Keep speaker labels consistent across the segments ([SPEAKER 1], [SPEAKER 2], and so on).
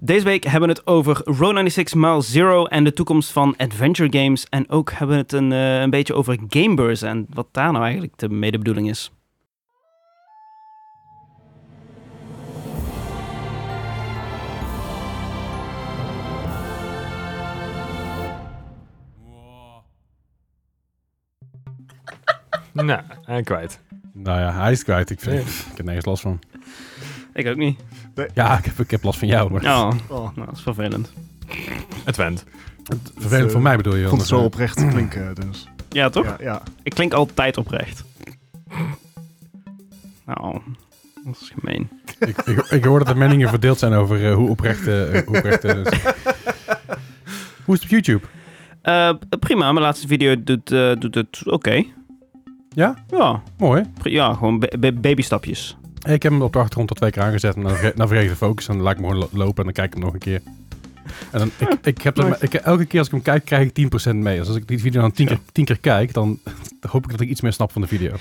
[SPEAKER 1] Deze week hebben we het over Road 96 Mile Zero en de toekomst van adventure games. En ook hebben we het een, eh, een beetje over Gamebirds en wat daar nou eigenlijk de medebedoeling is.
[SPEAKER 2] Nou, en kwijt.
[SPEAKER 3] Nou ja, hij is kwijt. Ik, vind, ik heb nergens last van.
[SPEAKER 1] Ik ook niet.
[SPEAKER 3] Ja, ik heb, ik heb last van jou. Maar
[SPEAKER 1] Oh, nou, dat is vervelend.
[SPEAKER 2] Het went.
[SPEAKER 3] vervelend
[SPEAKER 4] eh,
[SPEAKER 3] voor mij bedoel je.
[SPEAKER 4] Ik vond
[SPEAKER 3] anders,
[SPEAKER 4] het zo
[SPEAKER 3] hè?
[SPEAKER 4] oprecht klinken, dus.
[SPEAKER 1] Ja, toch?
[SPEAKER 4] Ja, ja.
[SPEAKER 1] Ik klink altijd oprecht. Nou, dat is gemeen.
[SPEAKER 3] Ik, ik, ik hoor dat de meningen verdeeld zijn over eh, hoe oprecht... eh, hoe, oprecht eh, ze- hoe is het op YouTube?
[SPEAKER 1] Eh, prima, mijn laatste video doet, eh, doet het oké.
[SPEAKER 3] Ja?
[SPEAKER 1] Ja,
[SPEAKER 3] Mooi.
[SPEAKER 1] pri- ja, gewoon ba- ba- babystapjes.
[SPEAKER 3] Ik heb hem op de achtergrond al twee keer aangezet. En dan verge- dan vergeet ik de focus. En dan laat ik hem gewoon lo- lopen. En dan kijk ik hem nog een keer. En dan, ik, ik heb hem- ik, elke keer als ik hem kijk, krijg ik 10% mee. Dus als ik die video dan tien, keer, tien keer kijk, dan, dan hoop ik dat ik iets meer snap van de video.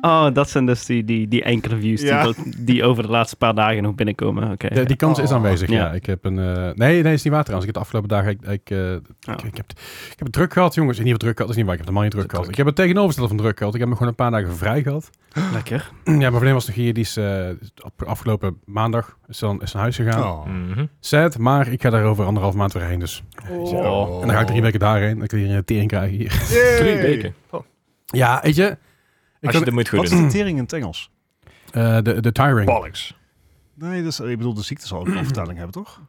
[SPEAKER 1] Oh, dat zijn dus die, die, die enkele views
[SPEAKER 4] Ja.
[SPEAKER 1] die, dat- die over de laatste paar dagen nog binnenkomen. Oké.
[SPEAKER 3] Ja, die kans is
[SPEAKER 4] Oh.
[SPEAKER 3] aanwezig, ja.
[SPEAKER 1] Ja.
[SPEAKER 3] Ik heb een... eh, nee, nee, is niet waar trouwens. Ik heb de afgelopen dagen... Ik, ik, eh, ik, ik heb, ik heb het druk gehad, jongens. In ieder geval druk gehad. Dat is niet waar. Ik heb de man niet druk gehad. Ik heb het tegenovergestelde van druk gehad. Ik heb me gewoon een paar dagen vrij gehad.
[SPEAKER 1] Lekker.
[SPEAKER 3] ja, mijn vriendin was nog hier. Die is eh, op- afgelopen maandag is dan is naar huis gegaan.
[SPEAKER 4] Oh.
[SPEAKER 2] Mhm.
[SPEAKER 3] Sad, maar ik ga daar over anderhalf maand weer heen. Dus.
[SPEAKER 2] Oh.
[SPEAKER 3] En dan ga ik drie weken daarheen. Dan kan ik hier een tering krijgen hier.
[SPEAKER 4] Yay!
[SPEAKER 2] Drie weken.
[SPEAKER 3] Ja, weet je... Ik
[SPEAKER 2] Als je
[SPEAKER 3] kan,
[SPEAKER 2] dat moet
[SPEAKER 4] Wat
[SPEAKER 2] goed
[SPEAKER 4] is
[SPEAKER 2] doen.
[SPEAKER 4] de tering in het Engels?
[SPEAKER 3] eh, de, de tiring.
[SPEAKER 2] Bollocks.
[SPEAKER 4] Nee, dat is, ik bedoel, de ziekte zal ook een vertaling hebben, toch?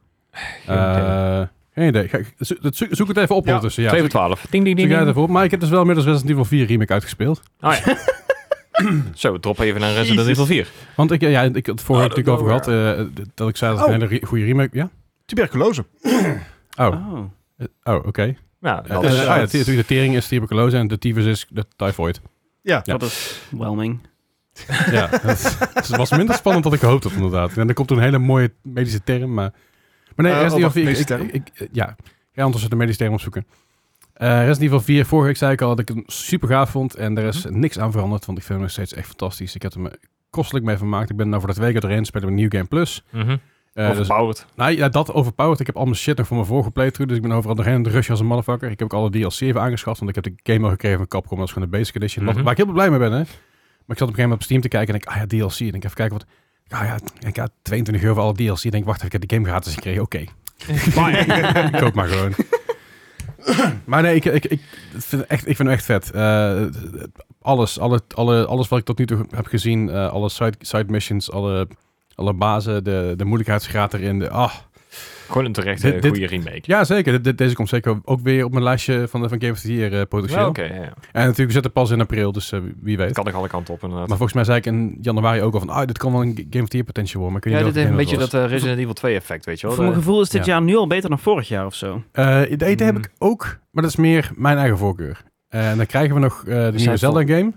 [SPEAKER 3] Eh, geen idee. Ga ik- zo- dat Zoek, zoek het even op
[SPEAKER 4] Ja.
[SPEAKER 3] ondertussen. Ja.
[SPEAKER 2] 2 voor 12. Ding, ding,
[SPEAKER 3] Zoek
[SPEAKER 2] ding.
[SPEAKER 3] jij het
[SPEAKER 2] ding.
[SPEAKER 3] even op. Maar ik heb dus wel inmiddels Resident Evil 4 remake uitgespeeld.
[SPEAKER 2] Oh, ja. Zo, drop even naar Resident Evil 4.
[SPEAKER 3] Want ik, ja, ik had het vorige keer natuurlijk over gehad eh, d- dat ik zei dat het
[SPEAKER 4] Oh.
[SPEAKER 3] een hele re- goede remake. Ja.
[SPEAKER 4] Tuberculose.
[SPEAKER 3] Oh,
[SPEAKER 1] Oh.
[SPEAKER 3] eh, oh, oké. Eh,
[SPEAKER 2] Nou,
[SPEAKER 3] eh,
[SPEAKER 2] dat
[SPEAKER 3] ah
[SPEAKER 2] is...
[SPEAKER 3] ja, tu- natuurlijk de tering is tuberculose en de tyfus is de tyfoid.
[SPEAKER 4] Ja.
[SPEAKER 3] Ja.
[SPEAKER 1] Dat is whelming.
[SPEAKER 3] Ja, dat is- dus het was minder spannend dan ik gehoopt had inderdaad. En er komt een hele mooie medische term, maar maar nee,
[SPEAKER 4] Eh,
[SPEAKER 3] Resident Evil
[SPEAKER 4] oh,
[SPEAKER 3] 4.
[SPEAKER 4] wacht,
[SPEAKER 3] Ik,
[SPEAKER 4] medische
[SPEAKER 3] ik, ik- eh, ja, ga ondertussen de medische term opzoeken. Eh Resident Evil 4, vorige week zei ik al dat ik hem super gaaf vond en er is niks aan veranderd, want ik vind hem nog steeds echt fantastisch. Ik heb hem eh, kostelijk mee vermaakt. Ik ben nou voor dat week doorheen, spelen met New Game Plus.
[SPEAKER 2] Mhm.
[SPEAKER 3] Eh, dus
[SPEAKER 2] Overpowered.
[SPEAKER 3] Nou ja, dat overpowered. Ik heb al mijn shit nog voor mijn vorige playthrough. Dus ik ben overal doorheen aan het rushen als een motherfucker. Ik heb ook alle DLC even aangeschaft. Want ik heb de game al gekregen van Capcom. Dat is gewoon de basic edition. Wat-
[SPEAKER 2] Mhm.
[SPEAKER 3] Waar ik heel blij mee ben, hè. Maar ik zat op een gegeven moment op Steam te kijken. En ik, ah ja, DLC. En ik even kijken wat... Ah ja, ik had 22 euro voor alle DLC. En ik denk, wacht even, ik heb de game gratis gekregen. Oké, ik koop maar gewoon. maar nee, ik, ik, ik, vind, het echt, ik vind hem echt vet. Eh, alles, alle, alle, alles wat ik tot nu toe heb gezien. eh, alle side, side missions, alle, alle bazen. De, de moeilijkheidsgraad erin. De, ah,
[SPEAKER 2] Gewoon een terechte
[SPEAKER 3] Dit- dit-
[SPEAKER 2] goede remake.
[SPEAKER 3] Ja, zeker. Dit- dit- deze komt zeker ook weer op mijn lijstje van, de- van Game of the Year eh, potentieel.
[SPEAKER 2] Ja, oké. ja, ja.
[SPEAKER 3] En natuurlijk zit er pas in april, dus eh, wie weet.
[SPEAKER 2] Het kan nog alle kanten op, inderdaad.
[SPEAKER 3] Maar volgens mij zei ik in januari ook al van, ah, dit kan wel een Game of the Year potentieel worden. Maar ik weet
[SPEAKER 2] ja,
[SPEAKER 3] niet
[SPEAKER 2] dit heeft
[SPEAKER 3] welke
[SPEAKER 2] een beetje
[SPEAKER 3] game dat
[SPEAKER 2] dat eh, Resident Evil 2 effect, weet je wel. eh,
[SPEAKER 1] Voor mijn
[SPEAKER 2] De-
[SPEAKER 1] gevoel is dit
[SPEAKER 3] ja.
[SPEAKER 1] jaar nu al beter dan vorig jaar of zo.
[SPEAKER 3] was. Eh, de eten
[SPEAKER 2] Mm.
[SPEAKER 3] heb ik ook, maar dat is meer mijn eigen voorkeur. en dan krijgen we nog eh, de nieuwe
[SPEAKER 2] zijn
[SPEAKER 3] Zelda game.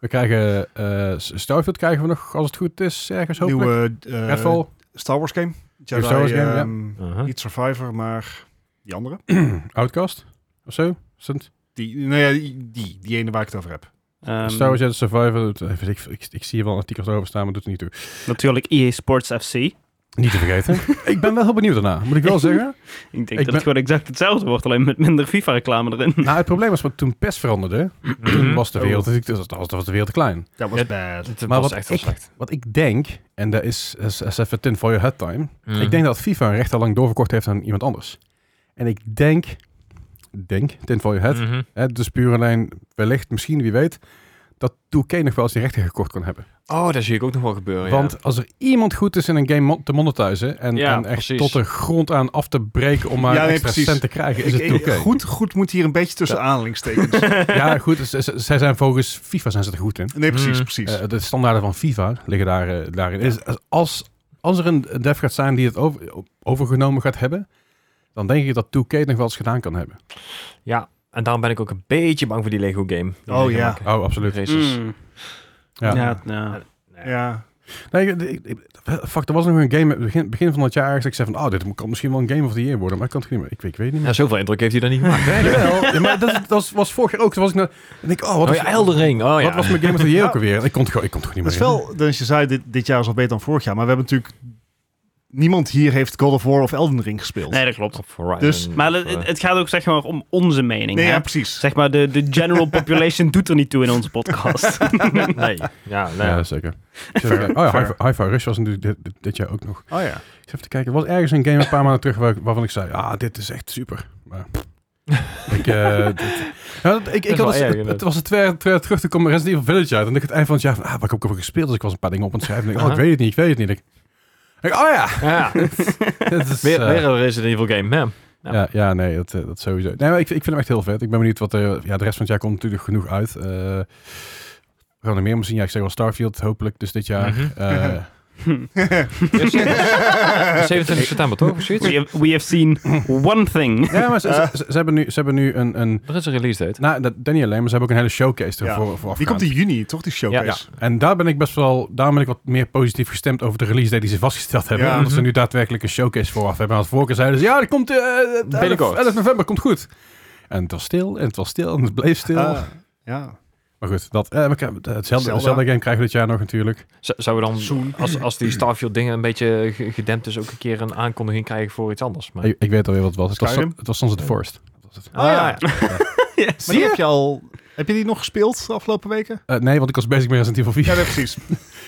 [SPEAKER 3] We krijgen eh, Starfield krijgen we nog, als het goed is, ergens hopelijk.
[SPEAKER 4] Nieuwe eh,
[SPEAKER 3] Redfall.
[SPEAKER 4] Star Wars game. Jedi,
[SPEAKER 3] Star Wars game, ja.
[SPEAKER 4] ehm,
[SPEAKER 2] Uh-huh.
[SPEAKER 4] Niet Survivor, maar die andere.
[SPEAKER 3] Outcast of zo. Is het?
[SPEAKER 4] Die, nou ja, die, die, die ene waar ik het over heb.
[SPEAKER 1] Ehm,
[SPEAKER 3] Star Wars Jedi Survivor. eh, weet Ik, ik, ik zie hier wel artikels over staan, maar doet er niet toe.
[SPEAKER 1] Natuurlijk EA Sports FC.
[SPEAKER 3] Niet te vergeten. ik ben wel heel benieuwd daarna, moet ik wel zeggen.
[SPEAKER 1] Ik denk dat
[SPEAKER 3] ben-
[SPEAKER 1] het gewoon exact hetzelfde wordt, alleen met minder FIFA-reclame erin.
[SPEAKER 3] Nou, het probleem was wat toen PES veranderde,
[SPEAKER 2] Mhm.
[SPEAKER 3] toen was de wereld
[SPEAKER 4] Oh.
[SPEAKER 3] natuurlijk dat was, dat was de wereld te klein.
[SPEAKER 4] Dat was
[SPEAKER 2] Ja,
[SPEAKER 4] bad.
[SPEAKER 2] Het
[SPEAKER 3] Maar
[SPEAKER 2] was
[SPEAKER 3] wat
[SPEAKER 2] echt heel
[SPEAKER 3] ik-
[SPEAKER 2] slecht.
[SPEAKER 3] Wat ik denk, en dat is, is, is even ten voor je head time.
[SPEAKER 2] Mhm.
[SPEAKER 3] Ik denk dat FIFA een recht al lang doorverkocht heeft aan iemand anders. En ik denk, denk, ten voor je head,
[SPEAKER 2] Mhm.
[SPEAKER 3] hè, dus puur alleen wellicht, misschien, wie weet, dat 2K nog wel eens die rechten gekocht kan hebben.
[SPEAKER 2] Oh, dat zie ik ook nog wel gebeuren, ja.
[SPEAKER 3] Want als er iemand goed is in een game mon- te monetizen en,
[SPEAKER 2] Ja,
[SPEAKER 3] en echt
[SPEAKER 2] precies.
[SPEAKER 3] tot de grond aan af te breken om maar
[SPEAKER 4] Ja, nee,
[SPEAKER 3] extra
[SPEAKER 4] precies.
[SPEAKER 3] cent te krijgen, is
[SPEAKER 4] Ik-
[SPEAKER 3] het 2K.
[SPEAKER 4] ik- goed, goed moet hier een beetje tussen aanhalingstekens.
[SPEAKER 3] Ja, goed, ze- ze- zij zijn volgens FIFA zijn ze er goed in.
[SPEAKER 4] Nee, precies,
[SPEAKER 2] Mm.
[SPEAKER 4] precies.
[SPEAKER 3] Eh, de standaarden van FIFA liggen daar, eh, daarin. Is, als, als er een dev gaat zijn die het over, overgenomen gaat hebben, dan denk ik dat 2K nog wel eens gedaan kan hebben.
[SPEAKER 2] Ja, en daarom ben ik ook een beetje bang voor die Lego game. Die
[SPEAKER 4] Oh,
[SPEAKER 2] Lego
[SPEAKER 4] ja.
[SPEAKER 2] maken.
[SPEAKER 3] Oh, absoluut.
[SPEAKER 2] Races.
[SPEAKER 1] Mm.
[SPEAKER 3] Ja.
[SPEAKER 1] Ja, nou,
[SPEAKER 3] eh.
[SPEAKER 4] ja.
[SPEAKER 3] Nee, ik- ik- ik- fuck, er was nog een game begin, begin van dat jaar eigenlijk. Ik zei van, oh, dit kan misschien wel een game of the year worden, maar ik kan het niet meer. Ik, weet- ik weet het niet
[SPEAKER 2] Ja,
[SPEAKER 3] meer.
[SPEAKER 2] zoveel indruk heeft hij dan niet gemaakt.
[SPEAKER 3] Nee, jawel. Ja, maar dat, dat was vorig jaar ook. Toen was ik nou, en ik, oh, wat,
[SPEAKER 2] Oh
[SPEAKER 3] was,
[SPEAKER 2] ja, Elden Ring. Oh ja.
[SPEAKER 3] wat was mijn game of the year ook alweer? Ik kon het gewoon, ik kon het gewoon
[SPEAKER 4] Dat
[SPEAKER 3] niet
[SPEAKER 4] is
[SPEAKER 3] meer. in.
[SPEAKER 4] wel, dus je zei, dit, dit jaar is al beter dan vorig jaar. Maar we hebben natuurlijk niemand hier heeft God of War of Elden Ring gespeeld.
[SPEAKER 1] Nee, dat klopt.
[SPEAKER 2] Of Horizon,
[SPEAKER 4] Dus-
[SPEAKER 1] Maar
[SPEAKER 2] of,
[SPEAKER 1] het,
[SPEAKER 2] eh,
[SPEAKER 1] het- het gaat ook zeg maar om onze mening.
[SPEAKER 4] Nee,
[SPEAKER 1] hè?
[SPEAKER 4] ja, precies.
[SPEAKER 1] Zeg maar, de, de general population doet er niet toe in onze podcast.
[SPEAKER 2] nee, ja, nee.
[SPEAKER 3] eh, Ja, zeker. Ik zit even te kijken. Oh ja, Hi- Hi-Fi Rush was natuurlijk dit, dit- dit jaar ook nog.
[SPEAKER 4] Oh ja.
[SPEAKER 3] Ik zit even te kijken. Er was ergens een game een paar maanden terug waar, waarvan ik zei, ah, dit is echt super. Maar ik, eh, dit- ja, dat- ik,
[SPEAKER 2] is
[SPEAKER 3] ik
[SPEAKER 2] wel erg,
[SPEAKER 3] had eens- het,
[SPEAKER 2] inderdaad.
[SPEAKER 3] het was het twee jaar twee jaar terug, toen kwam Resident Evil Village uit. En ik het eind van het jaar, van, ah, waar heb ik over gespeeld? Dus ik was een paar dingen op aan het schrijven. En ik, oh, ik
[SPEAKER 2] Aha.
[SPEAKER 3] weet het niet, ik weet het niet. Ik, ik, oh ja,
[SPEAKER 2] Ja,
[SPEAKER 3] dit is,
[SPEAKER 2] weer,
[SPEAKER 3] eh,
[SPEAKER 2] weer een Resident Evil game, hè?
[SPEAKER 3] ja. Ja, nee, dat, eh, dat sowieso. Nee, maar ik, ik vind hem echt heel vet. Ik ben benieuwd wat er... Ja, de rest van het jaar komt natuurlijk genoeg uit. Eh, we gaan er meer om zien. Ja, ik zeg wel Starfield, hopelijk, dus dit jaar.
[SPEAKER 2] Mhm.
[SPEAKER 3] Eh,
[SPEAKER 4] ja.
[SPEAKER 2] 27 september, toch? Of zoiets?
[SPEAKER 1] we, have, we have seen one thing.
[SPEAKER 3] ja, maar ze, ze- ze- ze hebben nu, ze hebben nu een... een
[SPEAKER 2] Er is een release date.
[SPEAKER 3] nou, dat, dat niet alleen, maar ze hebben ook een hele showcase ervoor voor
[SPEAKER 4] Die komt
[SPEAKER 3] afgaand.
[SPEAKER 4] in juni, toch? Die showcase.
[SPEAKER 2] Ja,
[SPEAKER 3] En daar ben ik best wel, daar ben ik wat meer positief gestemd over de release date die ze vastgesteld hebben.
[SPEAKER 4] Ja.
[SPEAKER 3] Omdat ze nu daadwerkelijk een showcase vooraf hebben. En als vorige keer zeiden ze, ja, dat komt eh, eh, 11,
[SPEAKER 2] Binnenkort.
[SPEAKER 3] 11 november, komt goed. En het was stil, en het was stil, en het bleef stil.
[SPEAKER 4] Ah, ja.
[SPEAKER 3] Maar goed, dat, eh, we krijgen- hetzelfde,
[SPEAKER 4] Zelda.
[SPEAKER 3] hetzelfde game krijgen we dit jaar nog natuurlijk.
[SPEAKER 2] Z- Zouden we dan, als, als die Starfield-dingen een beetje ge- gedempt is, ook een keer een aankondiging krijgen voor iets anders? Maar,
[SPEAKER 3] Ik, ik weet alweer wat het was. Het was,
[SPEAKER 4] Skyrim?
[SPEAKER 3] het was Sons of the Forest. Dat was het.
[SPEAKER 2] Ah, ja, ja.
[SPEAKER 4] Maar die heb je al... Heb je die nog gespeeld de afgelopen weken?
[SPEAKER 3] Eh, nee, want ik was bezig met Resident Evil 4.
[SPEAKER 4] Ja, nee, precies.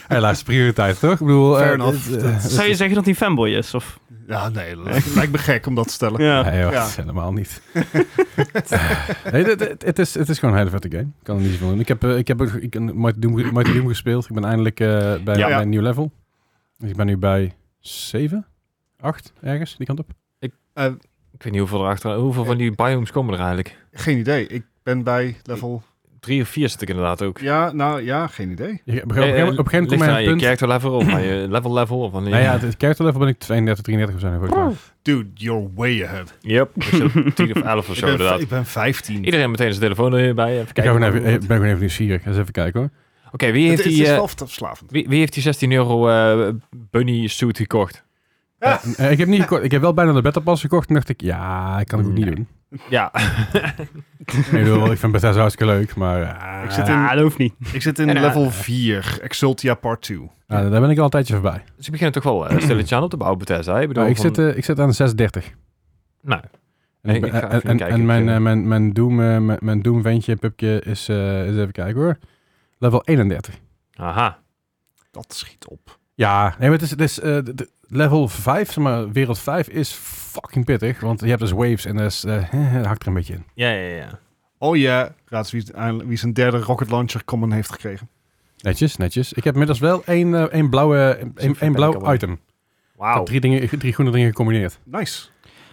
[SPEAKER 3] Helaas, prioriteit toch? Ik bedoel,
[SPEAKER 4] Fair
[SPEAKER 3] eh,
[SPEAKER 4] enough.
[SPEAKER 3] eh,
[SPEAKER 4] Dat-
[SPEAKER 1] Zou je zeggen dat hij fanboy is? Of?
[SPEAKER 4] Ja, nee, lijkt, lijkt me gek om dat te stellen.
[SPEAKER 1] Ja.
[SPEAKER 3] Nee, joh,
[SPEAKER 4] Ja.
[SPEAKER 3] dat is helemaal niet. Eh, nee, dit- dit- het, is, het is gewoon een hele vette game. Ik kan er niet zoveel doen. Ik heb, eh, ik heb ook- ik, een Mighty Doom, Mighty Doom gespeeld. Ik ben eindelijk eh, bij
[SPEAKER 4] Ja.
[SPEAKER 3] mijn nieuw level. Dus ik ben nu bij 7, 8 ergens, die kant op.
[SPEAKER 4] Eh,
[SPEAKER 2] Ik weet niet hoeveel erachter, hoeveel van die biomes komen er eigenlijk?
[SPEAKER 4] Geen idee. Ik ben bij level...
[SPEAKER 2] Drie of vier zit ik inderdaad ook.
[SPEAKER 4] Ja, nou ja, geen idee.
[SPEAKER 3] Je-
[SPEAKER 2] Eh,
[SPEAKER 3] Op een gegeven moment- op een gegeven moment kom je aan een
[SPEAKER 2] je
[SPEAKER 3] punt...
[SPEAKER 2] character level of aan je level level of aan je...
[SPEAKER 3] Nou ja, het- het character level ben ik 32, 33 of zo. nu, volgens mij.
[SPEAKER 4] Dude, you're way ahead.
[SPEAKER 2] Yep. Ik zit op tien of elf of zo
[SPEAKER 4] ik, ben,
[SPEAKER 2] inderdaad.
[SPEAKER 4] ik ben 15.
[SPEAKER 2] Iedereen meteen zijn telefoon erbij. Even
[SPEAKER 3] Ik
[SPEAKER 2] kijken.
[SPEAKER 3] ga gewoon even- eh, ben gewoon even nieuwsgierig. Eens even kijken hoor.
[SPEAKER 2] Oké, wie,
[SPEAKER 4] het,
[SPEAKER 2] heeft
[SPEAKER 4] het
[SPEAKER 2] die,
[SPEAKER 4] is
[SPEAKER 2] eh,
[SPEAKER 4] wel verslavend.
[SPEAKER 2] wie, wie heeft die 16 euro eh, bunny suit gekocht?
[SPEAKER 4] Ja.
[SPEAKER 3] Eh, eh, ik heb niet gekocht. Ik heb wel bijna de Battle Pass gekocht. En dacht ik, ja, ik kan het ook niet
[SPEAKER 2] Nee.
[SPEAKER 3] doen.
[SPEAKER 2] Ja.
[SPEAKER 3] Ik bedoel, ik vind Bethesda hartstikke leuk, maar... eh,
[SPEAKER 4] Ik zit in,
[SPEAKER 1] Ah, dat hoeft niet.
[SPEAKER 4] ik zit in
[SPEAKER 2] en, eh,
[SPEAKER 4] level 4, Exultia Part 2.
[SPEAKER 3] nou, daar ben ik al een tijdje voorbij.
[SPEAKER 2] Ze beginnen toch wel eh, stilletjes aan op te bouwen, Bethesda. Ik bedoel,
[SPEAKER 3] Nou, ik,
[SPEAKER 2] van-
[SPEAKER 3] zit, eh, ik zit aan de 630.
[SPEAKER 2] Nou,
[SPEAKER 3] En, ik
[SPEAKER 2] Nee,
[SPEAKER 3] ben-
[SPEAKER 2] ik ga
[SPEAKER 3] en,
[SPEAKER 2] even
[SPEAKER 3] en-
[SPEAKER 2] kijken.
[SPEAKER 3] en mijn, eh, mijn, mijn Doom, eh, mijn, mijn Doom ventje, pupje, is, eh, eens even kijken hoor. Level 31.
[SPEAKER 2] aha.
[SPEAKER 4] Dat schiet op.
[SPEAKER 3] Ja, nee, maar het is, het is eh, de- de- level 5, zeg maar, wereld 5 is fucking pittig. Want je hebt dus waves en dat is, eh, dat hakt er een beetje in.
[SPEAKER 2] Ja, ja, ja.
[SPEAKER 4] Oh ja, raad eens wie, wie zijn derde rocket launcher common heeft gekregen.
[SPEAKER 3] Netjes, netjes. Ik heb inmiddels wel één, eh, één blauwe, één,
[SPEAKER 2] ver
[SPEAKER 3] één
[SPEAKER 2] ben ik al
[SPEAKER 3] blauw
[SPEAKER 2] wel.
[SPEAKER 3] item. Ik heb
[SPEAKER 2] Wauw.
[SPEAKER 3] drie, dingen, drie groene dingen gecombineerd.
[SPEAKER 4] Nice.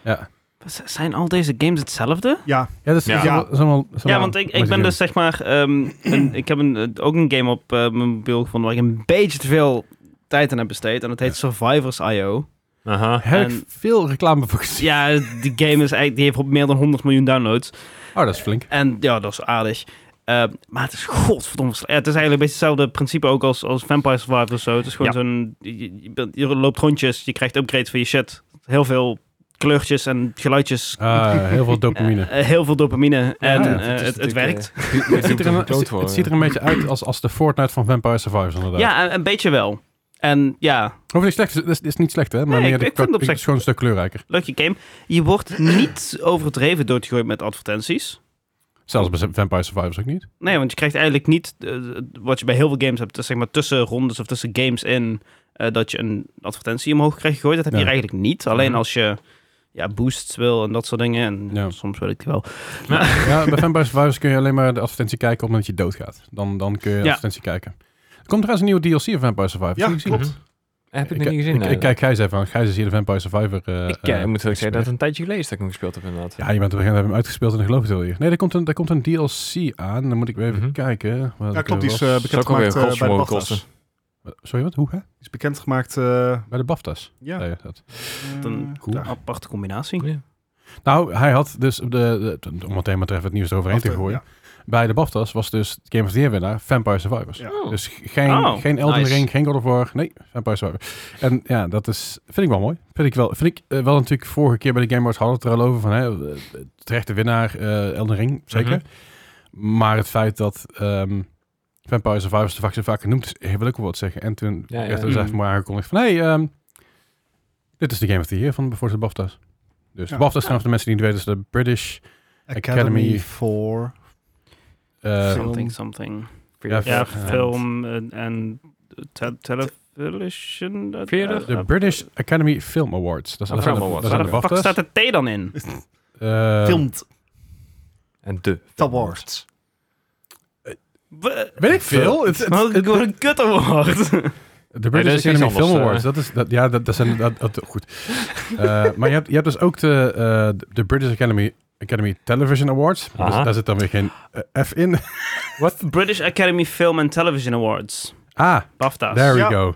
[SPEAKER 3] Ja,
[SPEAKER 1] Z- Zijn al deze games hetzelfde?
[SPEAKER 4] Ja,
[SPEAKER 3] ja dat is,
[SPEAKER 2] Ja.
[SPEAKER 3] dat is allemaal- dat is allemaal- dat is
[SPEAKER 1] Ja,
[SPEAKER 3] allemaal
[SPEAKER 1] want ik,
[SPEAKER 3] wat
[SPEAKER 1] ik ben
[SPEAKER 3] doet.
[SPEAKER 1] dus zeg maar... ehm, een- ik heb een, eh, ook een game op eh, mijn mobiel gevonden waar ik een beetje te veel tijd aan heb besteed. En dat heet Survivors I.O.
[SPEAKER 2] Aha.
[SPEAKER 3] Heb ik
[SPEAKER 1] en-
[SPEAKER 3] veel reclame voor gezien.
[SPEAKER 1] Ja, die game is eigenlijk, die heeft op meer dan 100 miljoen downloads.
[SPEAKER 3] Oh, dat is flink.
[SPEAKER 1] En ja, dat is aardig. Eh, maar het is godverdomme... sle- Ja, het is eigenlijk een beetje hetzelfde principe ook als, als Vampire Survivors of zo. Het is gewoon
[SPEAKER 2] Ja.
[SPEAKER 1] zo'n... Je, je bent- je loopt rondjes, je krijgt upgrades van je shit. Heel veel kleurtjes en geluidjes.
[SPEAKER 3] Ah, heel veel dopamine.
[SPEAKER 1] Eh, eh, heel veel dopamine. en
[SPEAKER 3] ja,
[SPEAKER 1] eh,
[SPEAKER 3] het
[SPEAKER 1] het, het, werkt.
[SPEAKER 2] Het
[SPEAKER 3] Het ziet, er een, het, het ziet er een beetje uit als, als de Fortnite van Vampire Survivors, inderdaad.
[SPEAKER 1] ja, een, een beetje wel. En ja,
[SPEAKER 3] Hoeft niet slecht, dat is, dat is niet slecht, hè? Maar
[SPEAKER 1] Nee,
[SPEAKER 3] meer
[SPEAKER 1] ik-
[SPEAKER 3] de,
[SPEAKER 1] ik vind het op
[SPEAKER 3] het
[SPEAKER 1] zich-
[SPEAKER 3] is gewoon een stuk kleurrijker.
[SPEAKER 1] leuke game. Je wordt niet overdreven doodgegooid met advertenties.
[SPEAKER 3] Zelfs bij Vampire Survivors ook niet.
[SPEAKER 1] Nee, want je krijgt eigenlijk niet eh, wat je bij heel veel games hebt. Dus zeg maar tussen rondes of tussen games in eh, dat je een advertentie omhoog krijgt gegooid. Dat heb je
[SPEAKER 3] Ja.
[SPEAKER 1] hier eigenlijk niet. Alleen
[SPEAKER 2] Mhm.
[SPEAKER 1] als je ja, boosts wil en dat soort dingen. En
[SPEAKER 3] Ja.
[SPEAKER 1] soms wil ik die wel.
[SPEAKER 3] Ja, bij Vampire Survivors kun je alleen maar de advertentie kijken omdat je doodgaat. Dan, dan kun je de
[SPEAKER 1] Ja.
[SPEAKER 3] advertentie kijken. Er komt trouwens een nieuwe DLC van Vampire Survivors.
[SPEAKER 4] ja
[SPEAKER 3] Heb je die gezien?
[SPEAKER 4] klopt.
[SPEAKER 2] Heb ik
[SPEAKER 3] Ik-
[SPEAKER 2] nog niet gezien.
[SPEAKER 3] Ik,
[SPEAKER 2] nee.
[SPEAKER 3] ik kijk Gijs even aan. Gijs is hier de Vampire Survivor. eh,
[SPEAKER 2] Ik eh,
[SPEAKER 3] eh,
[SPEAKER 2] moet ook zeggen dat
[SPEAKER 3] expert.
[SPEAKER 2] het een tijdje geleden is dat ik hem gespeeld heb inderdaad.
[SPEAKER 3] Ja, je bent op een gegeven moment hebben we hem uitgespeeld en ik geloof het wel hier. Nee, daar komt, een, daar komt een DLC aan. Dan moet ik weer even
[SPEAKER 2] Mhm.
[SPEAKER 3] kijken. wat
[SPEAKER 4] Ja,
[SPEAKER 3] het
[SPEAKER 4] klopt. Die is
[SPEAKER 3] was.
[SPEAKER 4] eh, bekendgemaakt
[SPEAKER 2] weer
[SPEAKER 4] eh, bij de
[SPEAKER 2] godsvermogen
[SPEAKER 4] BAFTA's.
[SPEAKER 2] kosten.
[SPEAKER 4] Die
[SPEAKER 3] Sorry, wat? Hoe, hè?
[SPEAKER 4] is bekendgemaakt... eh
[SPEAKER 3] Bij de BAFTA's.
[SPEAKER 4] ja,
[SPEAKER 3] zei je dat.
[SPEAKER 4] eh,
[SPEAKER 1] Dan-
[SPEAKER 3] Cool.
[SPEAKER 4] daar.
[SPEAKER 1] Aparte combinatie.
[SPEAKER 2] Ja.
[SPEAKER 3] Nou, hij had dus, de, de, de- om meteen maar even het nieuws eroverheen te
[SPEAKER 4] Wacht, eh,
[SPEAKER 3] gooien. Bij de BAFTA's was dus Game of the Year winnaar Vampire Survivors.
[SPEAKER 4] Ja.
[SPEAKER 2] Oh.
[SPEAKER 3] Dus geen,
[SPEAKER 1] Oh,
[SPEAKER 3] geen Elden
[SPEAKER 2] nice.
[SPEAKER 3] Ring, geen God of War, nee, Vampire Survivors. En ja, dat is, vind ik wel mooi. Vind ik wel, vind ik eh, wel natuurlijk vorige keer bij de Game Awards hadden we het er al over van, hè, eh, terechte winnaar eh Elden Ring, zeker.
[SPEAKER 2] mhm.
[SPEAKER 3] Maar het feit dat ehm, Vampire Survivors te vaak zo vaak genoemd is, eh, wil ik wel wat zeggen. En toen
[SPEAKER 2] Ja, ja.
[SPEAKER 3] werd er dus
[SPEAKER 4] Mhm.
[SPEAKER 3] even maar aangekondigd van, hey, ehm, Dit is de Game of the Year van Before the BAFTA's. Dus
[SPEAKER 4] Ja.
[SPEAKER 3] de BAFTA's zijn voor de mensen die het niet weten, is de British...
[SPEAKER 4] Academy,
[SPEAKER 3] Academy
[SPEAKER 4] for...
[SPEAKER 3] eh,
[SPEAKER 4] Film.
[SPEAKER 1] something, something.
[SPEAKER 3] Ja,
[SPEAKER 1] Ja,
[SPEAKER 3] eh,
[SPEAKER 1] film en- en te- television. eh,
[SPEAKER 2] Verder?
[SPEAKER 1] eh,
[SPEAKER 3] De British Academy Film Awards. Dat
[SPEAKER 2] Ah,
[SPEAKER 3] zijn de-
[SPEAKER 2] Film Awards.
[SPEAKER 3] dat
[SPEAKER 1] Waar
[SPEAKER 3] zijn
[SPEAKER 1] de fuck staat de T dan in?
[SPEAKER 3] Eh,
[SPEAKER 4] Filmed
[SPEAKER 2] En de.
[SPEAKER 4] Awards.
[SPEAKER 1] Wat
[SPEAKER 3] Weet ik veel? Het- het-
[SPEAKER 1] een
[SPEAKER 3] het-
[SPEAKER 1] een kut award.
[SPEAKER 3] De
[SPEAKER 2] Nee, dat
[SPEAKER 3] British
[SPEAKER 2] is iets
[SPEAKER 3] Academy
[SPEAKER 2] anders,
[SPEAKER 3] Film
[SPEAKER 2] eh.
[SPEAKER 3] Awards. Dat is, dat, ja, dat, dat zijn... Dat, dat- goed. Eh, maar je hebt, je hebt dus ook de, eh, de British Academy, Academy Television Awards. Dus
[SPEAKER 2] Aha.
[SPEAKER 3] daar zit dan weer geen eh, F in.
[SPEAKER 1] British Academy Film and Television Awards.
[SPEAKER 3] Ah,
[SPEAKER 1] BAFTA's.
[SPEAKER 3] There we
[SPEAKER 4] Ja.
[SPEAKER 3] go.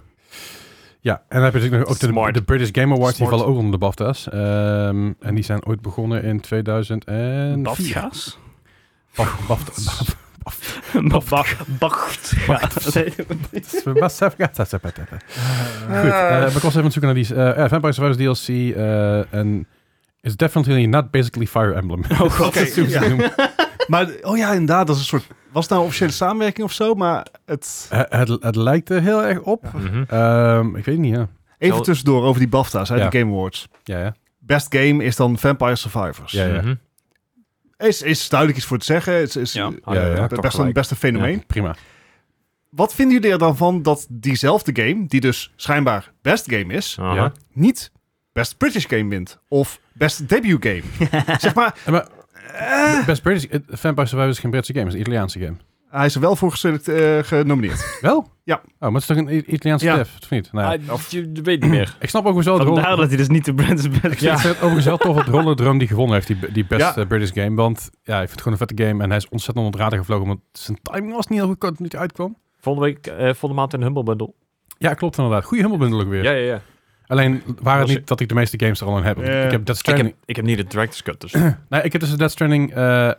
[SPEAKER 3] Ja, en dan heb je natuurlijk nog ook de,
[SPEAKER 2] Smart.
[SPEAKER 3] de British Game Awards,
[SPEAKER 2] Smart.
[SPEAKER 3] die vallen ook onder de BAFTA's. Ehm, en die zijn ooit begonnen in 2004.
[SPEAKER 1] BAFTA's?
[SPEAKER 3] Baf- BAFTA. BAFTA's. Goed, eh, maar ik was eh, even aan het zoeken naar die... eh, ja, Vampire Survivors DLC eh, en... It's definitely not basically Fire Emblem.
[SPEAKER 1] Oh god.
[SPEAKER 4] Oké, ja. Maar, oh ja, inderdaad, dat is een soort... Was het nou een officiële samenwerking of zo? Maar het...
[SPEAKER 3] Eh, het, het lijkt er heel erg op.
[SPEAKER 2] Mhm.
[SPEAKER 3] Ehm, ik weet niet, ja.
[SPEAKER 4] Even
[SPEAKER 2] Zo-
[SPEAKER 4] tussendoor over die BAFTA's, hè,
[SPEAKER 3] Ja.
[SPEAKER 4] die Game Awards.
[SPEAKER 3] Ja, ja.
[SPEAKER 4] Best game is dan Vampire Survivors.
[SPEAKER 3] Ja, ja.
[SPEAKER 2] Mhm.
[SPEAKER 4] Is, is duidelijk iets voor te zeggen. Is, is
[SPEAKER 1] Ja.
[SPEAKER 2] Ah,
[SPEAKER 3] Ja, ja.
[SPEAKER 2] dat
[SPEAKER 4] best,
[SPEAKER 2] toch
[SPEAKER 4] best, een,
[SPEAKER 2] gelijk.
[SPEAKER 4] best een fenomeen.
[SPEAKER 3] Ja, prima.
[SPEAKER 4] Wat vinden jullie er dan van dat diezelfde game, die dus schijnbaar best game is,
[SPEAKER 2] Aha.
[SPEAKER 3] Ja.
[SPEAKER 4] niet best British game wint? Of best debut game? zeg maar,
[SPEAKER 3] Eh, maar, Best British... eh, Vampire Survivors is geen Britse game, het is een Italiaanse game.
[SPEAKER 4] hij is er wel voor geselect- eh, genomineerd.
[SPEAKER 3] Wel?
[SPEAKER 4] Ja.
[SPEAKER 3] Oh, maar het is toch een I- Italiaanse
[SPEAKER 4] Ja.
[SPEAKER 3] chef, of niet? Nou, ja. Oh,
[SPEAKER 2] Ah, je, je weet niet meer.
[SPEAKER 3] ik snap ook wel de rol...
[SPEAKER 1] Vandaar dat hij dus niet de Brits
[SPEAKER 3] Ik vind het overigens wel tof dat Roller Drum die gewonnen heeft, die, die best
[SPEAKER 4] Ja.
[SPEAKER 3] eh, British game. Want ja, ik vind het gewoon een vette game en hij is ontzettend onder het radar gevlogen. Want zijn timing was niet heel goed, dat het niet uitkwam.
[SPEAKER 2] Volgende week, eh volgende maand een Humble Bundle.
[SPEAKER 3] Ja, klopt inderdaad. Goede humble bundle ook weer.
[SPEAKER 2] Ja, ja, ja.
[SPEAKER 3] Alleen waren het
[SPEAKER 2] Was-
[SPEAKER 3] niet dat ik de meeste games er al aan heb.
[SPEAKER 4] Ja.
[SPEAKER 3] Ik heb Death
[SPEAKER 2] Ik
[SPEAKER 3] Stranding...
[SPEAKER 2] heb, ik heb niet de Director's Cut, dus...
[SPEAKER 3] Nee, ik heb dus de Death Stranding... eh, eh,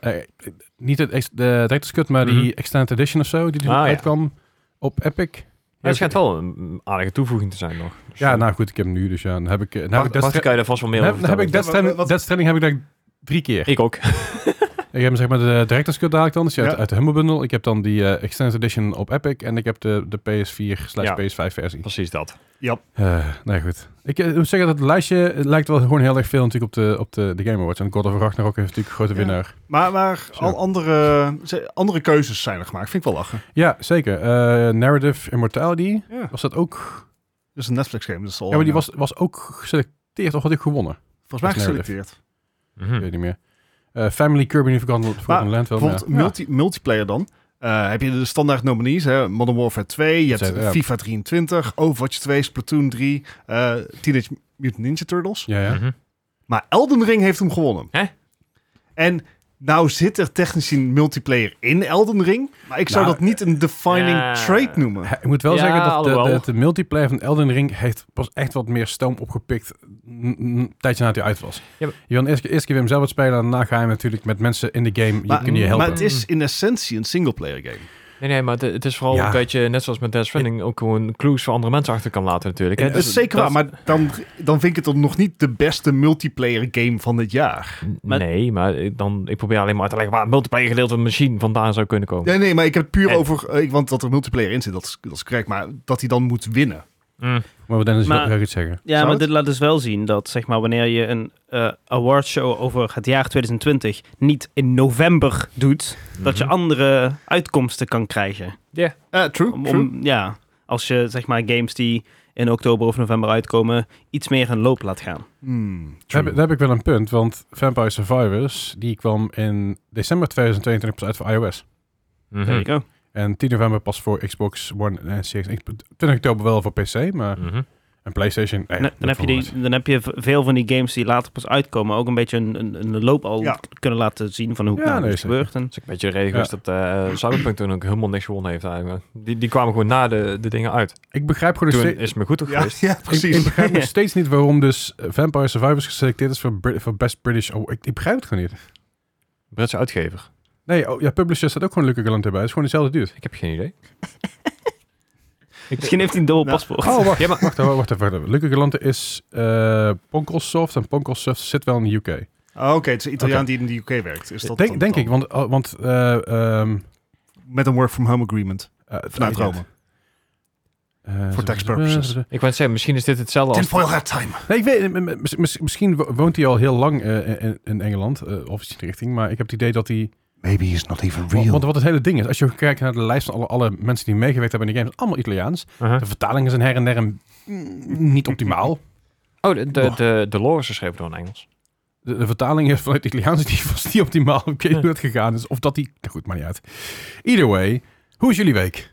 [SPEAKER 3] niet het ex- de director's cut, maar die
[SPEAKER 2] Mhm.
[SPEAKER 3] extended edition of zo, die er
[SPEAKER 2] Ah, ja.
[SPEAKER 3] uitkwam op Epic.
[SPEAKER 2] Maar het schijnt wel een aardige toevoeging te zijn nog. Dus,
[SPEAKER 3] Ja,
[SPEAKER 2] eh,
[SPEAKER 3] nou goed, ik heb hem nu, dus ja. Dan heb ik, eh, dan heb
[SPEAKER 2] Bart,
[SPEAKER 3] ik Death
[SPEAKER 2] Bart,
[SPEAKER 3] Stra-
[SPEAKER 2] kan je daar vast wel meer
[SPEAKER 3] dan heb,
[SPEAKER 2] over
[SPEAKER 3] dan heb ik
[SPEAKER 2] vertellen.
[SPEAKER 3] Death Stranding,
[SPEAKER 4] Wat-
[SPEAKER 3] Death Stranding heb ik dus- daar drie keer.
[SPEAKER 2] Ik ook.
[SPEAKER 3] Ik heb hem zeg maar de Director's Cut dadelijk dan, dus die uit,
[SPEAKER 4] Ja.
[SPEAKER 3] uit de Humble Bundle. Ik heb dan die eh, Extended Edition op Epic en ik heb de, de PS4 slash
[SPEAKER 2] Ja.
[SPEAKER 3] PS5 versie.
[SPEAKER 2] Precies dat.
[SPEAKER 3] Eh nee, goed. Ik eh, moet zeggen dat het lijstje het lijkt wel gewoon heel erg veel natuurlijk op de, op de, de Game Awards. En God of Ragnarok is natuurlijk een grote
[SPEAKER 4] Ja.
[SPEAKER 3] winnaar.
[SPEAKER 4] Maar, maar
[SPEAKER 3] Zo.
[SPEAKER 4] al andere, ze- andere keuzes zijn er gemaakt. Vind ik wel lachen.
[SPEAKER 3] Ja, zeker. Eh, Narrative Immortality,
[SPEAKER 4] Ja.
[SPEAKER 3] was dat ook...
[SPEAKER 4] Dat is een Netflix game. Dat is al
[SPEAKER 3] Ja, maar die
[SPEAKER 4] eh,
[SPEAKER 3] was, was ook geselecteerd, of had ik gewonnen?
[SPEAKER 4] volgens mij
[SPEAKER 3] was narrative.
[SPEAKER 4] geselecteerd.
[SPEAKER 2] Mhm.
[SPEAKER 3] Ik weet niet meer. Eh, Family Kirby New Forgotten, Forgotten Land wel. maar-
[SPEAKER 4] Bijvoorbeeld multi- multiplayer dan. Eh, heb je de standaard nominees, hè? Modern Warfare 2, je hebt
[SPEAKER 3] Zeker, ja.
[SPEAKER 4] FIFA 23, Overwatch 2, Splatoon 3, eh, Teenage Mutant Ninja Turtles.
[SPEAKER 3] Ja, ja.
[SPEAKER 2] Mhm.
[SPEAKER 4] Maar Elden Ring heeft hem gewonnen.
[SPEAKER 2] Hè?
[SPEAKER 4] En nou zit er technisch een multiplayer in Elden Ring. Maar ik zou
[SPEAKER 3] Nou,
[SPEAKER 4] dat niet een defining
[SPEAKER 2] ja.
[SPEAKER 4] trait noemen.
[SPEAKER 3] Ja, Ik moet wel
[SPEAKER 2] Ja,
[SPEAKER 3] zeggen dat de- de,
[SPEAKER 2] alhoewel.
[SPEAKER 3] de, multiplayer van Elden Ring heeft pas echt wat meer stoom opgepikt n- n- een tijdje nadat hij uit was.
[SPEAKER 2] Ja, maar-
[SPEAKER 3] Je wil eerst, eerst keer hem zelf wat spelen, daarna ga je natuurlijk met mensen in de game, je
[SPEAKER 4] Maar,
[SPEAKER 3] kun je
[SPEAKER 4] maar
[SPEAKER 3] helpen.
[SPEAKER 4] het is in essentie een singleplayer game.
[SPEAKER 2] Nee, nee, maar het, het is vooral
[SPEAKER 3] Ja.
[SPEAKER 2] een beetje, net zoals met Death Stranding, ook gewoon clues voor andere mensen achter kan laten natuurlijk. hè. Dus
[SPEAKER 4] dat
[SPEAKER 3] dus-
[SPEAKER 4] is zeker waar, maar dan, dan vind ik het dan nog niet de beste multiplayer game van dit jaar.
[SPEAKER 1] maar-
[SPEAKER 2] Nee, maar ik- dan, ik probeer alleen maar uit te leggen waar het multiplayer gedeelte van machine vandaan zou kunnen komen.
[SPEAKER 4] Nee, nee, maar ik heb het puur
[SPEAKER 2] En-
[SPEAKER 4] over... eh, ik- want dat er multiplayer in zit, dat is, dat is correct. Maar dat hij dan moet winnen.
[SPEAKER 2] Mm.
[SPEAKER 3] Maar Dennis
[SPEAKER 1] Maar-
[SPEAKER 3] wil iets zeggen.
[SPEAKER 1] Ja,
[SPEAKER 4] Zou
[SPEAKER 1] maar
[SPEAKER 4] het?
[SPEAKER 1] dit laat dus wel zien dat zeg maar, wanneer je een eh, awardshow over het jaar 2020 niet in november doet, dat je
[SPEAKER 2] Mhm.
[SPEAKER 1] andere uitkomsten kan krijgen.
[SPEAKER 4] Eh, true,
[SPEAKER 1] Om,
[SPEAKER 4] true.
[SPEAKER 1] om- ja, als je zeg maar, games die in oktober of november uitkomen, iets meer een loop laat gaan.
[SPEAKER 4] Hmm,
[SPEAKER 3] Daar
[SPEAKER 4] true.
[SPEAKER 3] heb, daar heb ik wel een punt, want Vampire Survivors die kwam in december 2022 pas uit voor iOS.
[SPEAKER 2] Mhm.
[SPEAKER 1] There you go.
[SPEAKER 3] En 10 november pas voor Xbox One en Series X. 20 oktober wel voor PC, maar
[SPEAKER 2] Mhm.
[SPEAKER 3] een PlayStation. eh,
[SPEAKER 1] Dan-
[SPEAKER 3] dat
[SPEAKER 1] dan, heb je
[SPEAKER 3] valt
[SPEAKER 1] die, dan heb je v- veel van die games die later pas uitkomen ook een beetje een, een, een loop al
[SPEAKER 4] Ja.
[SPEAKER 1] k- kunnen laten zien van hoe het
[SPEAKER 3] Ja,
[SPEAKER 1] nou
[SPEAKER 3] nee,
[SPEAKER 1] is
[SPEAKER 3] zeker.
[SPEAKER 1] gebeurd. En,
[SPEAKER 2] Dat is ook een beetje de reden geweest dat eh, Cyberpunk toen ook helemaal niks gewonnen heeft eigenlijk. Die, die kwamen gewoon na de, de dingen uit.
[SPEAKER 3] wel. Ik begrijp gewoon
[SPEAKER 2] Toen
[SPEAKER 3] steeds-
[SPEAKER 2] is het me goed toch
[SPEAKER 4] Ja,
[SPEAKER 2] geweest.
[SPEAKER 4] ja,
[SPEAKER 3] Ik, ik
[SPEAKER 4] precies.
[SPEAKER 3] begrijp nog steeds niet waarom dus eh, Vampire Survivors geselecteerd is voor, Brit- voor Best British. Oh, ik, ik begrijp het gewoon niet.
[SPEAKER 2] Britse uitgever.
[SPEAKER 3] Nee, oh, ja, Publisher staat ook gewoon Lucky Galant erbij. Het is gewoon dezelfde dude.
[SPEAKER 2] Ik heb geen idee.
[SPEAKER 1] misschien heeft hij een dubbel
[SPEAKER 4] Nou,
[SPEAKER 1] paspoort.
[SPEAKER 3] Oh, wacht.
[SPEAKER 2] Ja, maar-
[SPEAKER 3] Wacht even, wacht even. wacht even. Lucky Galante is eh Ponkelsoft en Ponkelsoft zit wel in de UK.
[SPEAKER 4] Ah, Oké, het is een Italiaan die in de UK werkt. Is dat dan-
[SPEAKER 3] denk denk
[SPEAKER 4] dan-
[SPEAKER 3] ik, want, oh, want eh, ehm,
[SPEAKER 4] Met een work-from-home agreement
[SPEAKER 3] eh,
[SPEAKER 4] vanuit
[SPEAKER 3] ja,
[SPEAKER 4] Rome.
[SPEAKER 3] Eh,
[SPEAKER 4] For tax purposes.
[SPEAKER 2] Ik wou het zeggen, misschien is dit hetzelfde als...
[SPEAKER 4] Tinfoil hat time.
[SPEAKER 3] Nee, ik weet, m- m- mis- mis- misschien wo- woont hij al heel lang eh, in, in Engeland, eh, of iets in die richting. Maar ik heb het idee dat hij...
[SPEAKER 4] Maybe he's not even
[SPEAKER 3] wa-
[SPEAKER 4] real.
[SPEAKER 3] Want wat het hele ding is, als je kijkt naar de lijst van alle, alle mensen die meegewerkt hebben in de games, allemaal Italiaans.
[SPEAKER 2] Uh-huh.
[SPEAKER 3] De vertalingen zijn her en der een- mm, niet optimaal.
[SPEAKER 2] Oh, de, de, de, de lore is geschreven door een Engels.
[SPEAKER 3] De, de vertaling is vanuit het Italiaans die was niet optimaal. Ik weet niet hoe dat gegaan is. Of dat die... nou goed, maar niet uit. Either way, hoe is jullie week?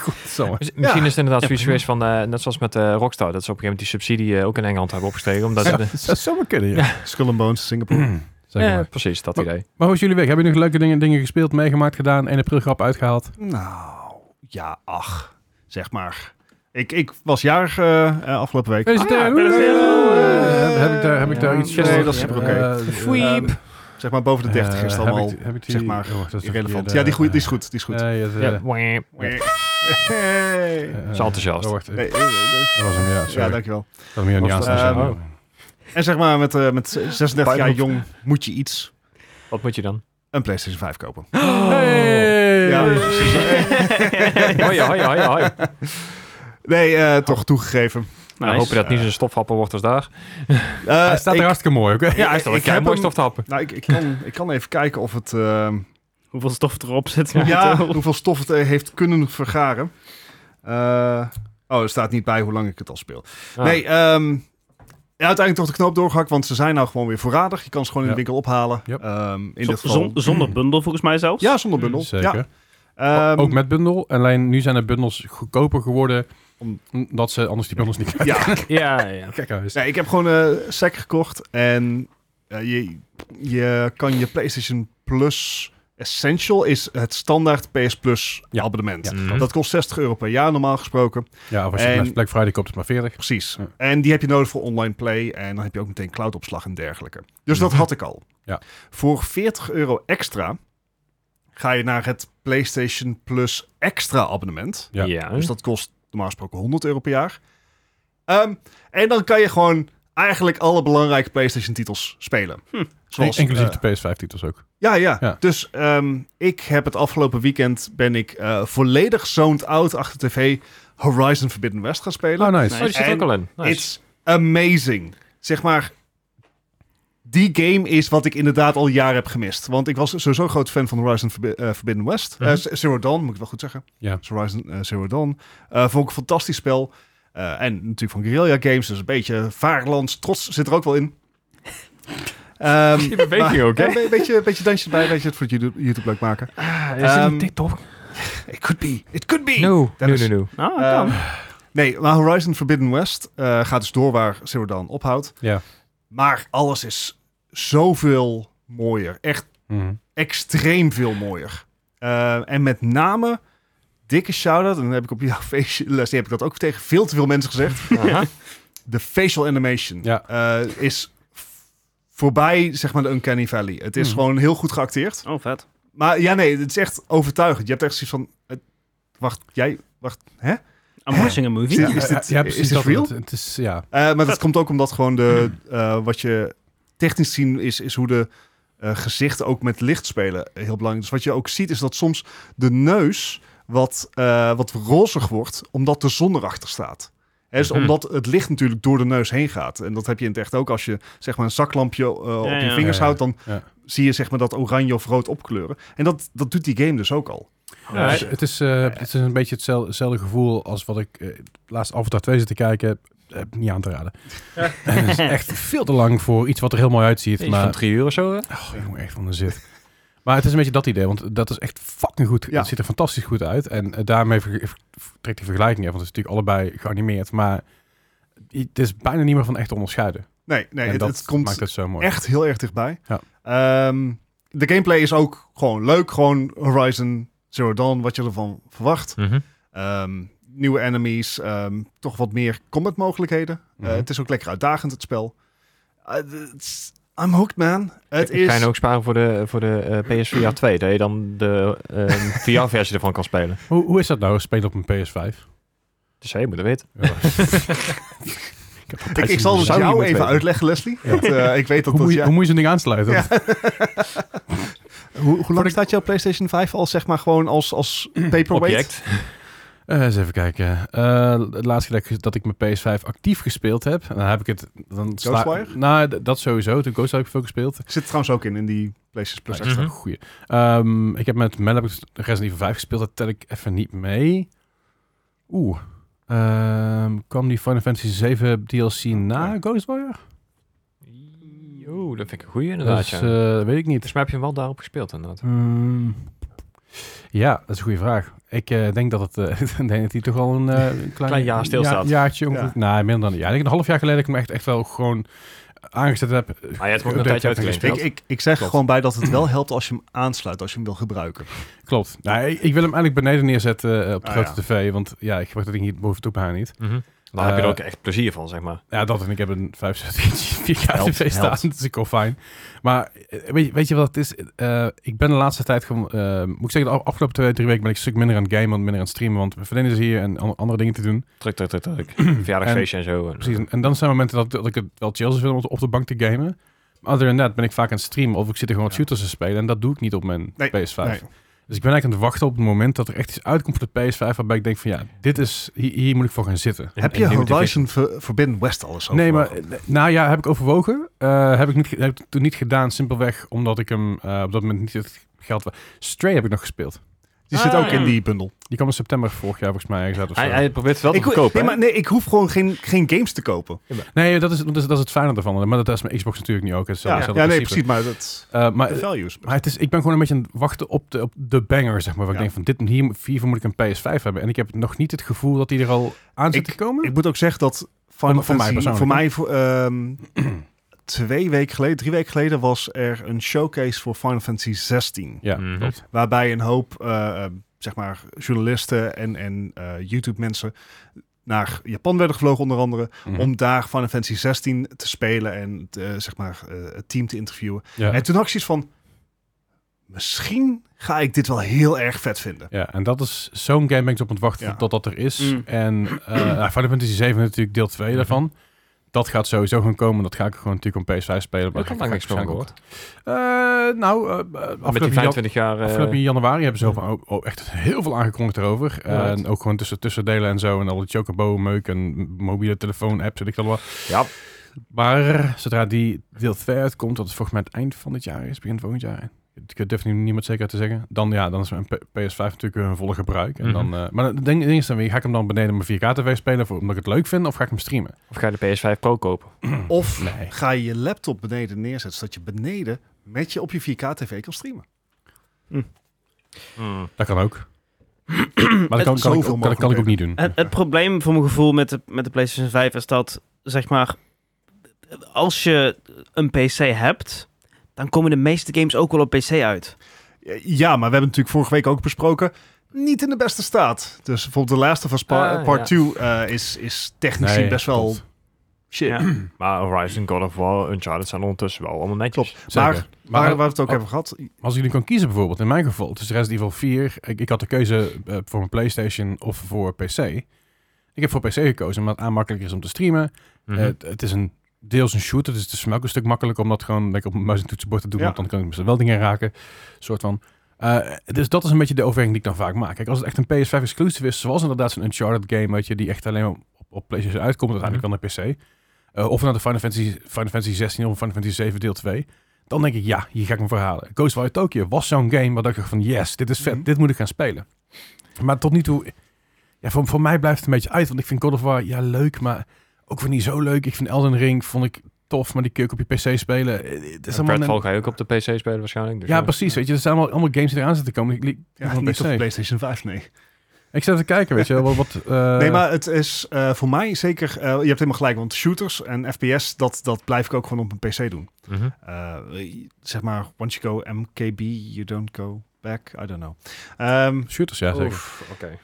[SPEAKER 3] goed, zo.
[SPEAKER 2] Dus misschien is het inderdaad
[SPEAKER 1] Ja,
[SPEAKER 2] zoiets
[SPEAKER 1] prima.
[SPEAKER 2] geweest van, eh, net zoals met eh, Rockstar, dat ze op een gegeven moment die subsidie eh, ook in Engeland hebben opgestreken. Omdat
[SPEAKER 3] Ja,
[SPEAKER 2] de-
[SPEAKER 3] dat zou zomaar kunnen, ja.
[SPEAKER 4] Skull and Bones, Singapore.
[SPEAKER 3] Zeg
[SPEAKER 2] Ja,
[SPEAKER 3] maar.
[SPEAKER 2] precies, dat
[SPEAKER 3] Maar-
[SPEAKER 2] idee.
[SPEAKER 3] Maar hoe is jullie week? Hebben jullie nog leuke dingen, dingen gespeeld, meegemaakt, gedaan? 1 april grap uitgehaald?
[SPEAKER 4] nou, ja, ach. Zeg maar. Ik, ik was jarig eh, eh, afgelopen week.
[SPEAKER 3] Feliciteren!
[SPEAKER 2] ja,
[SPEAKER 3] Heb- heb ik daar- heb ik daar
[SPEAKER 2] Ja,
[SPEAKER 3] iets
[SPEAKER 2] nee,
[SPEAKER 3] voor?
[SPEAKER 2] dat is super
[SPEAKER 4] oké.
[SPEAKER 3] Eh,
[SPEAKER 4] Fweep. Zeg maar boven de 30 is het
[SPEAKER 3] eh, heb
[SPEAKER 4] allemaal
[SPEAKER 3] ik- heb ik die-
[SPEAKER 4] zeg
[SPEAKER 3] oh,
[SPEAKER 4] maar,
[SPEAKER 3] dat is de
[SPEAKER 4] irrelevant.
[SPEAKER 3] verkeerde-
[SPEAKER 4] Ja, die, goeie- die is goed. Die is goed.
[SPEAKER 3] Nee, het, eh,
[SPEAKER 2] Ja, wah, wah.
[SPEAKER 4] Hey.
[SPEAKER 3] eh,
[SPEAKER 2] Zo enthousiast.
[SPEAKER 3] Oh, wacht. eh,
[SPEAKER 4] Nee, eh, eh,
[SPEAKER 3] Dat was hem, ja.
[SPEAKER 4] ja,
[SPEAKER 3] Sorry. dat
[SPEAKER 4] dankjewel.
[SPEAKER 3] was hem hier niet
[SPEAKER 2] Was
[SPEAKER 4] dat-
[SPEAKER 3] aanstaan.
[SPEAKER 4] eh, En zeg maar, met, eh, met 36 jaar jong moet je iets,
[SPEAKER 2] Wat moet je dan?
[SPEAKER 4] een PlayStation 5 kopen.
[SPEAKER 3] Oh. Hey!
[SPEAKER 4] Ja, precies.
[SPEAKER 2] Hoi, hoi, hoi, hoi.
[SPEAKER 4] Nee, eh, toch toegegeven.
[SPEAKER 2] Nou, hopen dat het niet zo'n stofhapper wordt als daar.
[SPEAKER 4] Eh,
[SPEAKER 3] Hij staat er
[SPEAKER 4] ik-
[SPEAKER 3] hartstikke mooi, oké?
[SPEAKER 2] Ja, hij is toch
[SPEAKER 4] ik
[SPEAKER 2] een kei
[SPEAKER 4] heb
[SPEAKER 2] mooi
[SPEAKER 4] hem-
[SPEAKER 2] stofhapper.
[SPEAKER 4] Nou, ik, ik, kan, ik kan even kijken of het... eh,
[SPEAKER 1] Hoeveel stof erop zit.
[SPEAKER 4] ja,
[SPEAKER 1] momenteel.
[SPEAKER 4] hoeveel stof het eh, heeft kunnen vergaren. Eh, oh, er staat niet bij hoe lang ik het al speel.
[SPEAKER 2] Ah.
[SPEAKER 4] Nee, ehm, ja, uiteindelijk toch de knoop doorgehakt, want ze zijn nou gewoon weer voorradig. Je kan ze gewoon in de
[SPEAKER 3] Ja.
[SPEAKER 4] winkel ophalen.
[SPEAKER 3] Yep.
[SPEAKER 4] Ehm, in
[SPEAKER 1] Zo-
[SPEAKER 4] dit geval...
[SPEAKER 1] zon- zonder bundel volgens mij zelfs.
[SPEAKER 4] ja, zonder bundel.
[SPEAKER 3] Zeker.
[SPEAKER 4] Ja.
[SPEAKER 3] Maar
[SPEAKER 4] Ehm,
[SPEAKER 3] ook met bundel. Alleen nu zijn de bundels goedkoper geworden.
[SPEAKER 4] Om-
[SPEAKER 3] Omdat ze anders die bundels niet krijgen.
[SPEAKER 4] ja,
[SPEAKER 2] Ja, ja.
[SPEAKER 3] Kijk nou eens.
[SPEAKER 4] Nee, ik heb gewoon een SEC gekocht. En eh, je, je kan je PlayStation Plus Essential is het standaard PS Plus
[SPEAKER 3] Ja.
[SPEAKER 4] abonnement.
[SPEAKER 3] Ja.
[SPEAKER 2] Mhm.
[SPEAKER 4] Dat kost 60 euro per jaar normaal gesproken.
[SPEAKER 3] Ja, of als je
[SPEAKER 4] En-
[SPEAKER 3] en... Black Friday koopt, is het maar 40.
[SPEAKER 4] Precies.
[SPEAKER 3] Ja.
[SPEAKER 4] En die heb je nodig voor online play. En dan heb je ook meteen cloudopslag en dergelijke. Dus dat
[SPEAKER 3] Mhm.
[SPEAKER 4] had ik al.
[SPEAKER 3] Ja.
[SPEAKER 4] Voor 40 euro extra ga je naar het PlayStation Plus extra abonnement.
[SPEAKER 3] Ja.
[SPEAKER 2] Ja.
[SPEAKER 4] Dus dat kost normaal gesproken 100 euro per jaar. Ehm, en dan kan je gewoon eigenlijk alle belangrijke PlayStation-titels spelen.
[SPEAKER 1] Hm.
[SPEAKER 4] Zoals,
[SPEAKER 3] Inclusief
[SPEAKER 4] eh,
[SPEAKER 3] de PS5-titels ook.
[SPEAKER 4] ja, ja,
[SPEAKER 3] Ja.
[SPEAKER 4] Dus ehm, ik heb het afgelopen weekend ben ik eh, volledig zoned out achter tv Horizon Forbidden West gaan spelen.
[SPEAKER 3] Oh, nice.
[SPEAKER 2] Oh, die zit er ook al in. Nice.
[SPEAKER 4] It's amazing. Zeg maar, die game is wat ik inderdaad al jaren heb gemist. Want ik was sowieso een groot fan van Horizon Forbi- eh, Forbidden West. Eh,
[SPEAKER 2] Mhm.
[SPEAKER 4] Z- Zero Dawn, moet ik wel goed zeggen.
[SPEAKER 3] Ja.
[SPEAKER 4] Horizon eh, Zero Dawn. Eh, vond ik een fantastisch spel. Eh, en natuurlijk van Guerrilla Games, dus een beetje vaarlands. Trots zit er ook wel in. Ehm,
[SPEAKER 2] Die beweging ook, hè?
[SPEAKER 4] ja, een beetje, een beetje dansje bij, weet je, het voor YouTube, YouTube leuk maken.
[SPEAKER 2] is
[SPEAKER 4] Ehm,
[SPEAKER 2] het een TikTok?
[SPEAKER 4] It could be, it could be.
[SPEAKER 2] No, no,
[SPEAKER 4] Dennis.
[SPEAKER 2] no, no.
[SPEAKER 1] Ah, kan.
[SPEAKER 4] Ehm, nee, maar Horizon Forbidden West eh, gaat dus door waar Zero Dawn ophoudt.
[SPEAKER 3] Ja.
[SPEAKER 4] Maar alles is zoveel mooier. Echt
[SPEAKER 3] Mhm.
[SPEAKER 4] extreem veel mooier. Eh, en met name, dikke shout-out, en dan heb ik op jouw feestles, die heb ik dat ook tegen veel te veel mensen gezegd.
[SPEAKER 2] Aha.
[SPEAKER 4] De facial animation
[SPEAKER 3] Ja.
[SPEAKER 4] eh, is f- voorbij, zeg maar, de Uncanny Valley. Het is
[SPEAKER 3] Mhm.
[SPEAKER 4] gewoon heel goed geacteerd.
[SPEAKER 1] oh, vet.
[SPEAKER 4] Maar ja, nee, het is echt overtuigend. Je hebt echt zoiets van, eh, wacht, jij, wacht, hè?
[SPEAKER 1] I'm watching a movie.
[SPEAKER 4] Ja. Is dit-
[SPEAKER 3] Ja, ja,
[SPEAKER 4] is
[SPEAKER 3] precies
[SPEAKER 4] dit
[SPEAKER 3] dat
[SPEAKER 4] real?
[SPEAKER 3] Het, het is, ja.
[SPEAKER 4] Eh, maar dat komt ook omdat gewoon de, eh, wat je technisch zien is, is hoe de eh, gezichten ook met licht spelen heel belangrijk. Dus wat je ook ziet is dat soms de neus wat, eh, wat rozig wordt, omdat de zon erachter staat. Hè, dus
[SPEAKER 2] Mhm.
[SPEAKER 4] omdat het licht natuurlijk door de neus heen gaat. En dat heb je in het echt ook als je zeg maar, een zaklampje eh, op
[SPEAKER 1] Ja,
[SPEAKER 4] je
[SPEAKER 1] ja.
[SPEAKER 4] vingers
[SPEAKER 3] Ja, ja.
[SPEAKER 4] houdt. Dan
[SPEAKER 3] Ja.
[SPEAKER 4] zie je zeg maar, dat oranje of rood opkleuren. En dat, dat doet die game dus ook al.
[SPEAKER 2] Ja,
[SPEAKER 3] Dus het, is, eh, het is een beetje hetzelfde, hetzelfde gevoel als wat ik eh, laatst Avatar 2 zit te kijken. Eh, niet aan te raden. het is echt veel te lang voor iets wat er heel mooi uitziet.
[SPEAKER 2] Iets van
[SPEAKER 3] maar
[SPEAKER 2] drie uur of zo, hè?
[SPEAKER 3] Oh, jongen, echt van de zit. Maar het is een beetje dat idee, want dat is echt fucking goed.
[SPEAKER 4] Ja.
[SPEAKER 3] Het ziet er fantastisch goed uit. En eh, daarmee ver- ver- trek die vergelijking even, want het is natuurlijk allebei geanimeerd. Maar het is bijna niet meer van echt te onderscheiden.
[SPEAKER 4] Nee, nee
[SPEAKER 3] en
[SPEAKER 4] het,
[SPEAKER 3] dat
[SPEAKER 4] het komt
[SPEAKER 3] maakt het zo mooi.
[SPEAKER 4] echt heel erg dichtbij.
[SPEAKER 3] Ja.
[SPEAKER 4] Ehm, de gameplay is ook gewoon leuk. Gewoon Horizon Zero Dawn, wat je ervan verwacht.
[SPEAKER 2] Mhm.
[SPEAKER 4] Ehm, nieuwe enemies, ehm, toch wat meer combat mogelijkheden. Eh,
[SPEAKER 3] Mhm.
[SPEAKER 4] het is ook lekker uitdagend, het spel. Eh, het is- I'm hooked, man. Het
[SPEAKER 2] Ik ga je
[SPEAKER 4] is...
[SPEAKER 2] nou ook sparen voor de, voor de eh, PSVR 2, dat je dan de ehm, VR-versie ervan kan spelen.
[SPEAKER 3] Hoe, hoe is dat nou, spelen op een PS5?
[SPEAKER 2] Dus hey, je moet dat weten.
[SPEAKER 3] Ja.
[SPEAKER 4] Ik, ik zal dus
[SPEAKER 3] Zou je
[SPEAKER 4] jou
[SPEAKER 3] moeten
[SPEAKER 4] even
[SPEAKER 3] weten.
[SPEAKER 4] uitleggen, Leslie.
[SPEAKER 3] Ja.
[SPEAKER 4] Want, eh, ik weet dat
[SPEAKER 3] Hoe
[SPEAKER 4] dat...
[SPEAKER 3] moet, je,
[SPEAKER 4] ja-
[SPEAKER 3] hoe moet je zo'n ding aansluiten?
[SPEAKER 4] Ja. Oh, Hoe, hoe lang staat jouw PlayStation 5 al, zeg maar, gewoon als, als paperweight?
[SPEAKER 2] Object.
[SPEAKER 3] Eh, eens even kijken. Eh, het laatste dat ik, dat ik mijn PS5 actief gespeeld heb, dan heb ik het... Dan sla-
[SPEAKER 4] Ghostwire?
[SPEAKER 3] Nou, d- dat sowieso. Toen Ghostwire heb ik veel gespeeld.
[SPEAKER 4] Zit er trouwens ook in, in die PlayStation Plus
[SPEAKER 3] Dat
[SPEAKER 2] Mhm.
[SPEAKER 3] is
[SPEAKER 4] extra.
[SPEAKER 3] wel een goeie. Ehm, ik heb met Mel heb ik Resident Evil 5 gespeeld. Dat tel ik even niet mee. Oeh. Ehm, kwam die Final Fantasy 7 DLC na Ghostwire?
[SPEAKER 2] Oeh, dat vind ik een goeie inderdaad.
[SPEAKER 3] Dat is,
[SPEAKER 2] ja.
[SPEAKER 3] eh, dat weet ik niet.
[SPEAKER 2] Volgens mij heb je hem wel daarop gespeeld inderdaad.
[SPEAKER 3] Hmm. ja, dat is een goede vraag. Ik eh, denk dat het eh, ik denk dat hij toch al een eh, een klein,
[SPEAKER 2] Klein jaar stilstaat.
[SPEAKER 3] Ja, jaartje ongeveer.
[SPEAKER 4] Ja.
[SPEAKER 3] Nee, minder dan een jaar. Ik denk een half jaar geleden dat ik hem echt, echt wel gewoon aangezet heb.
[SPEAKER 2] Maar je hebt hem ook een
[SPEAKER 3] Dat
[SPEAKER 2] tijdje
[SPEAKER 3] heb ik
[SPEAKER 2] uitgespeeld.
[SPEAKER 4] Ik,
[SPEAKER 3] gespeeld.
[SPEAKER 4] ik, ik zeg er
[SPEAKER 3] Klopt.
[SPEAKER 4] gewoon bij dat het wel helpt als je hem aansluit, als je hem wil gebruiken.
[SPEAKER 3] Klopt. Nee, ik, ik wil hem eigenlijk beneden neerzetten eh, op de
[SPEAKER 4] Ah,
[SPEAKER 3] grote tv, want ja, ik gebruik dat ding hier boven toe bijna niet.
[SPEAKER 2] Mhm. Daar heb je er
[SPEAKER 3] Eh,
[SPEAKER 2] ook echt plezier van, zeg maar.
[SPEAKER 3] Ja, dat en ik heb een 65 inch 4K
[SPEAKER 4] Helpt,
[SPEAKER 3] tv staan,
[SPEAKER 4] helpt.
[SPEAKER 3] dus ik al fijn. Maar eh, weet je, weet je wat het is? Eh, ik ben de laatste tijd gewoon, eh, moet ik zeggen, de af- afgelopen twee, drie weken ben ik een stuk minder aan het gamen, minder aan het streamen, want mijn vriendin is hier en an- andere dingen te doen.
[SPEAKER 2] Druk, druk, druk, druk. Verjaardagsfeestje en, zo. En,
[SPEAKER 3] Mm-hmm.
[SPEAKER 2] eh,
[SPEAKER 3] Precies, en- en dan zijn momenten dat, dat ik het wel chill zou vinden om op de bank te gamen. Maar other than that ben ik vaak aan het streamen of ik zit er gewoon wat
[SPEAKER 4] Ja.
[SPEAKER 3] shooters te spelen en dat doe ik niet op mijn
[SPEAKER 4] Nee,
[SPEAKER 3] PS5.
[SPEAKER 4] Nee.
[SPEAKER 3] Dus ik ben eigenlijk aan het wachten op het moment dat er echt iets uitkomt voor de PS5 waarbij ik denk van ja, dit is, hier, hier moet ik voor gaan zitten.
[SPEAKER 2] en-
[SPEAKER 4] Heb
[SPEAKER 2] en
[SPEAKER 4] je
[SPEAKER 2] nieuwe division.
[SPEAKER 4] Horizon Ver- Forbidden West al eens
[SPEAKER 3] Nee, maar
[SPEAKER 4] overwogen?
[SPEAKER 3] eh, nou ja, heb ik overwogen. Eh, heb ik niet, ge- heb ik toen niet gedaan, simpelweg omdat ik hem eh, op dat moment niet het geld was. Stray heb ik nog gespeeld.
[SPEAKER 4] Die zit
[SPEAKER 2] Ah.
[SPEAKER 4] ook in die bundel.
[SPEAKER 3] Die kwam in september vorig jaar volgens mij ergens uit. of eh,
[SPEAKER 2] Hij,
[SPEAKER 3] zo.
[SPEAKER 2] hij probeert het wel te
[SPEAKER 4] Ik, ho-
[SPEAKER 2] verkopen.
[SPEAKER 4] nee,
[SPEAKER 2] hè?
[SPEAKER 4] maar, nee, ik hoef gewoon geen, geen games te kopen.
[SPEAKER 3] Nee, dat is, dat, is, dat is het fijne ervan. Maar dat is mijn Xbox natuurlijk niet ook. Het is
[SPEAKER 4] Ja, ja
[SPEAKER 3] hetzelfde
[SPEAKER 4] nee,
[SPEAKER 3] principe.
[SPEAKER 4] precies. Maar dat
[SPEAKER 3] Eh, maar,
[SPEAKER 4] de values.
[SPEAKER 3] maar het is, ik ben gewoon een beetje aan het wachten op de, op de banger, zeg maar. Waar
[SPEAKER 4] Ja.
[SPEAKER 3] ik denk van, dit, hier, hiervoor moet ik een PS5 hebben. En ik heb nog niet het gevoel dat die er al aan zit
[SPEAKER 4] Ik-
[SPEAKER 3] te komen.
[SPEAKER 4] Ik moet ook zeggen dat Final
[SPEAKER 3] Voor- voor mij
[SPEAKER 4] Fantasy-
[SPEAKER 3] persoonlijk,
[SPEAKER 4] voor mij voor ehm, twee weken geleden, drie weken geleden was er een showcase voor Final Fantasy 16,
[SPEAKER 3] ja,
[SPEAKER 2] Mhm.
[SPEAKER 3] klopt.
[SPEAKER 4] waarbij een hoop eh, eh, zeg maar journalisten en en eh, YouTube mensen naar Japan werden gevlogen onder andere
[SPEAKER 3] Mhm.
[SPEAKER 4] om daar Final Fantasy 16 te spelen en te, eh, zeg maar eh, het team te interviewen.
[SPEAKER 3] ja.
[SPEAKER 4] En toen had ik zoiets van misschien ga ik dit wel heel erg vet vinden.
[SPEAKER 3] Ja, en dat is zo'n game ben ik dus op aan het wachten
[SPEAKER 4] Ja.
[SPEAKER 3] tot dat er is.
[SPEAKER 1] Mm.
[SPEAKER 3] En eh nou, Final Fantasy 7 natuurlijk deel
[SPEAKER 4] Mhm.
[SPEAKER 3] 2 daarvan. Dat gaat sowieso gewoon komen. Dat ga ik gewoon natuurlijk op PS5 spelen. Maar
[SPEAKER 2] Ik heb
[SPEAKER 3] dat ga
[SPEAKER 2] daar
[SPEAKER 3] ik
[SPEAKER 2] niks van
[SPEAKER 3] waarschijnlijk ook.
[SPEAKER 2] gehoord.
[SPEAKER 3] Eh, nou, eh,
[SPEAKER 2] Met die
[SPEAKER 3] afgelopen, jan-
[SPEAKER 2] 25 jaar... eh,
[SPEAKER 3] afgelopen januari hebben ze ook oh, oh, echt heel veel aangekondigd erover. Eh,
[SPEAKER 2] Alright.
[SPEAKER 3] en ook gewoon tussen tussendelen en zo. En alle chocobo-meuk en mobiele telefoon-apps en ik dat wel.
[SPEAKER 2] ja,
[SPEAKER 3] Maar zodra die deel 2 uitkomt, dat is volgens mij het eind van dit jaar is, begin volgend jaar. Ik durf het nu niemand zeker te zeggen. Dan, ja, dan is mijn P- PS5 natuurlijk weer een volle gebruik. En
[SPEAKER 2] Mhm.
[SPEAKER 3] dan, eh, maar het ding, ding is dan weer, ga ik hem dan beneden op mijn 4K-tv spelen voor, omdat ik het leuk vind, of ga ik hem streamen?
[SPEAKER 2] of ga je de PS5 Pro kopen?
[SPEAKER 4] Of
[SPEAKER 3] Mm, Nee.
[SPEAKER 4] ga je je laptop beneden neerzetten zodat je beneden met je op je 4K tv kan streamen.
[SPEAKER 2] Mm.
[SPEAKER 3] Dat kan ook. maar dat kan, kan, ik, ook-
[SPEAKER 4] zoveel
[SPEAKER 3] kan, kan ik ook
[SPEAKER 4] mogelijkheden.
[SPEAKER 3] niet doen.
[SPEAKER 1] Het, het probleem voor mijn gevoel met de, met de PlayStation 5 is dat, zeg maar, als je een PC hebt, dan komen de meeste games ook wel op PC uit.
[SPEAKER 4] Ja, maar we hebben natuurlijk vorige week ook besproken. Niet in de beste staat. Dus bijvoorbeeld The Last of Us Par-
[SPEAKER 2] Ah, ja.
[SPEAKER 4] Part 2 eh, is, is technisch
[SPEAKER 3] Nee,
[SPEAKER 4] gezien best wel
[SPEAKER 3] klopt.
[SPEAKER 4] shit.
[SPEAKER 1] Ja.
[SPEAKER 2] Maar Horizon, God of War, Uncharted zijn ondertussen wel allemaal netjes.
[SPEAKER 3] Zeker.
[SPEAKER 4] Maar- Maar waar we het ook
[SPEAKER 3] Oh.
[SPEAKER 4] hebben gehad.
[SPEAKER 3] Als ik nu kan kiezen bijvoorbeeld, in mijn geval, tussen Resident Evil 4, ik, ik had de keuze eh, voor mijn PlayStation of voor PC. Ik heb voor PC gekozen, omdat het aanmakkelijker is om te streamen.
[SPEAKER 2] Mhm.
[SPEAKER 3] Eh, het- het is een deels een shooter, dus het is voor mij ook een stuk makkelijker om dat gewoon lekker op mijn muis en toetsenbord te doen,
[SPEAKER 4] Ja.
[SPEAKER 3] want dan kan ik misschien wel dingen raken, soort van. Eh, dus dat is een beetje de overweging die ik dan vaak maak. Kijk, als het echt een PS5 exclusive is, zoals inderdaad zo'n Uncharted game, weet je, die echt alleen op, op, op PlayStation uitkomt, uiteindelijk
[SPEAKER 4] Mhm.
[SPEAKER 3] wel naar PC, eh, of naar de Final Fantasy, Final Fantasy 16 of Final Fantasy 7 deel 2, dan denk ik, ja, hier ga ik me verhalen. Ghostwire Tokyo was zo'n game waar ik dacht van, yes, dit is vet,
[SPEAKER 4] Mhm.
[SPEAKER 3] dit moet ik gaan spelen. Maar tot nu toe, ja, voor, voor mij blijft het een beetje uit, want ik vind God of War, ja, leuk, maar ook weer niet zo leuk. Ik vind Elden Ring, vond ik tof, maar die kun je ook op je PC spelen. Eh, Het is
[SPEAKER 2] En
[SPEAKER 3] allemaal
[SPEAKER 2] Redfall
[SPEAKER 3] net-
[SPEAKER 2] ga je ook op de PC spelen waarschijnlijk. Dus
[SPEAKER 3] ja, precies. Weet je, er zijn allemaal, allemaal games die eraan zitten te komen. Ik, ik,
[SPEAKER 4] Ja,
[SPEAKER 3] van
[SPEAKER 4] niet op de
[SPEAKER 3] PC.
[SPEAKER 4] PlayStation 5, nee.
[SPEAKER 3] ik zit even te kijken, weet je, wel, wat... wat eh,
[SPEAKER 4] nee, maar het is eh, voor mij zeker... eh, je hebt helemaal gelijk, want shooters en FPS... dat, dat blijf ik ook gewoon op mijn PC doen.
[SPEAKER 2] Mhm.
[SPEAKER 4] Eh, zeg maar, once you go MKB, you don't go back. I don't know. Ehm,
[SPEAKER 3] Shooters, ja, zeker.
[SPEAKER 2] Oef, oké.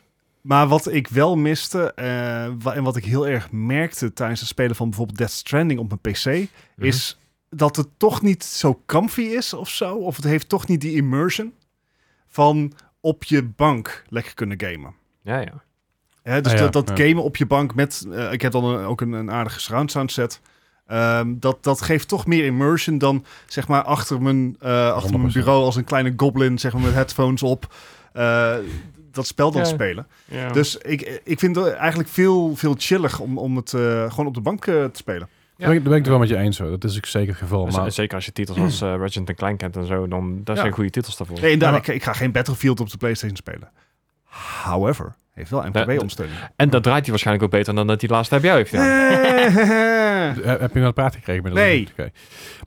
[SPEAKER 4] Maar wat ik wel miste eh, wa- en wat ik heel erg merkte tijdens het spelen van bijvoorbeeld Death Stranding op mijn PC,
[SPEAKER 2] Mhm.
[SPEAKER 4] is dat het toch niet zo comfy is of zo. Of het heeft toch niet die immersion van op je bank lekker kunnen gamen.
[SPEAKER 2] Mhm. Ja, ja.
[SPEAKER 4] Hè, dus
[SPEAKER 3] Ah ja,
[SPEAKER 4] dat, dat
[SPEAKER 3] ja.
[SPEAKER 4] gamen op je bank met... eh, ik heb dan een- ook een, een aardige surround sound set. Ehm, dat, dat geeft toch meer immersion dan zeg maar achter mijn, eh, achter mijn
[SPEAKER 3] 100%.
[SPEAKER 4] bureau als een kleine goblin zeg maar, met headphones op eh, dat spel dan
[SPEAKER 2] Ja.
[SPEAKER 4] spelen.
[SPEAKER 2] Ja.
[SPEAKER 4] Dus ik, ik vind het eigenlijk veel, veel chillig om, om het eh, gewoon op de bank eh, te spelen.
[SPEAKER 2] Ja.
[SPEAKER 3] Daar ben ik- daar ben ik het wel met je eens. Hoor. Dat is ook zeker het geval.
[SPEAKER 2] Z-
[SPEAKER 3] Maar
[SPEAKER 2] Zeker als je titels als eh Ratchet en Clank kent en zo, dan dat
[SPEAKER 4] Ja.
[SPEAKER 2] zijn goede titels daarvoor.
[SPEAKER 4] Nee,
[SPEAKER 3] Ja,
[SPEAKER 4] inderdaad,
[SPEAKER 3] maar-
[SPEAKER 4] ik, ik ga geen Battlefield op de PlayStation spelen. However, heeft wel MKB-ondersteuning.
[SPEAKER 2] En dat draait hij waarschijnlijk ook beter dan dat hij laatst bij jou heeft gedaan.
[SPEAKER 3] Eh, heb je wel een praat gekregen? inmiddels?
[SPEAKER 4] Nee.
[SPEAKER 3] Oké.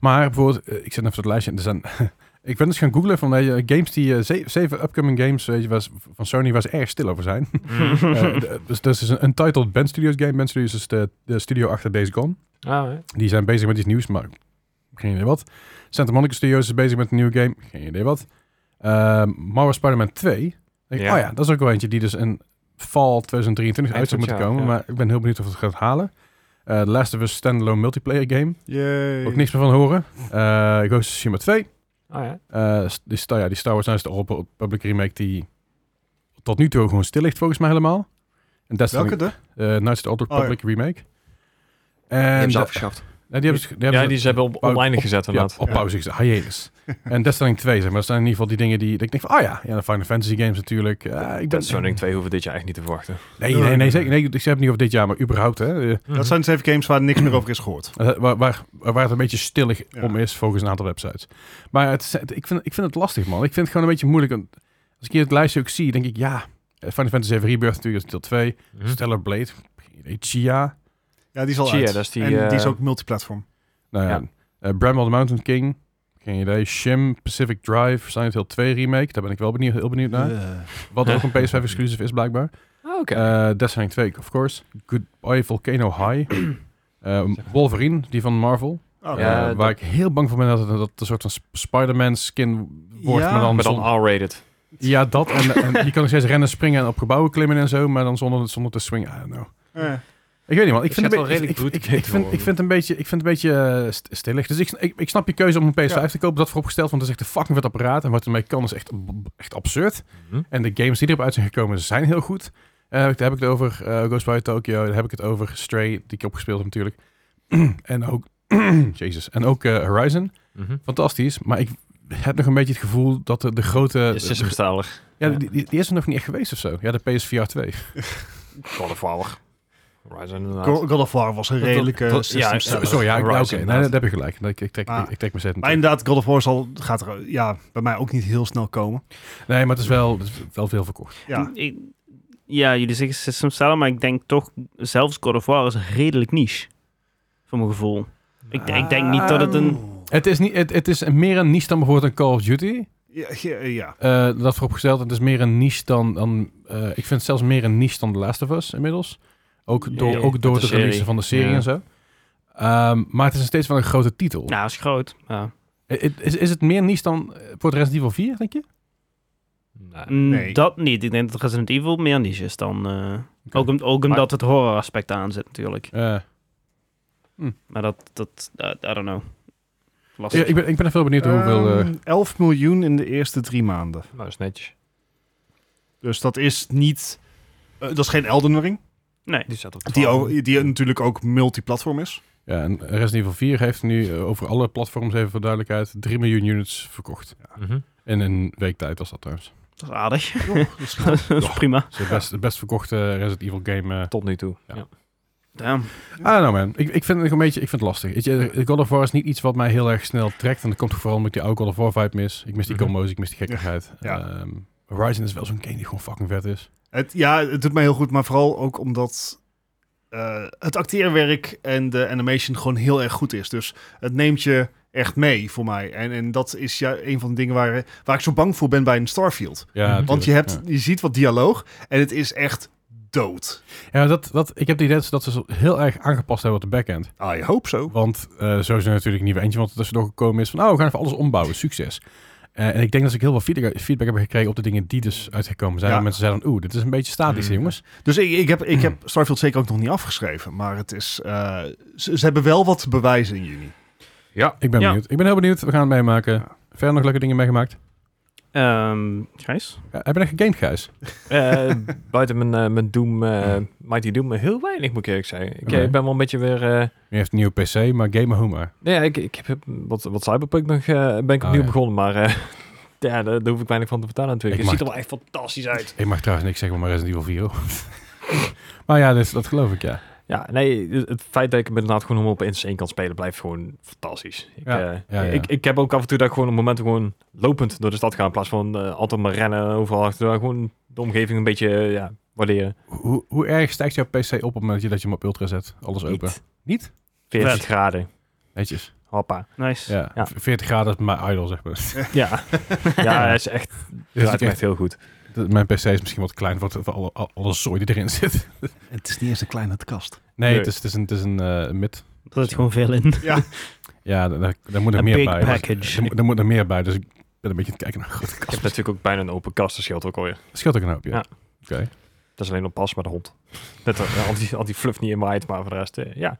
[SPEAKER 3] Maar bijvoorbeeld, eh, ik zit even op het lijstje. en Er zijn, ik ben eens gaan googlen van eh, games die... eh, ze- zeven upcoming games weet je, waar ze- van Sony waar ze erg stil over zijn.
[SPEAKER 2] Mm.
[SPEAKER 3] Eh,
[SPEAKER 2] Mhm.
[SPEAKER 3] d- dus dat is een Untitled Ben Studios game. Ben Studios is de, de studio achter Days Gone.
[SPEAKER 2] Ah, hè.
[SPEAKER 3] Die zijn bezig met iets nieuws, maar geen idee wat. Santa Monica Studios is bezig met een nieuwe game, geen idee wat. Ehm Marvel Spider-Man 2. Denk ik,
[SPEAKER 2] Ja.
[SPEAKER 3] Oh ja, dat is ook wel eentje die dus in fall
[SPEAKER 2] Eind
[SPEAKER 3] 2023
[SPEAKER 2] van
[SPEAKER 3] uit zou
[SPEAKER 2] het
[SPEAKER 3] moeten
[SPEAKER 2] jaar,
[SPEAKER 3] komen.
[SPEAKER 2] ja.
[SPEAKER 3] Maar ik ben heel benieuwd of het gaat halen. Eh The Last of Us standalone multiplayer game.
[SPEAKER 4] Yay.
[SPEAKER 3] Ook niks meer van horen. Eh Ghost of Tsushima 2.
[SPEAKER 2] Ah, ja.
[SPEAKER 3] Eh, s- die, Star, ja, die Star Wars Knights of the Old Public Remake die tot nu toe gewoon stil ligt volgens mij helemaal. En Destiny,
[SPEAKER 4] Welke de?
[SPEAKER 3] eh, Knights of the Old
[SPEAKER 4] Oh ja.
[SPEAKER 3] Republic Remake.
[SPEAKER 2] Die
[SPEAKER 3] En
[SPEAKER 2] hebben ze
[SPEAKER 3] da-
[SPEAKER 2] afgeschaft.
[SPEAKER 3] nee, die hebben ze- die hebben
[SPEAKER 2] Ja,
[SPEAKER 3] ze-
[SPEAKER 2] die ze hebben op
[SPEAKER 3] Oh,
[SPEAKER 2] online
[SPEAKER 3] op-
[SPEAKER 2] gezet
[SPEAKER 3] ja,
[SPEAKER 2] inderdaad.
[SPEAKER 3] op pauze is hiatus. en Destiny 2, zeg maar. Dat zijn in ieder geval die dingen die... dat Ik denk van, ah ja, ja de Final Fantasy games natuurlijk. Ah, ik ben,
[SPEAKER 2] Dat zo'n ding 2 hoeven dit jaar echt niet te verwachten.
[SPEAKER 3] Nee, nee, nee, zeker. Nee, ik zeg het niet over dit jaar, maar überhaupt. Hè, eh,
[SPEAKER 4] Mm-hmm. Dat zijn dus even games waar niks meer over is gehoord.
[SPEAKER 3] eh, waar, waar, waar het een beetje stillig
[SPEAKER 4] Ja.
[SPEAKER 3] om is, volgens een aantal websites. Maar het, is- het- ik, vind, ik vind het lastig, man. Ik vind het gewoon een beetje moeilijk. want Als ik hier het lijstje ook zie, denk ik, ja... eh, Final Fantasy 7 Rebirth natuurlijk, dat is deel 2.
[SPEAKER 2] Mhm.
[SPEAKER 3] Stellar Blade, geen idee, Chia.
[SPEAKER 4] Ja, die is al
[SPEAKER 2] Chia,
[SPEAKER 4] uit.
[SPEAKER 2] dat is die,
[SPEAKER 4] en die is
[SPEAKER 2] eh,
[SPEAKER 4] ook multiplatform.
[SPEAKER 3] Nou ja.
[SPEAKER 2] Ja.
[SPEAKER 3] eh, Bramble the Mountain King, geen idee. Shim, Pacific Drive, Silent Hill 2 Remake. Daar ben ik wel benieuwd, heel benieuwd naar.
[SPEAKER 4] Eh,
[SPEAKER 3] Wat ook een PS5 exclusive is blijkbaar.
[SPEAKER 2] Ah, Oké.
[SPEAKER 3] Eh Destiny 2, of course. Goodbye Volcano High. Eh, Wolverine, die van Marvel.
[SPEAKER 4] oh,
[SPEAKER 2] Ja,
[SPEAKER 3] Eh,
[SPEAKER 2] dat-
[SPEAKER 3] waar ik heel bang voor ben dat het dat het een soort van Sp- Spider-Man skin wordt.
[SPEAKER 4] Ja.
[SPEAKER 3] maar dan
[SPEAKER 2] Maar dan
[SPEAKER 3] zonder-
[SPEAKER 2] R-rated.
[SPEAKER 3] ja, dat. En, en je kan nog steeds rennen, springen en op gebouwen klimmen en zo. Maar dan zonder, zonder te swingen. I don't know.
[SPEAKER 4] eh.
[SPEAKER 3] Ik weet niet, man. Ik
[SPEAKER 2] Het
[SPEAKER 3] vind,
[SPEAKER 2] gaat
[SPEAKER 3] het
[SPEAKER 2] wel redelijk
[SPEAKER 3] ik,
[SPEAKER 2] goed
[SPEAKER 3] ik, ik,
[SPEAKER 2] te
[SPEAKER 3] ik vind, ik
[SPEAKER 2] worden.
[SPEAKER 3] vind het een beetje, ik vind het een beetje eh, st- stillig. Dus ik, ik, ik snap je keuze om een PS5 te kopen, dat vooropgesteld. Want het is echt een fucking vet apparaat. En wat ermee kan is echt, echt absurd.
[SPEAKER 4] Mm-hmm.
[SPEAKER 3] En de games die erop uit zijn gekomen zijn heel goed. Eh, daar heb ik het over eh Ghostwire Tokyo. Daar heb ik het over Stray, die ik opgespeeld heb natuurlijk. en ook, Jezus. En ook eh, Horizon.
[SPEAKER 2] Mhm.
[SPEAKER 4] Mm-hmm.
[SPEAKER 3] Fantastisch. Maar ik heb nog een beetje het gevoel dat de, de grote...
[SPEAKER 2] Ja, Systemstalig.
[SPEAKER 3] ja, die, die, die is er nog niet echt geweest of zo. Ja, de PSVR 2.
[SPEAKER 2] God of War. Horizon inderdaad.
[SPEAKER 4] Go- God of War was een
[SPEAKER 2] dat-
[SPEAKER 4] redelijke
[SPEAKER 2] dat-
[SPEAKER 4] system
[SPEAKER 2] ja,
[SPEAKER 4] seller.
[SPEAKER 3] Sorry, ja, ik-
[SPEAKER 2] Horizon,
[SPEAKER 3] oké. Nee,
[SPEAKER 2] inderdaad.
[SPEAKER 3] dat heb je gelijk. Ik, ik, trek,
[SPEAKER 4] Ah.
[SPEAKER 3] ik, ik trek mijn zet
[SPEAKER 4] Maar inderdaad, God of War zal, gaat er ja, bij mij ook niet heel snel komen.
[SPEAKER 3] Nee, maar het is wel, het is wel veel verkocht.
[SPEAKER 4] Ja,
[SPEAKER 1] Ik- ja, jullie zeggen system seller, maar ik denk toch, zelfs God of War is redelijk niche. Voor mijn gevoel. Ik, ik denk niet dat het een...
[SPEAKER 4] Ehm,
[SPEAKER 3] Het is, niet, het, het is meer een niche dan bijvoorbeeld een Call of Duty.
[SPEAKER 4] ja, ja, ja.
[SPEAKER 3] Eh, dat vooropgesteld, het is meer een niche dan... dan eh, ik vind het zelfs meer een niche dan The Last of Us inmiddels. Ook door,
[SPEAKER 2] Ja,
[SPEAKER 3] ook door
[SPEAKER 2] met
[SPEAKER 3] de,
[SPEAKER 2] de
[SPEAKER 3] release
[SPEAKER 2] serie.
[SPEAKER 3] van de serie
[SPEAKER 2] Ja.
[SPEAKER 3] en zo. Ehm, maar het is nog steeds wel een grote titel.
[SPEAKER 1] Nou, is groot. Ja.
[SPEAKER 3] Eh, het- Is, is het meer niche dan eh, voor het Resident Evil 4, denk je?
[SPEAKER 2] Nee.
[SPEAKER 1] Mm,
[SPEAKER 4] Nee.
[SPEAKER 1] Dat niet. Ik denk dat Resident Evil meer niche is dan... eh,
[SPEAKER 3] Oké.
[SPEAKER 1] Ook, om- ook
[SPEAKER 2] Maar-
[SPEAKER 1] omdat het horror aspect aan zit natuurlijk.
[SPEAKER 3] Eh,
[SPEAKER 1] Maar dat... dat I, I don't know. Lastig.
[SPEAKER 3] ja, ik, ben, ik ben er veel benieuwd
[SPEAKER 4] Ehm,
[SPEAKER 3] hoeveel... eh,
[SPEAKER 4] 11 miljoen in de eerste drie maanden.
[SPEAKER 2] Nou, is netjes.
[SPEAKER 4] Dus dat is niet... eh, dat is geen Elden Ring,
[SPEAKER 1] Nee.
[SPEAKER 2] Die staat op
[SPEAKER 4] die,
[SPEAKER 1] Oh.
[SPEAKER 2] 12.
[SPEAKER 4] ook- die natuurlijk ook multiplatform is.
[SPEAKER 3] ja, en Resident Evil 4 heeft nu eh, over alle platforms, even voor duidelijkheid, 3 miljoen units verkocht.
[SPEAKER 2] Mhm.
[SPEAKER 3] In een week tijd was dat trouwens.
[SPEAKER 1] Dat is aardig.
[SPEAKER 4] Joh, dat is-
[SPEAKER 1] dat is prima.
[SPEAKER 3] Dus het best, het best verkochte Resident Evil game eh,
[SPEAKER 2] Tot nu toe.
[SPEAKER 3] Ja.
[SPEAKER 2] Ja.
[SPEAKER 1] Damn.
[SPEAKER 3] I don't know, man. Ik, ik vind het een beetje ik vind het lastig. Weet je, eh, God of War is niet iets wat mij heel erg snel trekt. En dat komt vooral omdat ik die oude God of War vibe mis. Ik mis die
[SPEAKER 2] Mhm.
[SPEAKER 3] combo's, ik mis die gekkigheid.
[SPEAKER 4] Ja.
[SPEAKER 3] Ehm, Horizon is wel zo'n game die gewoon fucking vet is.
[SPEAKER 4] Het, ja, het doet mij heel goed, maar vooral ook omdat eh, het acteerwerk en de animation gewoon heel erg goed is. Dus het neemt je echt mee voor mij. En, en dat is ja, een van de dingen waar, waar ik zo bang voor ben bij een Starfield.
[SPEAKER 3] Ja,
[SPEAKER 2] Mhm.
[SPEAKER 4] Want je,
[SPEAKER 3] tuurlijk,
[SPEAKER 4] hebt, je ziet wat dialoog en het is echt dood.
[SPEAKER 3] Ja, Ja, dat, dat, ik heb het idee dat ze heel erg aangepast hebben op de backend.
[SPEAKER 4] I hope so.
[SPEAKER 3] Want eh zo is er natuurlijk niet weer eentje want er tussendoor gekomen is van... Oh, we gaan even alles ombouwen. Succes. Eh, en ik denk dat ik heel veel feedback, feedback heb gekregen op de dingen die dus uitgekomen zijn.
[SPEAKER 4] Ja.
[SPEAKER 3] En mensen zeiden, oeh, dit is een beetje statisch,
[SPEAKER 2] Mhm.
[SPEAKER 3] jongens.
[SPEAKER 4] Dus ik, ik, heb, ik heb Starfield zeker ook nog niet afgeschreven. Maar het is, eh, ze, ze hebben wel wat te bewijzen in juni.
[SPEAKER 3] Ik ben
[SPEAKER 1] Ja.
[SPEAKER 3] benieuwd. Ik ben heel benieuwd. We gaan het meemaken. Verder nog leuke dingen meegemaakt.
[SPEAKER 1] Ehm Gijs?
[SPEAKER 3] Ja, heb je dat gegamed, Gijs?
[SPEAKER 2] Eh, buiten mijn, eh, mijn Doom, eh,
[SPEAKER 4] Mm.
[SPEAKER 2] Mighty Doom, heel weinig moet ik eerlijk zeggen. Ik, eh,
[SPEAKER 3] Oké.
[SPEAKER 2] ik ben wel een beetje weer... eh,
[SPEAKER 3] Je heeft een nieuwe PC, maar game Homer.
[SPEAKER 2] nou ja, ik, ik heb wat, wat Cyberpunk nog, eh, ben ik
[SPEAKER 3] Oh,
[SPEAKER 2] opnieuw
[SPEAKER 3] ja.
[SPEAKER 2] begonnen, maar eh, ja, daar, daar hoef ik weinig van te vertellen natuurlijk. Dus het
[SPEAKER 3] Ik
[SPEAKER 2] ziet er
[SPEAKER 3] mag-
[SPEAKER 2] wel echt fantastisch uit.
[SPEAKER 3] Ik mag trouwens niks zeggen, maar Resident Evil 4. hoor. maar ja, dus, dat geloof ik, ja.
[SPEAKER 2] Ja, nee, het het feit dat ik hem inderdaad gewoon helemaal op insane kan spelen, blijft gewoon fantastisch. Ik,
[SPEAKER 3] Ja,
[SPEAKER 2] eh,
[SPEAKER 3] ja, ja.
[SPEAKER 2] Ik, ik heb ook af en toe dat ik gewoon op momenten gewoon lopend door de stad ga, in plaats van eh, altijd maar rennen overal achteraan. Gewoon de omgeving een beetje eh, ja, waarderen.
[SPEAKER 3] Hoe, hoe erg stijgt jouw PC op op het moment dat je hem op ultra zet? Alles open.
[SPEAKER 2] Niet.
[SPEAKER 3] Niet?
[SPEAKER 2] 40
[SPEAKER 1] Vet.
[SPEAKER 2] graden.
[SPEAKER 3] Netjes.
[SPEAKER 2] Hoppa.
[SPEAKER 1] Nice.
[SPEAKER 3] Ja.
[SPEAKER 2] Ja.
[SPEAKER 3] 40 graden is mijn idol, zeg maar.
[SPEAKER 2] Ja, ja dat is echt,
[SPEAKER 3] Dus
[SPEAKER 2] draait hem
[SPEAKER 3] ik echt,
[SPEAKER 2] echt heel goed.
[SPEAKER 3] dat- mijn PC is misschien wat klein voor, het- voor alle, al- alle zooi die erin zit.
[SPEAKER 4] Het is niet eens een kleine kast.
[SPEAKER 3] Nee,
[SPEAKER 2] Nee.
[SPEAKER 3] Het, is, het is een, het is een eh, mid.
[SPEAKER 1] Er zit gewoon veel in.
[SPEAKER 4] Ja,
[SPEAKER 3] Ja, daar, daar- daar moet er
[SPEAKER 1] Een
[SPEAKER 3] meer
[SPEAKER 1] big
[SPEAKER 3] bij. Dus-
[SPEAKER 1] package.
[SPEAKER 3] Er, moet- er moet er meer bij, dus ik ben een beetje aan het kijken naar een grote
[SPEAKER 2] Ik heb
[SPEAKER 3] kast.
[SPEAKER 2] natuurlijk ook bijna een open kast, dat scheelt ook alweer.
[SPEAKER 3] Scheelt ook een hoop, ja.
[SPEAKER 2] Ja.
[SPEAKER 3] Oké.
[SPEAKER 2] Dat is alleen op pas met de hond. Net eh, al die, al die fluff niet in waait, maar voor de rest, eh, ja.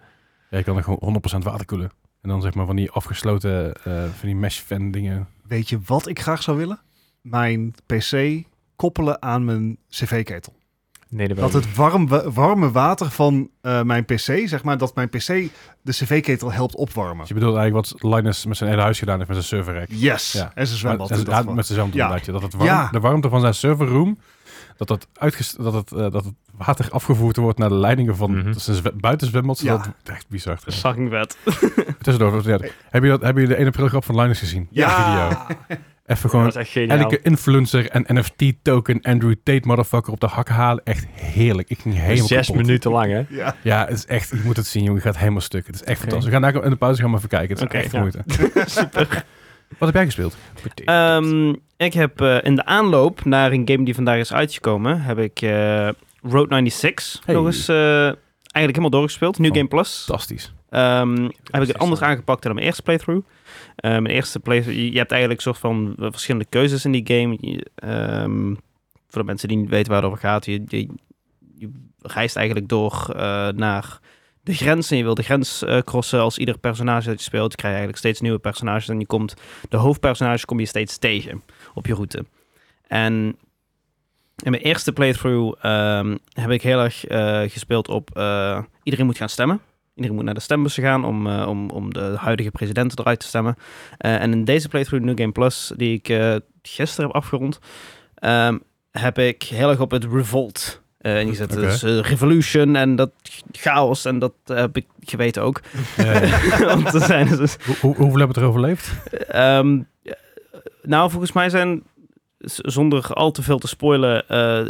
[SPEAKER 3] Ja, je kan er gewoon 100% water koelen. En dan zeg maar van die afgesloten, eh, van die mesh-fan dingen.
[SPEAKER 4] weet je wat ik graag zou willen? Mijn PC koppelen aan mijn cv-ketel.
[SPEAKER 2] Nee, dat
[SPEAKER 4] Dat het warm, wa- warme water van eh, mijn PC, zeg maar, dat mijn PC de cv-ketel helpt opwarmen.
[SPEAKER 3] Dus je bedoelt eigenlijk wat Linus met zijn hele huis gedaan heeft met zijn serverrack.
[SPEAKER 4] Yes.
[SPEAKER 3] Ja.
[SPEAKER 4] En ze
[SPEAKER 3] Maar-
[SPEAKER 4] zwembad.
[SPEAKER 3] en-
[SPEAKER 4] in dat
[SPEAKER 3] ja,
[SPEAKER 4] geval.
[SPEAKER 3] met zijn zwembad
[SPEAKER 4] Ja.
[SPEAKER 3] inderdaad, ja. Dat het warm,
[SPEAKER 4] Ja.
[SPEAKER 3] de warmte van zijn serverroom, dat het, uitges- dat, het, eh, dat het water afgevoerd wordt naar de leidingen van
[SPEAKER 2] Mhm.
[SPEAKER 3] zijn zwe- buitenzwembad.
[SPEAKER 4] Ja.
[SPEAKER 3] Dat is echt bizar. trouwens.
[SPEAKER 1] Fucking vet.
[SPEAKER 3] Tussendoor, ja, heb, je dat, heb je de 1 april grap van Linus gezien? Die video. Even gewoon
[SPEAKER 2] dat is echt geniaal.
[SPEAKER 3] elke influencer en NFT-token Andrew Tate motherfucker op de hak halen. Echt heerlijk. Ik ging helemaal
[SPEAKER 2] Zes
[SPEAKER 3] kapot.
[SPEAKER 2] minuten lang, hè?
[SPEAKER 4] Ja.
[SPEAKER 3] Ja, het is echt, je moet het zien, jongen. Je gaat helemaal stuk. Het is echt
[SPEAKER 2] Oké.
[SPEAKER 3] fantastisch. We gaan daar in de pauze gaan we even kijken. Het is
[SPEAKER 1] Oké,
[SPEAKER 3] echt
[SPEAKER 2] ja.
[SPEAKER 3] moeite. Wat heb jij gespeeld?
[SPEAKER 1] Ehm, ik heb eh, in de aanloop naar een game die vandaag is uitgekomen, heb ik eh, Road 96
[SPEAKER 3] Hey.
[SPEAKER 1] nog eens eh, eigenlijk helemaal doorgespeeld. New
[SPEAKER 3] Oh.
[SPEAKER 1] Game Plus.
[SPEAKER 3] Fantastisch.
[SPEAKER 1] Ehm, heb ik
[SPEAKER 2] precies
[SPEAKER 1] het anders
[SPEAKER 2] dan.
[SPEAKER 1] aangepakt dan mijn eerste playthrough. Eh, mijn eerste playthrough, je je hebt eigenlijk een soort van eh, verschillende keuzes in die game. Je, ehm, voor de mensen die niet weten waar het over gaat, je, je, je reist eigenlijk door eh, naar de grens en je wil de grens eh, crossen als ieder personage dat je speelt. krijg je eigenlijk steeds nieuwe personages en je komt de hoofdpersonage kom je steeds tegen op je route. En in mijn eerste playthrough ehm, heb ik heel erg eh, gespeeld op eh, iedereen moet gaan stemmen. Iedereen moet naar de stembussen gaan om, eh, om, om de huidige presidenten eruit te stemmen. Eh, en in deze playthrough New Game Plus, die ik eh, gisteren heb afgerond, ehm, heb ik heel erg op het revolt eh, ingezet.
[SPEAKER 3] Oké.
[SPEAKER 1] Dus eh, revolution en dat chaos en dat eh, heb ik geweten ook.
[SPEAKER 3] Eh,
[SPEAKER 1] Want er zijn dus
[SPEAKER 3] hoe, hoe- hoeveel hebben het er overleefd?
[SPEAKER 1] Ehm, eh, nou, volgens mij zijn, z- zonder al te veel te spoilen, eh,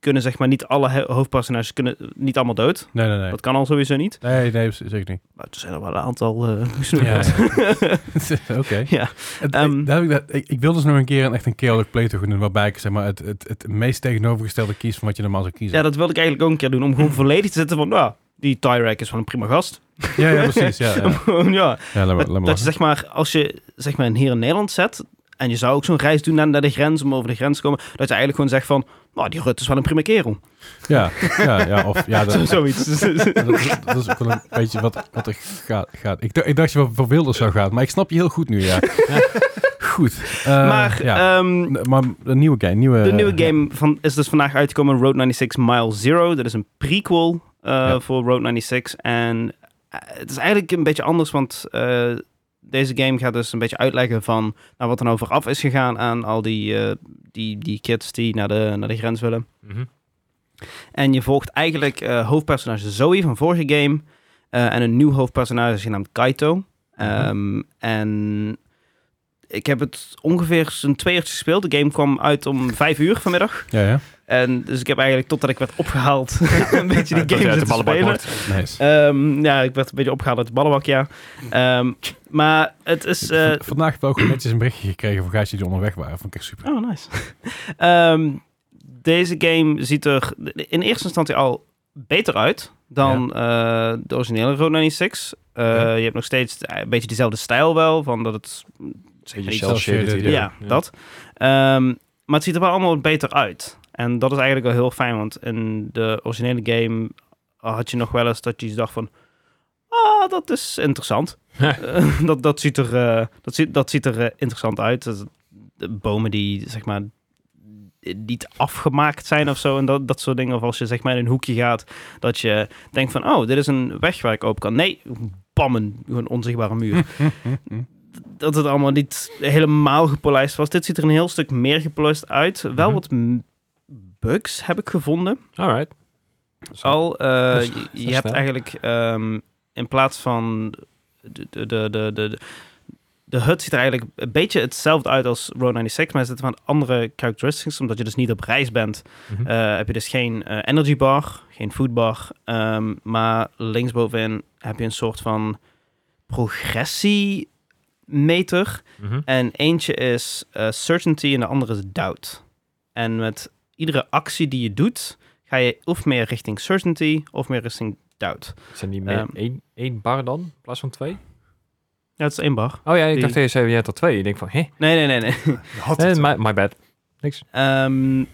[SPEAKER 1] kunnen zeg maar niet alle he- hoofdpersonages kunnen, niet allemaal dood.
[SPEAKER 3] Nee, nee, nee.
[SPEAKER 1] Dat kan al sowieso niet.
[SPEAKER 3] Nee, nee, z- zeker niet.
[SPEAKER 1] Maar er zijn er wel een aantal. eh,
[SPEAKER 3] Ja,
[SPEAKER 1] snoepers.
[SPEAKER 3] Oké.
[SPEAKER 1] Ja,
[SPEAKER 3] Het-
[SPEAKER 1] ehm.
[SPEAKER 3] ik, daar heb ik, dat- ik, ik wil dus nog een keer een, echt een chaotic playthrough doen, waarbij ik zeg maar, het, het, het meest tegenovergestelde kies van wat je normaal zou kiezen.
[SPEAKER 1] ja, dat wilde ik eigenlijk ook een keer doen. Om gewoon volledig te zetten van, nou, die Tyrek is wel een prima gast.
[SPEAKER 3] ja, ja, precies. Ja, ja.
[SPEAKER 1] ja,
[SPEAKER 3] ja laat maar, laat maar
[SPEAKER 1] dat je
[SPEAKER 3] lachen.
[SPEAKER 1] zeg maar, als je zeg maar hier in Nederland zet. En je zou ook zo'n reis doen naar- naar de grens, om over de grens te komen. Dat je eigenlijk gewoon zegt van, nou, die Rutte is wel een prima kerel.
[SPEAKER 3] Ja, ja, ja, of, ja dat,
[SPEAKER 1] Zoiets.
[SPEAKER 3] dat, dat- dat is ook wel een beetje wat, wat er ga- gaat. Ik, dacht- ik dacht je wel voor Wilders zou gaan, maar ik snap je heel goed nu, ja. Goed. eh,
[SPEAKER 1] maar
[SPEAKER 3] ja.
[SPEAKER 1] ehm,
[SPEAKER 3] N- maar een nieuwe game. Nieuwe, eh,
[SPEAKER 1] De nieuwe game van, is dus vandaag uitgekomen, Road 96 Mile Zero. Dat is een prequel eh,
[SPEAKER 3] Ja.
[SPEAKER 1] voor Road 96. En eh, het is eigenlijk een beetje anders, want eh, deze game gaat dus een beetje uitleggen van nou, wat er nou vooraf is gegaan aan al die, eh, die, die kids die naar de, naar de grens willen.
[SPEAKER 2] Mhm.
[SPEAKER 1] En je volgt eigenlijk eh, hoofdpersonage Zoe van vorige game eh, en een nieuw hoofdpersonage genaamd Kaito. Ehm, En ik heb het ongeveer zo'n twee uurtjes gespeeld. De game kwam uit om vijf uur vanmiddag.
[SPEAKER 3] Ja, ja.
[SPEAKER 1] En dus ik heb eigenlijk totdat ik werd opgehaald een beetje
[SPEAKER 2] Ja,
[SPEAKER 1] die
[SPEAKER 2] tot je
[SPEAKER 1] game
[SPEAKER 2] uit de
[SPEAKER 1] zitten
[SPEAKER 2] ballenbak
[SPEAKER 1] spelen.
[SPEAKER 2] wordt.
[SPEAKER 3] Nice.
[SPEAKER 1] Ehm, ja, ik werd een beetje opgehaald uit de ballenbak, ja. Ehm, maar het is... eh,
[SPEAKER 3] V- Vandaag hebben we ook netjes een berichtje gekregen voor gaatjes die onderweg waren. Vond ik echt super.
[SPEAKER 1] Oh, nice. Ehm, deze game ziet er in eerste instantie al beter uit dan eh, de originele Road 96. Eh,
[SPEAKER 3] Ja.
[SPEAKER 1] Je hebt nog steeds een beetje diezelfde stijl wel, van dat het
[SPEAKER 2] Beetje
[SPEAKER 1] Iets-
[SPEAKER 2] cel-shaded
[SPEAKER 3] Ja,
[SPEAKER 1] Ja,
[SPEAKER 2] idee. Mhm.
[SPEAKER 1] dat. Ehm, maar het ziet er wel allemaal wat beter uit. En dat is eigenlijk wel heel fijn, want in de originele game had je nog wel eens dat je dacht van... Ah, dat is interessant. Eh, dat, dat ziet er, eh, dat ziet, dat ziet er eh, interessant uit. Dat, de bomen die zeg maar niet afgemaakt zijn of zo en dat, dat soort dingen. Of als je zeg maar in een hoekje gaat, dat je denkt van, oh, dit is een weg waar ik open kan. Nee, bam, een, een onzichtbare muur. dat het allemaal niet helemaal gepolijst was. Dit ziet er een heel stuk meer gepolijst uit. Wel
[SPEAKER 2] Mhm.
[SPEAKER 1] wat m- bugs heb ik gevonden.
[SPEAKER 2] Alright.
[SPEAKER 1] Al, eh,
[SPEAKER 2] dat is-
[SPEAKER 1] je- je
[SPEAKER 2] snel.
[SPEAKER 1] hebt eigenlijk ehm, in plaats van de, de, de, de, de, de HUD ziet er eigenlijk een beetje hetzelfde uit als Road 96, maar er zitten van andere characteristics, omdat je dus niet op reis bent.
[SPEAKER 2] Mhm.
[SPEAKER 1] eh, heb je dus geen eh, energy bar, geen food bar, ehm, maar linksbovenin heb je een soort van progressiemeter.
[SPEAKER 2] Mhm.
[SPEAKER 1] En eentje is eh, certainty en de andere is doubt. En met iedere actie die je doet, ga je of meer richting certainty of meer richting doubt.
[SPEAKER 2] Zijn die meer
[SPEAKER 1] Ehm.
[SPEAKER 2] één, één bar dan, in plaats van twee?
[SPEAKER 1] Ja, het is één bar.
[SPEAKER 2] Oh ja, ik
[SPEAKER 1] Die-
[SPEAKER 2] dacht dat je zei, je hebt er twee. Ik denk van, hé,
[SPEAKER 1] Nee, nee, nee, nee.
[SPEAKER 4] Had
[SPEAKER 2] eh,
[SPEAKER 4] het.
[SPEAKER 2] my, my bad.
[SPEAKER 1] Ehm,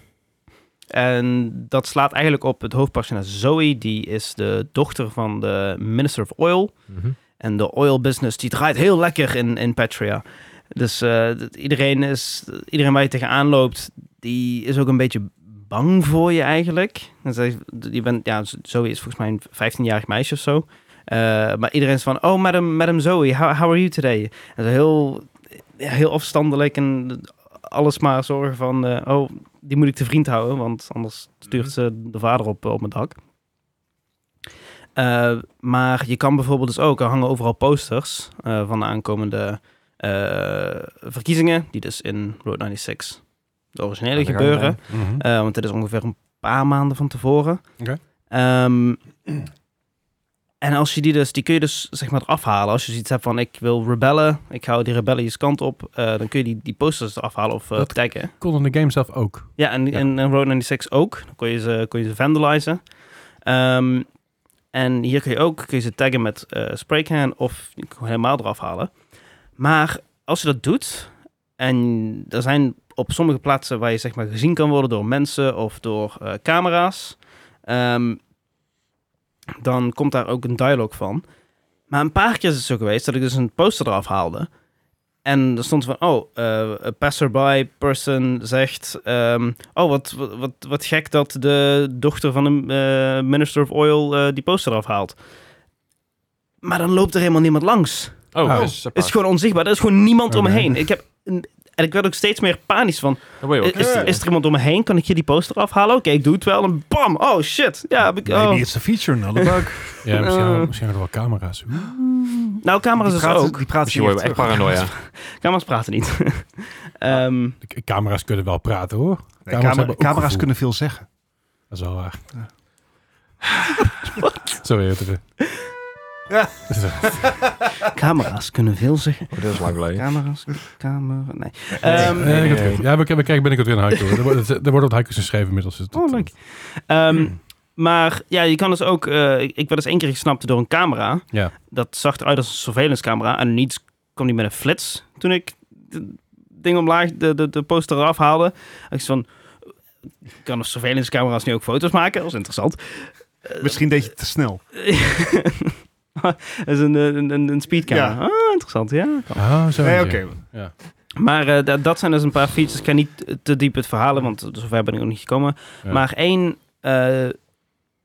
[SPEAKER 1] en dat slaat eigenlijk op het hoofdpersonage Zoe. Die is de dochter van de Minister of Oil.
[SPEAKER 2] Mhm.
[SPEAKER 1] En de oil business die draait heel lekker in, in Patria. Dus eh, dat iedereen, is, iedereen waar je tegenaan loopt, die is ook een beetje bang voor je eigenlijk. En zij- Je bent, ja, Zoe is volgens mij een 15-jarig meisje of zo. Eh, maar iedereen is van, oh, madam, madam Zoe, how, how are you today? En zo heel, ja, heel afstandelijk en alles maar zorgen van, eh, oh, die moet ik te vriend houden, want anders stuurt ze de vader op, op mijn dak. Eh, maar je kan bijvoorbeeld dus ook, er hangen overal posters eh, van de aankomende eh, verkiezingen, die dus in Road 96, de originele,
[SPEAKER 2] Aan de gang
[SPEAKER 1] gebeuren.
[SPEAKER 3] Mhm.
[SPEAKER 1] Eh, want dit is ongeveer een paar maanden van tevoren.
[SPEAKER 3] Oké.
[SPEAKER 1] Ehm, en als je die dus, die kun je dus zeg maar eraf halen. Als je zoiets hebt van ik wil rebellen, ik hou die rebellious kant op, eh, dan kun je die, die posters eraf halen of eh
[SPEAKER 3] Dat-
[SPEAKER 1] taggen.
[SPEAKER 3] Kon in de game zelf ook.
[SPEAKER 1] Ja, en,
[SPEAKER 3] Ja.
[SPEAKER 1] en, en Road 96 ook. Dan kon je ze, kon je ze vandalizen. Ehm, en hier kun je ook kun je ze taggen met eh spraycan of je kan helemaal eraf halen. Maar als je dat doet, en er zijn op sommige plaatsen waar je zeg maar gezien kan worden door mensen of door eh, camera's, ehm, dan komt daar ook een dialoog van. Maar een paar keer is het zo geweest dat ik dus een poster eraf haalde. En er stond van, oh, eh a passerby person zegt, ehm, oh, wat, wat- wat, wat gek dat de dochter van de eh, minister of oil eh, die poster eraf haalt. Maar dan loopt er helemaal niemand langs.
[SPEAKER 2] Oh,
[SPEAKER 3] Oh.
[SPEAKER 2] dat is
[SPEAKER 1] Het is
[SPEAKER 4] Ah.
[SPEAKER 2] apart.
[SPEAKER 1] gewoon onzichtbaar. Er is gewoon niemand
[SPEAKER 3] Oké.
[SPEAKER 1] om me heen. Ik heb, en ik werd ook steeds meer panisch van,
[SPEAKER 2] Dan word je ook-
[SPEAKER 1] is,
[SPEAKER 4] oké.
[SPEAKER 1] is er iemand om me heen? Kan ik hier die poster afhalen? Oké, ik doe het wel. En bam, oh shit. Ja, heb ik, oh.
[SPEAKER 4] Maybe it's nou, a feature, not a bug.
[SPEAKER 3] Ja, misschien,
[SPEAKER 1] Eh.
[SPEAKER 3] misschien hadden we wel camera's. Oeh.
[SPEAKER 1] Nou, camera's
[SPEAKER 4] Die
[SPEAKER 1] is er
[SPEAKER 4] praten-
[SPEAKER 1] ook.
[SPEAKER 4] Die praten
[SPEAKER 2] Misschien word je
[SPEAKER 4] hier
[SPEAKER 2] echt paranoia.
[SPEAKER 1] Camera's praten niet. Ehm,
[SPEAKER 3] De k- Camera's kunnen wel praten hoor.
[SPEAKER 4] Nee,
[SPEAKER 3] Camera's
[SPEAKER 4] camera-
[SPEAKER 3] hebben ook
[SPEAKER 4] camera's
[SPEAKER 3] gevoel.
[SPEAKER 4] kunnen veel zeggen.
[SPEAKER 3] Dat is wel waar. Sorry, het is-
[SPEAKER 4] Ja. Ah.
[SPEAKER 1] camera's kunnen veel zeggen.
[SPEAKER 2] Oh, dat is lang geleden.
[SPEAKER 1] Camera's, camera, nee.
[SPEAKER 3] Eh,
[SPEAKER 1] Ehm,
[SPEAKER 3] ik had het goed. Ja, we, we krijgen binnenkort weer een haiku. hoor. Er wordt- er wordt op haikus geschreven inmiddels. dus dat-
[SPEAKER 1] Oh, leuk. Ehm, maar ja, je kan dus ook... eh, ik ik werd eens één keer gesnapt door een camera.
[SPEAKER 3] Ja.
[SPEAKER 1] Dat zag eruit als een surveillance camera. En niets kwam die met een flits toen ik het ding omlaag, de, de, de poster eraf haalde. En Ik zei van... "Eh, Kan een surveillance camera's nu ook foto's maken? Dat is interessant.
[SPEAKER 4] Misschien deed je het te snel.
[SPEAKER 1] Dat is een, eh, een, een, een speedcamera. Ah, interessant, ja.
[SPEAKER 3] Ah, zo.
[SPEAKER 4] Nee,
[SPEAKER 3] ja.
[SPEAKER 4] oké.
[SPEAKER 1] Maar eh, dat- dat zijn dus een paar features. Ik ga niet eh, te diep het verhalen, want zover ben ik nog niet gekomen.
[SPEAKER 3] Ja.
[SPEAKER 1] Maar één eh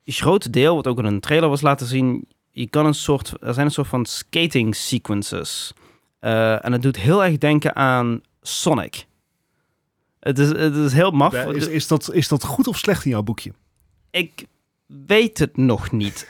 [SPEAKER 1] groot deel, wat ook in een trailer was laten zien, je kan een soort, er zijn een soort van skating sequences. Eh, en het doet heel erg denken aan Sonic. Het is, het is heel maf.
[SPEAKER 4] Eh, Is, is, dat, is dat goed of slecht in jouw boekje?
[SPEAKER 1] Ik weet het nog niet.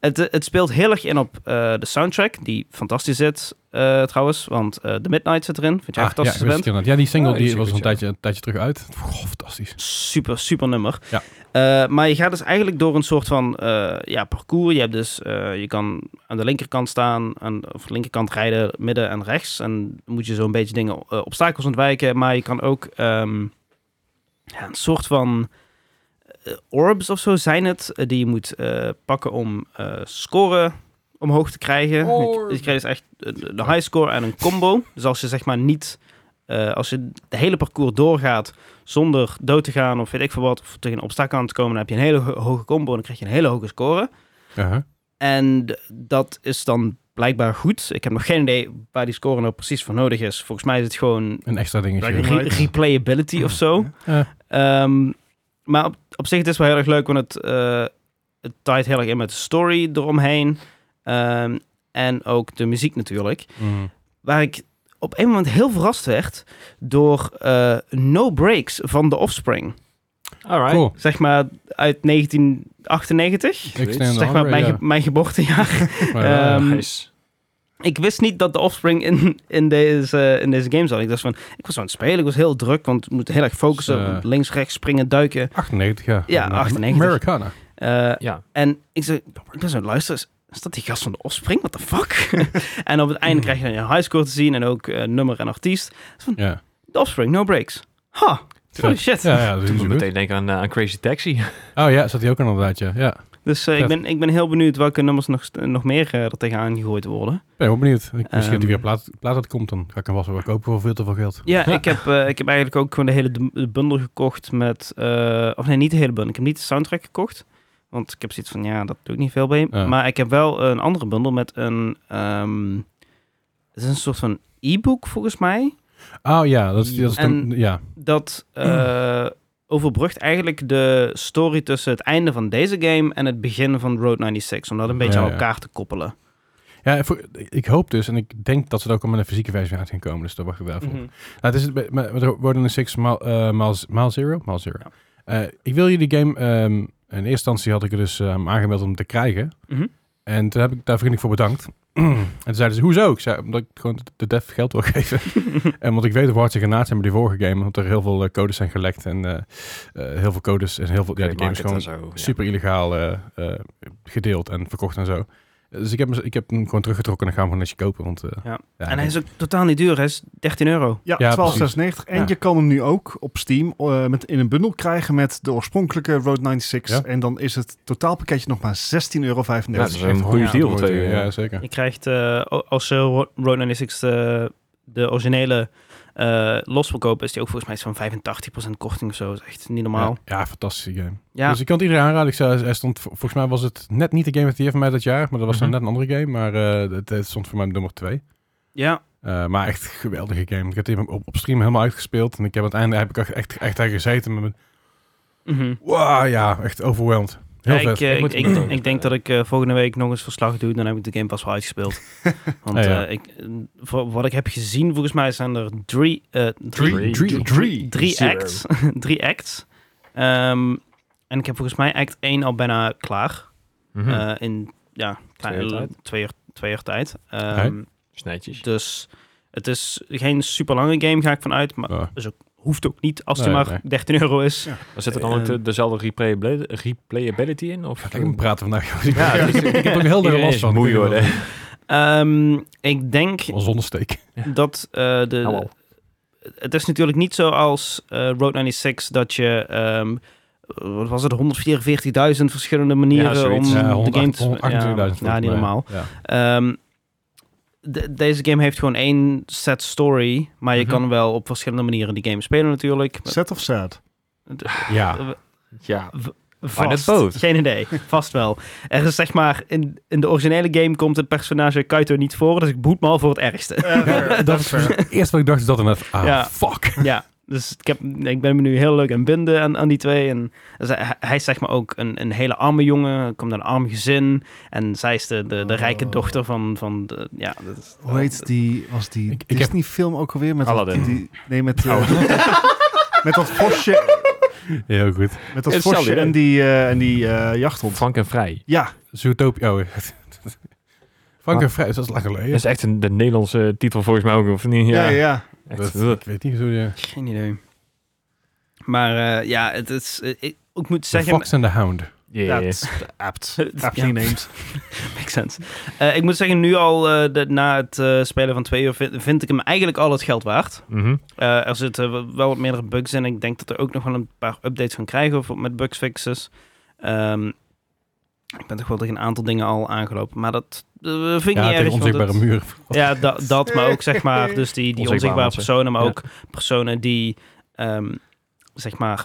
[SPEAKER 1] het, eh, het speelt heel erg in op eh, de soundtrack, die fantastisch zit eh, trouwens. Want eh The Midnight zit erin, vind jij
[SPEAKER 3] Ah, ja, ik
[SPEAKER 1] fantastisch
[SPEAKER 3] wist het
[SPEAKER 1] bent.
[SPEAKER 3] inderdaad. ja, die single
[SPEAKER 2] Ah, die
[SPEAKER 3] die was
[SPEAKER 2] single,
[SPEAKER 3] een
[SPEAKER 2] ja.
[SPEAKER 3] tijdje, een tijdje terug uit. Goh, fantastisch.
[SPEAKER 1] Super, super nummer.
[SPEAKER 3] Ja.
[SPEAKER 1] Eh, maar je gaat dus eigenlijk door een soort van eh, ja, parcours. Je hebt dus, eh, je kan aan de linkerkant staan, aan, of linkerkant rijden, midden en rechts. En dan moet je zo'n beetje dingen, eh, obstakels ontwijken. Maar je kan ook ehm, ja, een soort van eh, orbs of zo zijn het, eh, die je moet eh, pakken om eh scoren omhoog te krijgen.
[SPEAKER 2] Orb.
[SPEAKER 1] Je, je krijgt dus echt eh, de de high score en een combo. Dus als je zeg maar niet, eh, als je het hele parcours doorgaat zonder dood te gaan of weet ik veel wat, of tegen een obstakel aan te komen, dan heb je een hele ho- hoge combo en dan krijg je een hele hoge score.
[SPEAKER 3] Uh-huh.
[SPEAKER 1] En dat is dan blijkbaar goed. Ik heb nog geen idee waar die score nou precies voor nodig is. Volgens mij is het gewoon
[SPEAKER 3] Een extra
[SPEAKER 4] Lijkt me
[SPEAKER 3] dingetje.
[SPEAKER 1] re- replayability of zo.
[SPEAKER 3] Ja.
[SPEAKER 1] Ehm, maar op, op zich het is wel heel erg leuk, want het, eh het taait heel erg in met de story eromheen. Ehm, en ook de muziek natuurlijk.
[SPEAKER 3] Mm.
[SPEAKER 1] Waar ik op een moment heel verrast werd door eh, No Breaks van The Offspring.
[SPEAKER 2] Alright.
[SPEAKER 3] Cool.
[SPEAKER 1] Zeg maar uit 1998.
[SPEAKER 3] Ik sta in de
[SPEAKER 1] Zeg maar
[SPEAKER 3] andere,
[SPEAKER 1] mijn,
[SPEAKER 3] ja.
[SPEAKER 1] ge- mijn geboortejaar.
[SPEAKER 3] Maar, eh,
[SPEAKER 1] Ehm,
[SPEAKER 2] Nice.
[SPEAKER 1] ik wist niet dat de offspring in, in, deze, in deze game zat. Ik dacht van, ik was aan het spelen, ik was heel druk, want ik moet heel erg focussen.
[SPEAKER 3] Dus, eh,
[SPEAKER 1] op links, rechts, springen, duiken.
[SPEAKER 3] 98, ja.
[SPEAKER 1] Ja, 98.
[SPEAKER 3] Americana.
[SPEAKER 1] Eh,
[SPEAKER 2] Ja.
[SPEAKER 1] en ik, zei, ik ben zo aan het luisteren, is- is dat die gast van de offspring? What the fuck? en op het
[SPEAKER 3] Hmm.
[SPEAKER 1] einde krijg je dan je highscore te zien en ook eh, nummer en artiest.
[SPEAKER 3] Ja.
[SPEAKER 1] De offspring, no breaks. Ha, holy shit.
[SPEAKER 3] Ja, ja, dat is
[SPEAKER 2] Toen moet ik
[SPEAKER 3] goed.
[SPEAKER 2] meteen denken aan, eh, aan Crazy Taxi.
[SPEAKER 3] Oh ja, zat hij ook aan inderdaad, ja. ja.
[SPEAKER 1] Dus eh, ik,
[SPEAKER 3] Vet.
[SPEAKER 1] ben, ik ben heel benieuwd welke nummers nog, st- nog meer eh, er tegenaan gegooid worden.
[SPEAKER 3] Ik ben wel benieuwd. Ik, misschien dat
[SPEAKER 1] Ehm.
[SPEAKER 3] hij weer plaat, plaat uitkomt, dan ga ik hem vast wel kopen voor veel te veel geld.
[SPEAKER 1] Ja,
[SPEAKER 2] Ja.
[SPEAKER 1] Ik, heb, eh, ik heb eigenlijk ook gewoon de hele d- de bundel gekocht met... eh, of nee, niet de hele bundel. Ik heb niet de soundtrack gekocht. Want ik heb zoiets van, ja, dat doe ik niet veel bij.
[SPEAKER 3] Ja.
[SPEAKER 1] Maar ik heb wel een andere bundel met een... ehm, het is een soort van e-book volgens mij.
[SPEAKER 3] Oh ja, dat is, dat is
[SPEAKER 1] En-
[SPEAKER 3] dan, ja.
[SPEAKER 1] Dat eh, overbrugt eigenlijk de story tussen het einde van deze game... en het begin van Road 96. Om dat een beetje
[SPEAKER 3] Ja,
[SPEAKER 1] aan
[SPEAKER 3] ja.
[SPEAKER 1] elkaar te koppelen.
[SPEAKER 3] ja voor, ik hoop dus, en ik denk dat ze er ook al met een fysieke versie uit gaan komen, dus daar wacht ik wel even op.
[SPEAKER 1] Mhm.
[SPEAKER 3] Nou, het is het met, met met Road 6 maal, eh, maal, maal Zero. Maal zero.
[SPEAKER 1] Ja.
[SPEAKER 3] Eh, ik wil jullie game... ehm, in eerste instantie had ik er dus eh, hem aangemeld om te krijgen.
[SPEAKER 1] Mhm.
[SPEAKER 3] En toen heb ik daar vriendelijk voor bedankt. en toen zeiden ze, hoezo? Ik zei, omdat ik gewoon de dev geld wil geven. en want ik weet hoe hard ze genaaid zijn bij die vorige game. Want er heel veel eh, codes zijn gelekt. En eh, eh, heel veel codes en heel veel... Ja, die game is gewoon super illegaal eh, eh, gedeeld en verkocht en zo. Dus ik heb, hem- ik heb hem gewoon teruggetrokken en ik ga hem gewoon netjes kopen. Want, eh,
[SPEAKER 1] Ja.
[SPEAKER 3] ja,
[SPEAKER 1] en hij is ook totaal niet duur. Hij is 13 euro.
[SPEAKER 4] Ja,
[SPEAKER 3] Ja,
[SPEAKER 4] 12,96. En
[SPEAKER 3] Ja.
[SPEAKER 4] je kan hem nu ook op Steam eh, met, in een bundel krijgen met de oorspronkelijke Road 96.
[SPEAKER 3] Ja.
[SPEAKER 4] En dan is het totaalpakketje nog maar 16,35 euro.
[SPEAKER 2] Ja, dat is
[SPEAKER 3] echt
[SPEAKER 2] een goede
[SPEAKER 1] Ja,
[SPEAKER 2] deal.
[SPEAKER 3] moeite.
[SPEAKER 2] voor twee, eh,
[SPEAKER 3] Ja, zeker.
[SPEAKER 1] Je krijgt, eh, o- als je Ro- Road 96 eh, de originele eh, los wil kopen, is die ook volgens mij zo'n 85% korting of zo. Dat is echt niet normaal.
[SPEAKER 3] Ja, ja, fantastische game.
[SPEAKER 1] Ja,
[SPEAKER 3] Dus ik kan het iedereen aanraden. Ik zei, hij stond, vol- volgens mij was het net niet de Game of the Year van mij dat jaar, maar dat was
[SPEAKER 1] Mhm.
[SPEAKER 3] dan net een andere game. Maar eh, het, het stond voor mij op nummer twee.
[SPEAKER 1] ja.
[SPEAKER 3] Eh, maar echt een geweldige game. Ik heb hem op, op stream helemaal uitgespeeld en ik heb aan het einde heb ik echt, echt, echt daar gezeten met mijn...
[SPEAKER 1] Mhm.
[SPEAKER 3] Wow, ja, echt overwhelmed. Heel
[SPEAKER 1] Ja,
[SPEAKER 3] vet.
[SPEAKER 1] ik, eh, ik,
[SPEAKER 2] moet
[SPEAKER 1] ik,
[SPEAKER 2] hem ook
[SPEAKER 1] ik
[SPEAKER 2] nog
[SPEAKER 1] denk
[SPEAKER 2] spelen.
[SPEAKER 1] dat ik eh, volgende week nog eens verslag doe. Dan heb ik de game pas wel uitgespeeld. Want
[SPEAKER 3] Ja, ja.
[SPEAKER 1] eh, ik, eh, voor wat ik heb gezien, volgens mij zijn er drie, eh, drie,
[SPEAKER 2] Drie.
[SPEAKER 3] Drie.
[SPEAKER 4] Drie.
[SPEAKER 1] drie
[SPEAKER 2] Zero.
[SPEAKER 1] acts. drie acts. Ehm, en ik heb volgens mij act 1 al bijna klaar.
[SPEAKER 2] Mhm.
[SPEAKER 1] Eh, in ja,
[SPEAKER 2] Twee uur tijd.
[SPEAKER 1] twee uur, twee uur tijd. Ehm,
[SPEAKER 3] Oké.
[SPEAKER 2] Snijtjes.
[SPEAKER 1] Dus het is geen super lange game, ga ik vanuit. Maar
[SPEAKER 3] Ja.
[SPEAKER 1] hoeft ook niet als die
[SPEAKER 3] Nee,
[SPEAKER 1] maar
[SPEAKER 3] nee.
[SPEAKER 1] 13 euro is.
[SPEAKER 4] Ja.
[SPEAKER 2] Maar zit er dan ook de-
[SPEAKER 1] Ehm.
[SPEAKER 2] dezelfde replay- replayability in? Of?
[SPEAKER 3] Kijk, ik praten vandaag. jongens.
[SPEAKER 2] Ja,
[SPEAKER 3] ik,
[SPEAKER 2] dus-
[SPEAKER 3] ik heb ook heel erg
[SPEAKER 2] Iedereen
[SPEAKER 3] last
[SPEAKER 2] is
[SPEAKER 3] van.
[SPEAKER 2] moe worden.
[SPEAKER 1] Ehm, ik denk
[SPEAKER 3] Wel Zonder steek.
[SPEAKER 1] dat eh, de,
[SPEAKER 2] Nou, wel.
[SPEAKER 1] het is natuurlijk niet zo als eh, Road 96 dat je ehm, wat was het 144.000 verschillende manieren
[SPEAKER 2] Ja, zoiets.
[SPEAKER 1] om
[SPEAKER 2] Ja,
[SPEAKER 1] Mm, de game te spelen.
[SPEAKER 3] Ja,
[SPEAKER 1] Ja, ja, niet normaal.
[SPEAKER 3] Ja.
[SPEAKER 1] Ehm, de- deze game heeft gewoon één set story, maar je
[SPEAKER 2] Mhm.
[SPEAKER 1] kan wel op verschillende manieren die game spelen natuurlijk.
[SPEAKER 4] Set of sad?
[SPEAKER 3] ja.
[SPEAKER 2] Ja. Maar net
[SPEAKER 1] Vast.
[SPEAKER 2] boot.
[SPEAKER 1] Geen idee. Vast wel. Er is zeg maar, in, in de originele game komt het personage Kaito niet voor, dus ik boet me al voor het ergste.
[SPEAKER 3] Ja, dat is het eerste wat ik dacht, is dat en dat. Ah,
[SPEAKER 1] Ja.
[SPEAKER 3] fuck.
[SPEAKER 1] ja, dus ik, heb, ik ben me nu heel leuk aan binden aan, aan die twee. En dus hij, hij is zeg maar ook een, een hele arme jongen, Hij komt uit een arm gezin. En zij is de, de, de rijke
[SPEAKER 4] Oh.
[SPEAKER 1] dochter van, van de, ja, dat is-
[SPEAKER 4] Hoe heet die, was die
[SPEAKER 3] Ik- ik heb-
[SPEAKER 4] Disney-film ook alweer? Met
[SPEAKER 2] Aladdin.
[SPEAKER 4] Dat, die, nee, met, eh, met dat vosje,
[SPEAKER 3] Heel goed.
[SPEAKER 4] met dat
[SPEAKER 2] Hetzelfde
[SPEAKER 4] vosje
[SPEAKER 2] idee.
[SPEAKER 4] en die, eh, en die eh, jachthond.
[SPEAKER 2] Frank en Vrij.
[SPEAKER 4] Ja,
[SPEAKER 3] Zootopia. Oh, Frank en Vrij, dat is lang geleden.
[SPEAKER 2] Dat is echt een, de Nederlandse titel volgens mij ook. Of niet?
[SPEAKER 4] ja,
[SPEAKER 2] Ja,
[SPEAKER 4] ja. ja.
[SPEAKER 2] Echt,
[SPEAKER 3] Dat, ik weet niet hoe je...
[SPEAKER 1] geen idee. Maar eh, ja, het is, eh, ik, ik moet
[SPEAKER 3] The
[SPEAKER 1] zeggen...
[SPEAKER 3] Fox and the Hound.
[SPEAKER 2] Ja, ja.
[SPEAKER 4] That's apt.
[SPEAKER 1] Het-
[SPEAKER 4] Aptly
[SPEAKER 1] ja.
[SPEAKER 4] named.
[SPEAKER 1] Makes sense. Eh, ik moet zeggen, nu al eh, de- na het eh, spelen van twee uur vind, vind ik hem eigenlijk al het geld waard.
[SPEAKER 2] Mhm.
[SPEAKER 1] Eh, er zitten wel- wel wat meerdere bugs in. Ik denk dat er ook nog wel een paar updates gaan krijgen voor, met bugfixes. Ehm, ik ben toch wel tegen een aantal dingen al aangelopen. Maar dat eh, vind ik
[SPEAKER 3] Ja,
[SPEAKER 1] niet
[SPEAKER 3] tegen
[SPEAKER 1] erg. want
[SPEAKER 3] onzichtbare
[SPEAKER 1] het-
[SPEAKER 3] muur.
[SPEAKER 1] ja, da- dat, maar ook zeg maar, dus die, die
[SPEAKER 2] Onzichtbare
[SPEAKER 1] onzichtbare
[SPEAKER 2] mensen.
[SPEAKER 1] personen, maar
[SPEAKER 2] Ja.
[SPEAKER 1] ook personen die ehm, zeg maar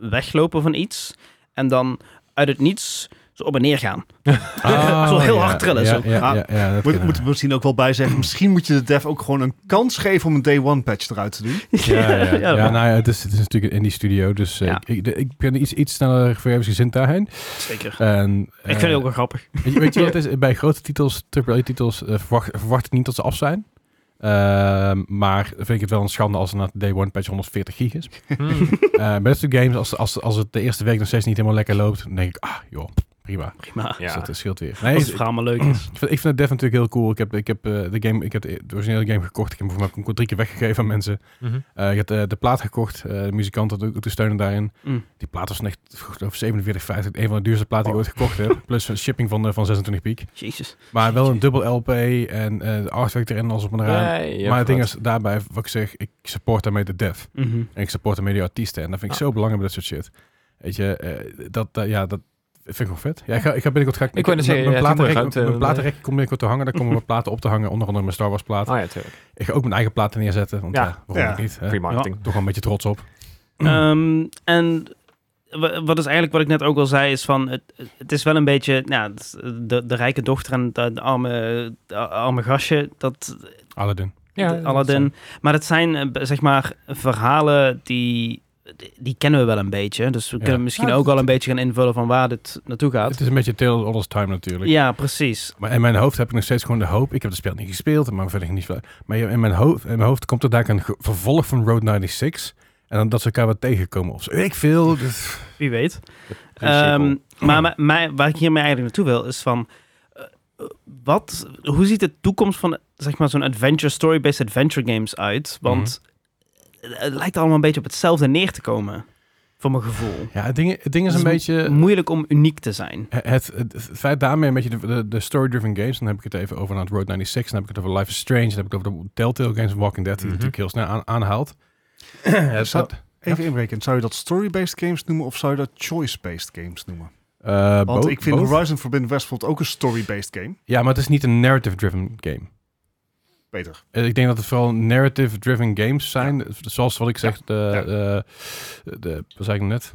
[SPEAKER 1] weglopen van iets en dan uit het niets zo op en neer gaan.
[SPEAKER 3] Ah,
[SPEAKER 1] Zo heel
[SPEAKER 3] ja,
[SPEAKER 1] hard trillen,
[SPEAKER 3] Ja,
[SPEAKER 1] zo.
[SPEAKER 3] ja,
[SPEAKER 4] Ah.
[SPEAKER 3] ja, ja, dat
[SPEAKER 4] Moet,
[SPEAKER 3] kan,
[SPEAKER 4] moet
[SPEAKER 3] ja.
[SPEAKER 4] er misschien ook wel bij zeggen, misschien moet je de dev ook gewoon een kans geven om een day one patch eruit te doen.
[SPEAKER 3] Ja, ja, ja.
[SPEAKER 1] dat
[SPEAKER 3] nou ja, het is, het is natuurlijk in die studio, dus eh,
[SPEAKER 1] Ja.
[SPEAKER 3] ik, ik, de- ik ben iets, iets sneller verwervingsgezind daarheen.
[SPEAKER 1] mag zeker.
[SPEAKER 3] En,
[SPEAKER 1] ik vind het ook wel grappig.
[SPEAKER 3] Weet je, weet je wat het is? Bij grote titels, AAA-titels, eh, verwacht, verwacht ik niet dat ze af zijn. Ehm, maar vind ik het wel een schande als er na day one patch 140 gig is. Eh bij dat soort games, als, als, als het de eerste week nog steeds niet helemaal lekker loopt, dan denk ik, ah joh, prima.
[SPEAKER 1] Prima.
[SPEAKER 3] Dus
[SPEAKER 2] ja.
[SPEAKER 3] dat scheelt weer. Nee,
[SPEAKER 1] Als
[SPEAKER 3] ik,
[SPEAKER 1] het verhaal maar leuk is.
[SPEAKER 3] ik vind, ik vind het Dev natuurlijk heel cool. Ik heb, ik heb, eh, de, game, ik heb de, de originele game gekocht. Ik heb hem voor mij ook drie keer weggegeven aan mensen.
[SPEAKER 2] Mhm.
[SPEAKER 3] Eh, ik heb de, de plaat gekocht. eh, de muzikant had ook te steunen daarin.
[SPEAKER 1] Mm.
[SPEAKER 3] Die plaat was echt over 47, 50. Een van de duurste platen
[SPEAKER 1] Oh.
[SPEAKER 3] die ik ooit gekocht heb. Plus een shipping van, eh, van 26 piek.
[SPEAKER 1] Jezus.
[SPEAKER 3] Maar wel een dubbel LP en eh de artwork erin als op een raam.
[SPEAKER 2] Nee, ja,
[SPEAKER 3] maar het ding
[SPEAKER 2] vet.
[SPEAKER 3] is, daarbij, wat ik zeg, ik support daarmee de dev.
[SPEAKER 1] Mhm.
[SPEAKER 3] En ik support daarmee de artiesten. En dat vind ik
[SPEAKER 2] Ah.
[SPEAKER 3] zo belangrijk bij dat soort shit. Weet je, eh, dat, eh, ja, dat vind ik wel vet. Ja, ik ga, ik ga binnenkort... Ga ik,
[SPEAKER 2] Ik wou net zeggen,
[SPEAKER 3] mijn,
[SPEAKER 2] ja, het is
[SPEAKER 3] platenrek,
[SPEAKER 2] mooi ruimte,
[SPEAKER 3] mijn
[SPEAKER 2] eh,
[SPEAKER 3] platenrek komt binnenkort te hangen. Daar komen mijn platen op te hangen. Onder andere mijn Star Wars plaat.
[SPEAKER 2] Ah ja, tuurlijk.
[SPEAKER 3] Ik ga ook mijn eigen platen neerzetten. Want
[SPEAKER 2] Ja.
[SPEAKER 3] ja, waarom
[SPEAKER 4] Ja.
[SPEAKER 3] ook niet? hè?
[SPEAKER 2] Free marketing.
[SPEAKER 3] Toch wel een beetje trots op.
[SPEAKER 1] Ehm, en wa- wat is eigenlijk wat ik net ook al zei, is van het, het is wel een beetje nou, het is de, de rijke dochter en de, de arme, de arme gastje, dat
[SPEAKER 3] Aladdin.
[SPEAKER 2] Ja,
[SPEAKER 1] de Aladdin. Maar het zijn eh, b- zeg maar verhalen die, die kennen we wel een beetje. Dus we
[SPEAKER 3] Ja.
[SPEAKER 1] kunnen misschien
[SPEAKER 3] Ja,
[SPEAKER 1] ook al een beetje gaan invullen van waar dit naartoe gaat.
[SPEAKER 3] Het is een beetje Tale of All This Time natuurlijk.
[SPEAKER 1] Ja, precies.
[SPEAKER 3] Maar in mijn hoofd heb ik nog steeds gewoon de hoop. Ik heb het spel niet gespeeld, maar verder niet veel. Maar in mijn hoofd, in mijn hoofd komt er daar een ge- vervolg van Road 96. En dan dat ze elkaar wat tegenkomen of zo. Weet Ik veel. Dus,
[SPEAKER 1] Wie weet.
[SPEAKER 2] Ehm,
[SPEAKER 1] Ehm, maar maar mij- waar ik hiermee eigenlijk naartoe wil, is van... eh, wat, hoe ziet de toekomst van zeg maar, zo'n adventure story-based adventure games uit? Want
[SPEAKER 3] Mhm.
[SPEAKER 1] het, het lijkt allemaal een beetje op hetzelfde neer te komen, voor mijn gevoel.
[SPEAKER 3] ja, het ding, het ding is
[SPEAKER 1] Het
[SPEAKER 3] een
[SPEAKER 1] is
[SPEAKER 3] beetje...
[SPEAKER 1] Moeilijk om uniek te zijn.
[SPEAKER 3] Het, het, het feit daarmee een beetje de, de, de story-driven games. Dan heb ik het even over aan het Road 96. Dan heb ik het over Life is Strange. Dan heb ik het over de Telltale games van Walking Dead. Die
[SPEAKER 2] Mhm.
[SPEAKER 3] natuurlijk heel snel aan, aanhaalt. Ja,
[SPEAKER 4] Zou-
[SPEAKER 3] dat-
[SPEAKER 4] Even inbreken, zou je dat story-based games noemen of zou je dat choice-based games noemen?
[SPEAKER 3] eh,
[SPEAKER 4] Want
[SPEAKER 3] bo-
[SPEAKER 4] ik vind
[SPEAKER 3] both.
[SPEAKER 4] Horizon Forbidden West bijvoorbeeld ook een story-based game.
[SPEAKER 3] Ja, maar het is niet een narrative-driven game.
[SPEAKER 4] Beter.
[SPEAKER 3] Eh, Ik denk dat het vooral narrative-driven games zijn. Eh, Zoals wat ik zeg, de,
[SPEAKER 4] Ja.
[SPEAKER 3] eh, de, wat zei ik net?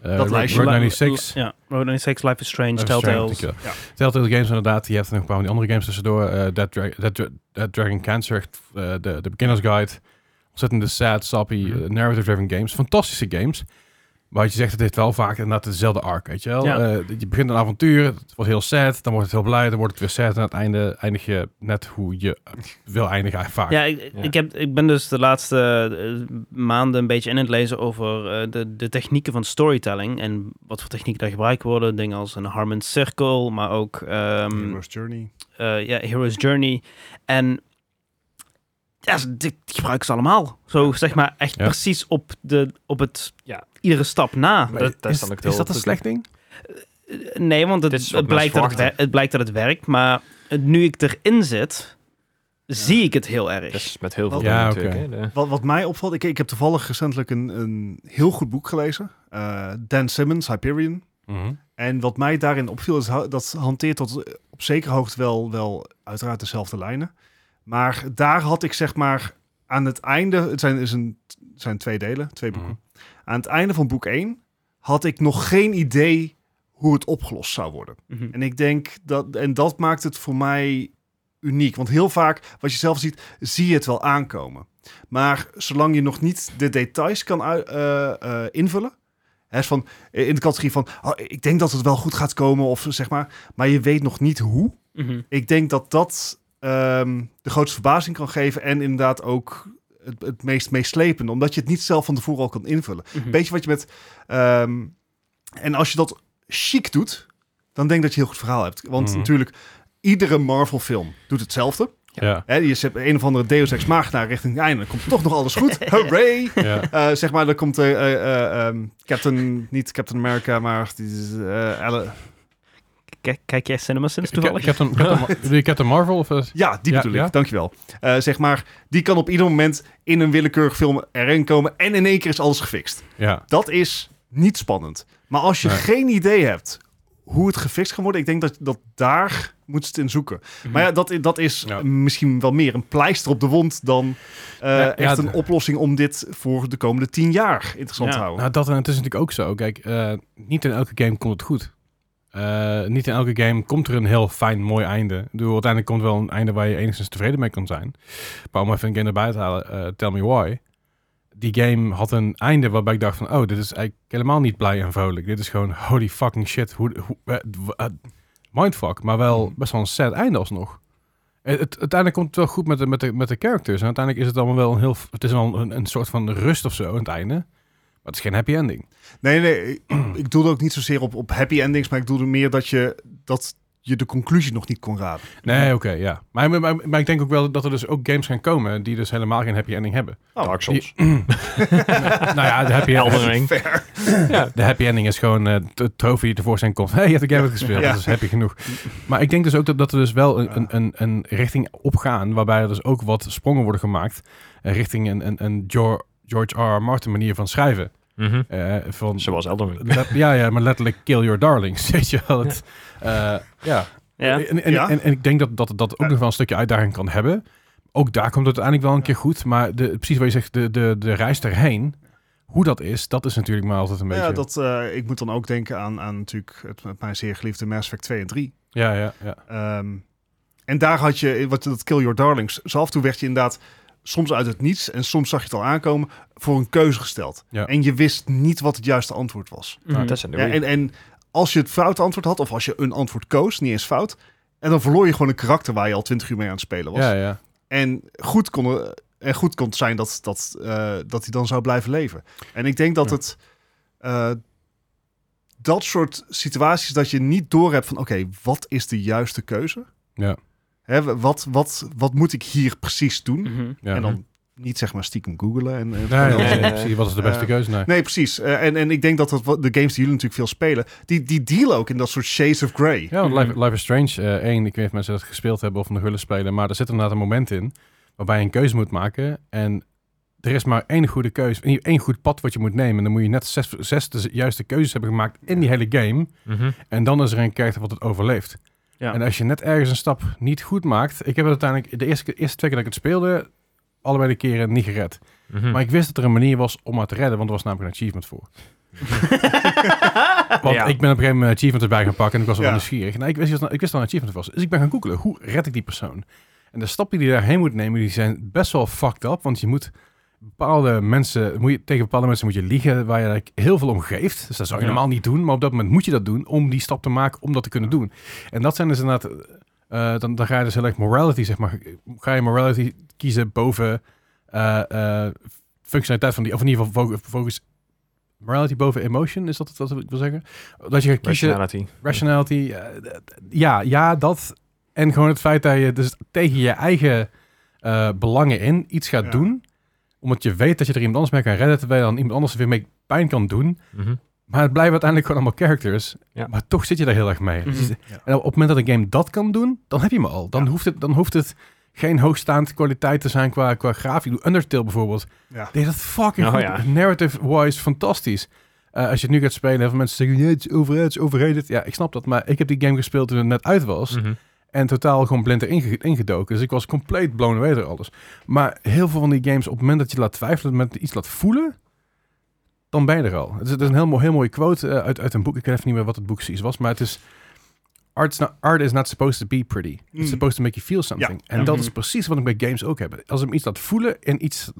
[SPEAKER 3] Eh,
[SPEAKER 4] Dat
[SPEAKER 3] Road-
[SPEAKER 4] lijstje.
[SPEAKER 3] Road 96.
[SPEAKER 1] Ja, Road 96, Life is Strange,
[SPEAKER 3] Life is
[SPEAKER 1] Telltale.
[SPEAKER 3] Strange, dankjewel. Telltale games inderdaad. Je hebt er nog een paar van die andere games tussendoor. eh Dead, Dra- Dead Dra- Dead Dragon Cancer, echt, eh, de, de Beginner's Guide. Ontzettende sad, sappy,
[SPEAKER 2] Mhm.
[SPEAKER 3] eh, narrative-driven games. Fantastische games. Maar wat je zegt, het heeft wel vaak inderdaad dezelfde arc, weet je wel?
[SPEAKER 1] Ja.
[SPEAKER 3] Eh, je begint een avontuur, het wordt heel sad, dan wordt het heel blij, dan wordt het weer sad. En aan het einde eindig je net hoe je eh, wil eindigen eh, vaak.
[SPEAKER 1] Ja, ik,
[SPEAKER 2] Ja.
[SPEAKER 1] Ik, heb, ik ben dus de laatste eh, maanden een beetje in het lezen over eh, de, de technieken van storytelling en wat voor technieken daar gebruikt worden. Dingen als een Harmon Circle, maar ook ehm,
[SPEAKER 4] Hero's Journey.
[SPEAKER 1] eh, ja, Hero's Journey. En ja, ze- dit gebruiken ze allemaal. Zo zeg maar echt
[SPEAKER 3] Ja.
[SPEAKER 1] precies op, de, op het,
[SPEAKER 2] Ja.
[SPEAKER 1] iedere stap na.
[SPEAKER 2] Maar dat- dat
[SPEAKER 3] is,
[SPEAKER 2] is dan ook
[SPEAKER 3] is
[SPEAKER 2] heel
[SPEAKER 3] dat een
[SPEAKER 2] goed.
[SPEAKER 3] slecht ding?
[SPEAKER 1] Eh, Nee, want het,
[SPEAKER 2] Dit is wat
[SPEAKER 1] het
[SPEAKER 2] mensen
[SPEAKER 1] blijkt dat het,
[SPEAKER 2] verwachten.
[SPEAKER 1] wer- het blijkt dat het werkt. Maar eh, nu ik erin zit, zie ik het heel erg.
[SPEAKER 2] Dat is met heel veel
[SPEAKER 3] Ja,
[SPEAKER 2] dingen
[SPEAKER 3] oké.
[SPEAKER 2] natuurlijk. hè, de-
[SPEAKER 4] Wat, wat mij opvalt, ik, ik heb toevallig recentelijk een, een heel goed boek gelezen. Eh, Dan Simmons, Hyperion.
[SPEAKER 3] Mhm.
[SPEAKER 4] En wat mij daarin opviel, is ha- dat hanteert tot eh, op zekere hoogte wel, wel uiteraard dezelfde lijnen. Maar daar had ik zeg maar aan het einde, het zijn, is een, het zijn twee delen, twee boeken. Aan het einde van boek 1 had ik nog geen idee hoe het opgelost zou worden.
[SPEAKER 1] Mhm.
[SPEAKER 4] En ik denk dat, en dat maakt het voor mij uniek. Want heel vaak, wat je zelf ziet, zie je het wel aankomen. Maar zolang je nog niet de details kan ui- eh, eh, invullen. Hè, is van, in de categorie van, oh, ik denk dat het wel goed gaat komen, of zeg maar, maar je weet nog niet hoe.
[SPEAKER 1] Mhm.
[SPEAKER 4] Ik denk dat dat ehm, de grootste verbazing kan geven en inderdaad ook het, het meest meeslepende, omdat je het niet zelf van tevoren al kan invullen.
[SPEAKER 1] Mhm.
[SPEAKER 4] Beetje wat je met. ehm, en als je dat chic doet, dan denk ik dat je een heel goed verhaal hebt. Want
[SPEAKER 3] Mhm.
[SPEAKER 4] natuurlijk, iedere Marvel-film doet hetzelfde.
[SPEAKER 3] Ja.
[SPEAKER 4] Hè, je hebt een of andere Deus Ex Machina richting het einde. Dan komt toch nog alles goed. Hooray!
[SPEAKER 3] ja.
[SPEAKER 4] Eh, zeg maar, dan komt eh, eh, eh, ehm, Captain, niet Captain America, maar die, eh, Ellen-
[SPEAKER 1] Kijk, kijk jij CinemaSins
[SPEAKER 3] Ca-
[SPEAKER 1] toevallig?
[SPEAKER 3] Captain, Captain, Mar- Captain Marvel? Of, eh,
[SPEAKER 4] Ja, die
[SPEAKER 3] Ja,
[SPEAKER 4] bedoel ik.
[SPEAKER 3] ja.
[SPEAKER 4] Dankjewel. Eh zeg maar, die kan op ieder moment in een willekeurig film erin komen. En in één keer is alles gefixt.
[SPEAKER 3] ja.
[SPEAKER 4] Dat is niet spannend. Maar als je
[SPEAKER 3] Nee.
[SPEAKER 4] geen idee hebt hoe het gefixt kan worden, ik denk dat, dat daar moet je het in zoeken. Maar ja, dat, i- dat is
[SPEAKER 3] Mhm. Ja.
[SPEAKER 4] misschien wel meer een pleister op de wond dan eh,
[SPEAKER 3] Ja, ja,
[SPEAKER 4] echt een
[SPEAKER 3] d-
[SPEAKER 4] oplossing om dit voor de komende tien jaar interessant
[SPEAKER 1] Ja.
[SPEAKER 4] te houden.
[SPEAKER 3] Nou, dat en het is natuurlijk ook zo. Kijk, eh, niet in elke game komt het goed. Eh, niet in elke game komt er een heel fijn, mooi einde. Ik bedoel, uiteindelijk komt wel een einde waar je enigszins tevreden mee kan zijn. Maar om even een game erbij te halen, eh, Tell Me Why. Die game had een einde waarbij ik dacht van, oh, dit is eigenlijk helemaal niet blij en vrolijk. Dit is gewoon, holy fucking shit. Hoe, hoe, eh, w- eh, mindfuck, maar wel best wel een sad einde alsnog. Eh, Het, uiteindelijk komt het wel goed met de, met, de, met de characters. En uiteindelijk is het allemaal wel een heel... Het is wel een, een soort van rust of zo aan het einde. Maar het is geen happy ending.
[SPEAKER 4] Nee, nee, ik- ik doelde ook niet zozeer op, op happy endings, maar ik doelde meer dat je, dat je de conclusie nog niet kon raden.
[SPEAKER 3] Nee, oké, ja. Maar, maar, maar, maar ik denk ook wel dat er dus ook games gaan komen die dus helemaal geen happy ending hebben.
[SPEAKER 2] Dark Souls.
[SPEAKER 3] nou ja, de happy,
[SPEAKER 2] Elden Ring.
[SPEAKER 3] de happy ending is gewoon eh, de trofee die tevoorschijn komt. hey, je hebt de game gespeeld,
[SPEAKER 4] Ja.
[SPEAKER 3] dat is happy genoeg. Maar ik denk dus ook dat, dat er dus wel een, een, een, een richting opgaan waarbij er dus ook wat sprongen worden gemaakt eh, richting een, een, een Geor- George R. R. Martin manier van schrijven.
[SPEAKER 2] Mhm.
[SPEAKER 3] Eh, van,
[SPEAKER 2] Zoals Elden Ring.
[SPEAKER 3] let- ja, ja, maar letterlijk kill your darlings, weet je wel. Het, eh, ja.
[SPEAKER 1] Ja.
[SPEAKER 3] En, en,
[SPEAKER 4] Ja.
[SPEAKER 3] en, en ik denk dat dat, dat ook
[SPEAKER 4] Ja.
[SPEAKER 3] nog wel een stukje uitdaging kan hebben. Ook daar komt het uiteindelijk wel een keer goed. Maar de, precies wat je zegt, de, de, de reis erheen, hoe dat is, dat is natuurlijk maar altijd een beetje...
[SPEAKER 4] Ja, dat, eh, ik moet dan ook denken aan, aan natuurlijk het, het mij zeer geliefde Mass Effect 2 en 3.
[SPEAKER 3] ja, ja, ja.
[SPEAKER 4] Ehm, en daar had je, wat dat Kill Your Darlings, zo af en toe werd je inderdaad soms uit het niets en soms zag je het al aankomen, voor een keuze gesteld.
[SPEAKER 3] Ja.
[SPEAKER 4] En je wist niet wat het juiste antwoord was.
[SPEAKER 1] Mhm.
[SPEAKER 2] Nou, dat zijn de
[SPEAKER 4] Ja,
[SPEAKER 2] goeie.
[SPEAKER 4] en, en als je het fout antwoord had, of als je een antwoord koos, niet eens fout, en dan verloor je gewoon een karakter waar je al twintig uur mee aan het spelen was.
[SPEAKER 3] ja, ja.
[SPEAKER 4] En goed kon, eh, en goed kon het zijn dat, dat, eh, dat hij dan zou blijven leven. En ik denk dat
[SPEAKER 3] Ja.
[SPEAKER 4] het... eh, dat soort situaties dat je niet doorhebt van... oké, wat is de juiste keuze?
[SPEAKER 3] Ja.
[SPEAKER 4] Hè, w- wat, wat, wat moet ik hier precies doen?
[SPEAKER 1] Mhm.
[SPEAKER 3] ja.
[SPEAKER 4] En dan niet zeg maar stiekem googlen. En, eh,
[SPEAKER 3] Nee,
[SPEAKER 4] en-
[SPEAKER 3] nee,
[SPEAKER 2] Ja,
[SPEAKER 3] nee,
[SPEAKER 2] ja, ja.
[SPEAKER 3] precies. Wat is de beste
[SPEAKER 4] Eh,
[SPEAKER 3] keuze? Nee.
[SPEAKER 4] Nee, precies. Eh, en, en ik denk dat, dat wat- de games die jullie natuurlijk veel spelen... die, die dealen ook in dat soort shades of grey.
[SPEAKER 3] Ja, want Life, Life is Strange eh, één ik weet niet of mensen dat gespeeld hebben of nog willen spelen, maar er zit inderdaad een moment in waarbij je een keuze moet maken en er is maar één goede keuze, één- één goed pad wat je moet nemen. En dan moet je net zes, zes de juiste keuzes hebben gemaakt in die hele game.
[SPEAKER 2] Mhm.
[SPEAKER 3] En dan is er een karakter wat het overleeft.
[SPEAKER 1] Ja.
[SPEAKER 3] En als je net ergens een stap niet goed maakt... Ik heb het uiteindelijk de eerste, eerste twee keer dat ik het speelde... allebei de keren niet gered.
[SPEAKER 2] Mhm.
[SPEAKER 3] Maar ik wist dat er een manier was om haar te redden... want er was namelijk een achievement voor. Want
[SPEAKER 2] Ja.
[SPEAKER 3] ik ben op een gegeven moment een achievement erbij gaan pakken... en ik was wel
[SPEAKER 4] Ja.
[SPEAKER 3] nieuwsgierig. Nou, ik wist, dat- ik wist dat er een achievement was. Dus ik ben gaan googlen. Hoe red ik die persoon? En de stappen die je daarheen moet nemen... die zijn best wel fucked up. Want je moet bepaalde mensen... Moet je, tegen bepaalde mensen moet je liegen... waar je eigenlijk heel veel om geeft. Dus dat zou je
[SPEAKER 2] Ja.
[SPEAKER 3] normaal niet doen. Maar op dat moment moet je dat doen... om die stap te maken om dat te kunnen doen. En dat zijn dus inderdaad... eh, dan, dan ga je dus heel erg morality, zeg maar. Ga je morality kiezen boven eh, eh, functionaliteit van die... Of in ieder geval fo- focus... Morality boven emotion, is dat het wat ik wil zeggen? Dat je gaat kiezen...
[SPEAKER 2] Rationality.
[SPEAKER 3] Rationality. eh, d- d- ja, ja, dat. En gewoon het feit dat je dus tegen je eigen eh, belangen in iets gaat
[SPEAKER 4] Ja.
[SPEAKER 3] doen. Omdat je weet dat je er iemand anders mee kan redden. Terwijl je dan iemand anders er weer mee pijn kan doen.
[SPEAKER 2] Mhm.
[SPEAKER 3] Maar het blijven uiteindelijk gewoon allemaal characters.
[SPEAKER 2] Ja.
[SPEAKER 3] Maar toch zit je daar heel erg mee. Dus-
[SPEAKER 1] Mhm.
[SPEAKER 4] Ja.
[SPEAKER 3] En op het moment dat een game dat kan doen, dan heb je me al. Dan,
[SPEAKER 4] Ja.
[SPEAKER 3] hoeft, het, dan hoeft het geen hoogstaand kwaliteit te zijn qua, qua grafiek. Undertale bijvoorbeeld.
[SPEAKER 4] Ja.
[SPEAKER 3] Deed dat fucking
[SPEAKER 2] Oh,
[SPEAKER 3] goed.
[SPEAKER 2] ja.
[SPEAKER 3] Narrative-wise fantastisch. Eh, als je het nu gaat spelen, heel veel mensen zeggen... "Ja, het is overrated, het is overrated." Ja, ik snap dat. Maar ik heb die game gespeeld toen het net uit was.
[SPEAKER 2] Mhm.
[SPEAKER 3] En totaal gewoon blind erin ge- ingedoken. Dus ik was compleet blown away door alles. Maar heel veel van die games, op het moment dat je laat twijfelen... met iets laat voelen, dan ben je er al. Het is, het is een heel, mooi, heel mooie quote eh, uit, uit een boek. Ik weet even niet meer wat het boek precies was. Maar het is... Art is not, art is not supposed to be pretty.
[SPEAKER 4] Mm.
[SPEAKER 3] It's supposed to make you feel something. En
[SPEAKER 1] Hmm. Ja.
[SPEAKER 3] dat
[SPEAKER 1] Mhm.
[SPEAKER 3] is precies wat ik bij games ook heb. Als ik me iets laat voelen en iets...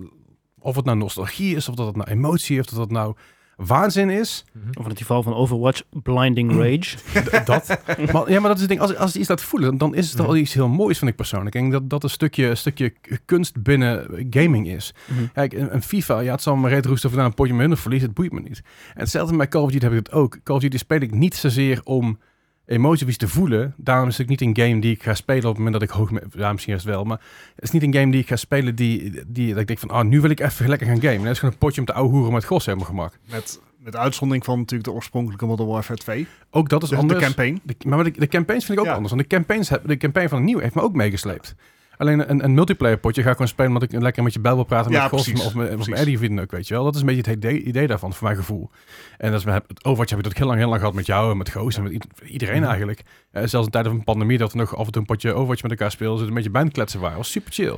[SPEAKER 3] Of het nou nostalgie is, of dat het nou emotie is, of dat het nou waanzin is...
[SPEAKER 1] Of in het geval van Overwatch, Blinding Rage.
[SPEAKER 3] D- dat. Maar, ja, maar dat is het ding. Als, als je iets laat voelen, dan is het
[SPEAKER 4] Mhm.
[SPEAKER 3] al iets heel moois, vind ik persoonlijk. Ik denk dat dat een stukje, een stukje k- kunst binnen gaming is.
[SPEAKER 1] Mhm.
[SPEAKER 3] Kijk, een, een FIFA, ja, het zal me reet roesten of ik daar een potje met hun verlies, het boeit me niet. En hetzelfde bij Call of Duty heb ik het ook. Call of Duty speel ik niet zozeer om emoties of iets te voelen. Daarom is het niet een game die ik ga spelen op het moment dat ik hoog... me- Ja, misschien is het wel, maar het is niet een game die ik ga spelen die, die dat ik denk van, ah, nu wil ik even lekker gaan gamen. Dat is gewoon een potje om te ouwhoeren met gos helemaal gemak.
[SPEAKER 4] Met, met uitzondering van natuurlijk de oorspronkelijke Modern Warfare 2.
[SPEAKER 3] Ook dat is
[SPEAKER 4] Dus de, de
[SPEAKER 3] anders.
[SPEAKER 4] campaign.
[SPEAKER 3] De, maar de, de campaigns vind ik ook
[SPEAKER 4] Ja.
[SPEAKER 3] anders. Want de, campaigns, heb- de campaign van het nieuwe heeft me ook meegesleept. Alleen een, een multiplayer potje ga ik gewoon spelen omdat ik lekker met je bel wil praten.
[SPEAKER 4] Ja,
[SPEAKER 3] met Gos
[SPEAKER 4] precies.
[SPEAKER 3] of met, of met
[SPEAKER 4] Precies.
[SPEAKER 3] Eddie of wie dan ook, weet je wel. Dat is een beetje het idee, idee daarvan, voor mijn gevoel. En dat is met het Overwatch heb ik dat heel lang, heel lang gehad met jou en met Goos en met i- iedereen
[SPEAKER 4] Mhm.
[SPEAKER 3] eigenlijk. Eh, zelfs in tijden van een pandemie dat we nog af en toe een potje Overwatch met elkaar speelden. Dus een beetje bandkletsen waren. was super chill.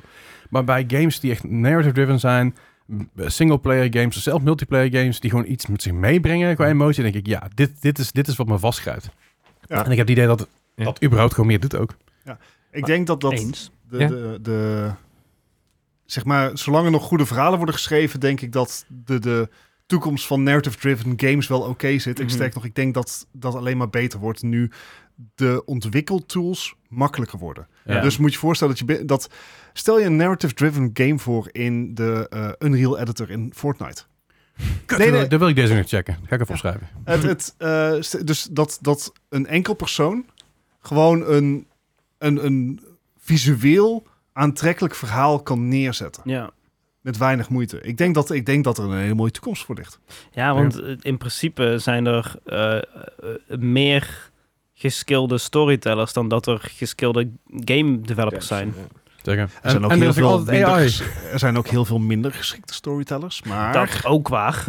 [SPEAKER 3] Maar bij games die echt narrative-driven zijn, eh, single-player games, zelf
[SPEAKER 4] Mhm.
[SPEAKER 3] multiplayer games, die gewoon iets met zich meebrengen qua emotie, denk ik, ja, dit, dit, is, dit is wat me vastgrijpt.
[SPEAKER 4] Ja.
[SPEAKER 3] En ik heb het idee dat
[SPEAKER 2] Ja.
[SPEAKER 3] dat überhaupt gewoon meer doet ook.
[SPEAKER 4] Ik denk dat dat
[SPEAKER 1] Eens.
[SPEAKER 4] de,
[SPEAKER 2] Ja.
[SPEAKER 4] de, de, zeg maar, zolang er nog goede verhalen worden geschreven, denk ik dat de, de toekomst van narrative-driven games wel oké zit. Ik
[SPEAKER 1] Mhm.
[SPEAKER 4] sterk nog, ik denk dat dat alleen maar beter wordt nu de ontwikkeltools makkelijker worden.
[SPEAKER 3] Ja.
[SPEAKER 4] Dus moet je voorstellen dat je bi- dat stel je een narrative-driven game voor in de eh, Unreal Editor in Fortnite.
[SPEAKER 3] Kut,
[SPEAKER 4] nee,
[SPEAKER 3] dat-
[SPEAKER 4] nee.
[SPEAKER 3] Dat wil ik deze nog checken. Ga ik even opschrijven.
[SPEAKER 4] Het, het, eh, st- dus dat, dat een enkel persoon gewoon een, een, een visueel aantrekkelijk verhaal kan neerzetten.
[SPEAKER 1] Ja.
[SPEAKER 4] Met weinig moeite. Ik denk dat, ik denk dat er een hele mooie toekomst voor ligt.
[SPEAKER 1] ja, want eh, in principe zijn er eh, eh, meer geskilde storytellers dan dat er geskilde game developers zijn.
[SPEAKER 2] Ja.
[SPEAKER 3] Zeggen.
[SPEAKER 4] Er zijn,
[SPEAKER 3] En,
[SPEAKER 4] ook
[SPEAKER 3] en er
[SPEAKER 4] heel
[SPEAKER 3] is ook
[SPEAKER 4] veel
[SPEAKER 3] altijd
[SPEAKER 4] minder,
[SPEAKER 3] AI.
[SPEAKER 4] ges- er zijn ook heel veel minder geschikte storytellers. Maar
[SPEAKER 1] Dat ook waar.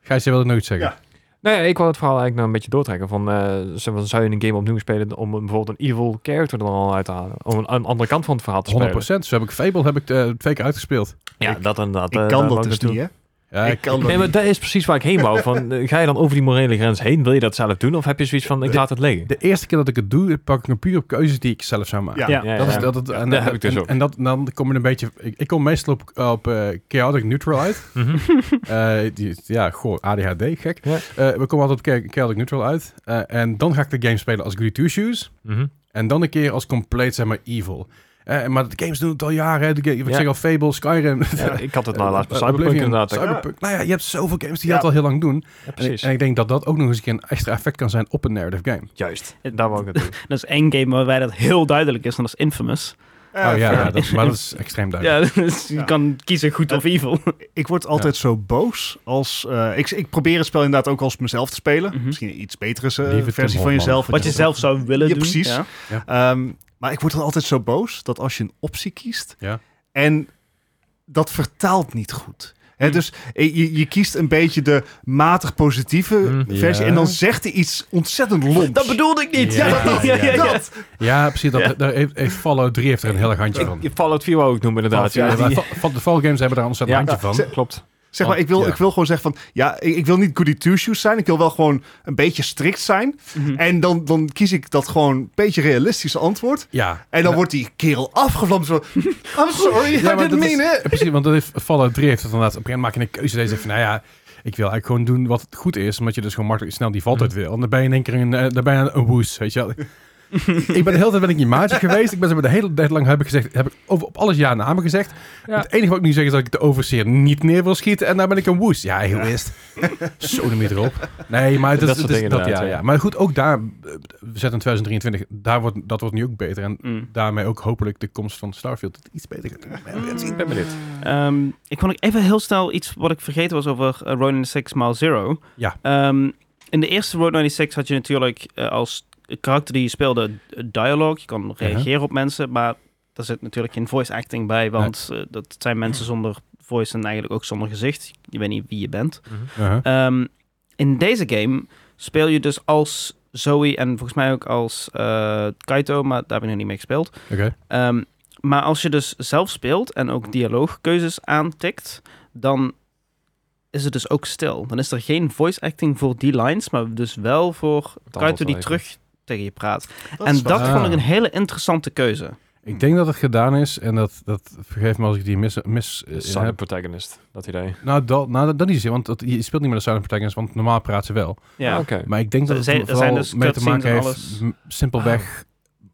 [SPEAKER 3] Gijs, jij wilde nog iets zeggen?
[SPEAKER 4] Ja.
[SPEAKER 2] Nou ja, ik wil het verhaal eigenlijk nou een beetje doortrekken. Van, eh, zeg maar, zou je een game opnieuw spelen om een- bijvoorbeeld een evil character er dan al uit te halen? Om een, een andere kant van het verhaal te spelen.
[SPEAKER 3] 100 procent. Zo heb ik Fable heb ik, eh, twee keer uitgespeeld.
[SPEAKER 2] Ja, dat inderdaad.
[SPEAKER 4] ik
[SPEAKER 2] eh,
[SPEAKER 4] kan
[SPEAKER 2] daar wou
[SPEAKER 4] dat
[SPEAKER 2] ik
[SPEAKER 4] dus
[SPEAKER 2] naartoe.
[SPEAKER 4] niet, hè?
[SPEAKER 3] Ja,
[SPEAKER 4] ik kan dat
[SPEAKER 2] Nee, maar
[SPEAKER 4] niet.
[SPEAKER 2] dat is precies waar ik heen wou. Van, eh, ga je dan over die morele grens heen? Wil je dat zelf doen? Of heb je zoiets van, ik
[SPEAKER 3] De-
[SPEAKER 2] laat het liggen?
[SPEAKER 3] De eerste keer dat ik het doe, pak ik een puur op keuzes die ik zelf zou maken.
[SPEAKER 4] Ja.
[SPEAKER 1] Ja.
[SPEAKER 2] Ja,
[SPEAKER 3] Dat
[SPEAKER 2] ja.
[SPEAKER 3] is, dat, het- en,
[SPEAKER 2] dat heb ik dus
[SPEAKER 3] en-
[SPEAKER 2] ook.
[SPEAKER 3] En dat, dan kom je een beetje... Ik, ik kom meestal op, op eh, chaotic neutral uit.
[SPEAKER 2] Mhm.
[SPEAKER 3] Eh, die, ja, goh, ADHD, gek.
[SPEAKER 2] Ja.
[SPEAKER 3] Eh, we komen altijd op cha- chaotic neutral uit. Eh, en dan ga ik de game spelen als Goody Two-Shoes.
[SPEAKER 2] Mhm.
[SPEAKER 3] En dan een keer als compleet, zeg maar, evil. Eh, maar de games doen het al jaren. hè. De, ga- ik
[SPEAKER 2] Ja.
[SPEAKER 3] zeg al Fable, Skyrim.
[SPEAKER 2] Ja, ik had het nou
[SPEAKER 3] eh,
[SPEAKER 2] laatst bij
[SPEAKER 3] eh,
[SPEAKER 2] Cyberpunk
[SPEAKER 3] Oblivion,
[SPEAKER 2] inderdaad.
[SPEAKER 3] Cyberpunk. Nou ja, je hebt zoveel games die
[SPEAKER 4] Ja.
[SPEAKER 3] dat al heel lang doen.
[SPEAKER 2] Ja,
[SPEAKER 3] En ik,
[SPEAKER 2] precies.
[SPEAKER 3] en ik denk dat dat ook nog eens een keer een extra effect kan zijn op een narrative game.
[SPEAKER 2] Juist. Daar wou ik het doen.
[SPEAKER 1] Dat is één game waarbij dat heel duidelijk is en dat is Infamous.
[SPEAKER 4] Eh,
[SPEAKER 3] oh ja,
[SPEAKER 4] fair.
[SPEAKER 3] ja, dat, maar dat is extreem duidelijk.
[SPEAKER 1] Ja, dus je
[SPEAKER 4] Ja.
[SPEAKER 1] kan kiezen goed of evil.
[SPEAKER 4] Ik word altijd zo boos als... eh, ik, ik probeer het spel inderdaad ook als mezelf te spelen.
[SPEAKER 1] Mhm.
[SPEAKER 4] Misschien een iets betere eh,
[SPEAKER 3] Lieve Tim
[SPEAKER 4] versie van
[SPEAKER 3] Hofman.
[SPEAKER 4] jezelf.
[SPEAKER 1] Wat je zelf zou willen
[SPEAKER 4] Ja,
[SPEAKER 1] doen.
[SPEAKER 4] precies.
[SPEAKER 1] Ja.
[SPEAKER 4] Ehm, maar ik word dan altijd zo boos dat als je een optie kiest
[SPEAKER 3] Ja.
[SPEAKER 4] en dat vertaalt niet goed. Hè,
[SPEAKER 1] Hmm.
[SPEAKER 4] Dus eh, je, je kiest een beetje de matig positieve
[SPEAKER 2] Hmm.
[SPEAKER 4] versie
[SPEAKER 3] Ja.
[SPEAKER 4] en dan zegt hij iets ontzettend lomps.
[SPEAKER 1] Dat bedoelde ik niet.
[SPEAKER 3] Ja,
[SPEAKER 1] Ja, dat-
[SPEAKER 3] ja,
[SPEAKER 1] ja, ja, ja.
[SPEAKER 4] Dat.
[SPEAKER 3] Ja, precies. Dat,
[SPEAKER 1] Ja.
[SPEAKER 3] Daar heeft, heeft Fallout 3 heeft er een heel erg handje van.
[SPEAKER 2] Je Fallout 4 wou ik noemen inderdaad.
[SPEAKER 4] Fallout,
[SPEAKER 2] Ja,
[SPEAKER 3] Ja,
[SPEAKER 2] die-
[SPEAKER 3] maar va- van de Fall Games hebben daar ons een
[SPEAKER 2] Ja.
[SPEAKER 3] handje
[SPEAKER 2] Ja.
[SPEAKER 3] van.
[SPEAKER 2] Ze- Klopt.
[SPEAKER 4] Zeg maar, ik wil,
[SPEAKER 3] Ja.
[SPEAKER 4] ik wil gewoon zeggen van, ja, ik, ik wil niet goody two-shoes zijn. Ik wil wel gewoon een beetje strikt zijn.
[SPEAKER 1] Mhm.
[SPEAKER 4] En dan, dan kies ik dat gewoon een beetje realistische antwoord.
[SPEAKER 3] Ja.
[SPEAKER 4] En dan wordt die kerel afgevlamd. Zo, I'm Oh, sorry,
[SPEAKER 3] maar
[SPEAKER 4] I didn't
[SPEAKER 3] dat is-
[SPEAKER 4] mean it.
[SPEAKER 3] Ja, Precies, want dat heeft, Fallout 3 heeft het inderdaad. Op een gegeven moment maak je een keuze deze van, nou ja, ik wil eigenlijk gewoon doen wat goed is, omdat je dus gewoon makkelijk snel die valt
[SPEAKER 2] Mhm.
[SPEAKER 3] uit wil. En dan ben je in één keer een, eh, dan ben je een woes, weet je wel. ik ben de hele tijd ben ik niet maatje geweest. Ik ben zeg maar de hele tijd lang heb ik gezegd, heb ik over, op alles ja namen gezegd.
[SPEAKER 2] Ja.
[SPEAKER 3] Het enige wat ik nu zeg is dat ik de overseer niet neer wil schieten en daar ben ik een woes. Ja, heel eerst. Zo de meter op. Nee, maar het is,
[SPEAKER 2] Dat soort
[SPEAKER 3] het is
[SPEAKER 2] dingen
[SPEAKER 3] dat, ja,
[SPEAKER 2] inderdaad, ja.
[SPEAKER 3] ja. Maar goed, ook daar, eh, we zetten in 2023, daar wordt, dat wordt nu ook beter. En
[SPEAKER 1] Mm.
[SPEAKER 3] daarmee ook hopelijk de komst van Starfield het iets beter gaat doen. Maar we gaan het zien.
[SPEAKER 2] Ik ben benieuwd.
[SPEAKER 1] Ehm, ik kon ook even heel snel iets wat ik vergeten was over eh, Road 96 Mile Zero.
[SPEAKER 3] Ja.
[SPEAKER 1] Ehm, in de eerste Road 96 had je natuurlijk eh, als karakter die je speelde eh, dialogue. Je kan reageren op mensen, maar daar zit natuurlijk geen voice acting bij. Want eh, dat zijn mensen zonder voice en eigenlijk ook zonder gezicht. Je weet niet wie je bent.
[SPEAKER 3] Uh-huh.
[SPEAKER 1] Ehm, in deze game speel je dus als Zoe en volgens mij ook als eh, Kaito, maar daar heb ik nog niet mee gespeeld.
[SPEAKER 3] Oké.
[SPEAKER 1] Ehm, maar als je dus zelf speelt en ook dialoogkeuzes aantikt, dan is het dus ook stil. Dan is er geen voice acting voor die lines, maar dus wel voor Kaito die
[SPEAKER 2] even.
[SPEAKER 1] terug tegen je praat.
[SPEAKER 4] Dat
[SPEAKER 1] en
[SPEAKER 4] is wel-
[SPEAKER 1] dat
[SPEAKER 3] Ah.
[SPEAKER 1] vond ik een hele interessante keuze.
[SPEAKER 3] Ik denk dat het gedaan is en dat, dat vergeef me als ik die mis, mis eh, in
[SPEAKER 2] Silent
[SPEAKER 3] heb.
[SPEAKER 2] protagonist, dat idee.
[SPEAKER 3] Nou, dat, nou, dat, dat is het, want dat, je speelt niet met de silent protagonist, want normaal praat ze wel.
[SPEAKER 1] Ja.
[SPEAKER 2] Ah, Oké.
[SPEAKER 3] Maar ik denk dat het
[SPEAKER 1] Zijn- er
[SPEAKER 3] vooral
[SPEAKER 1] zijn dus
[SPEAKER 3] mee te maken heeft,
[SPEAKER 1] cutscenes en
[SPEAKER 3] m- simpelweg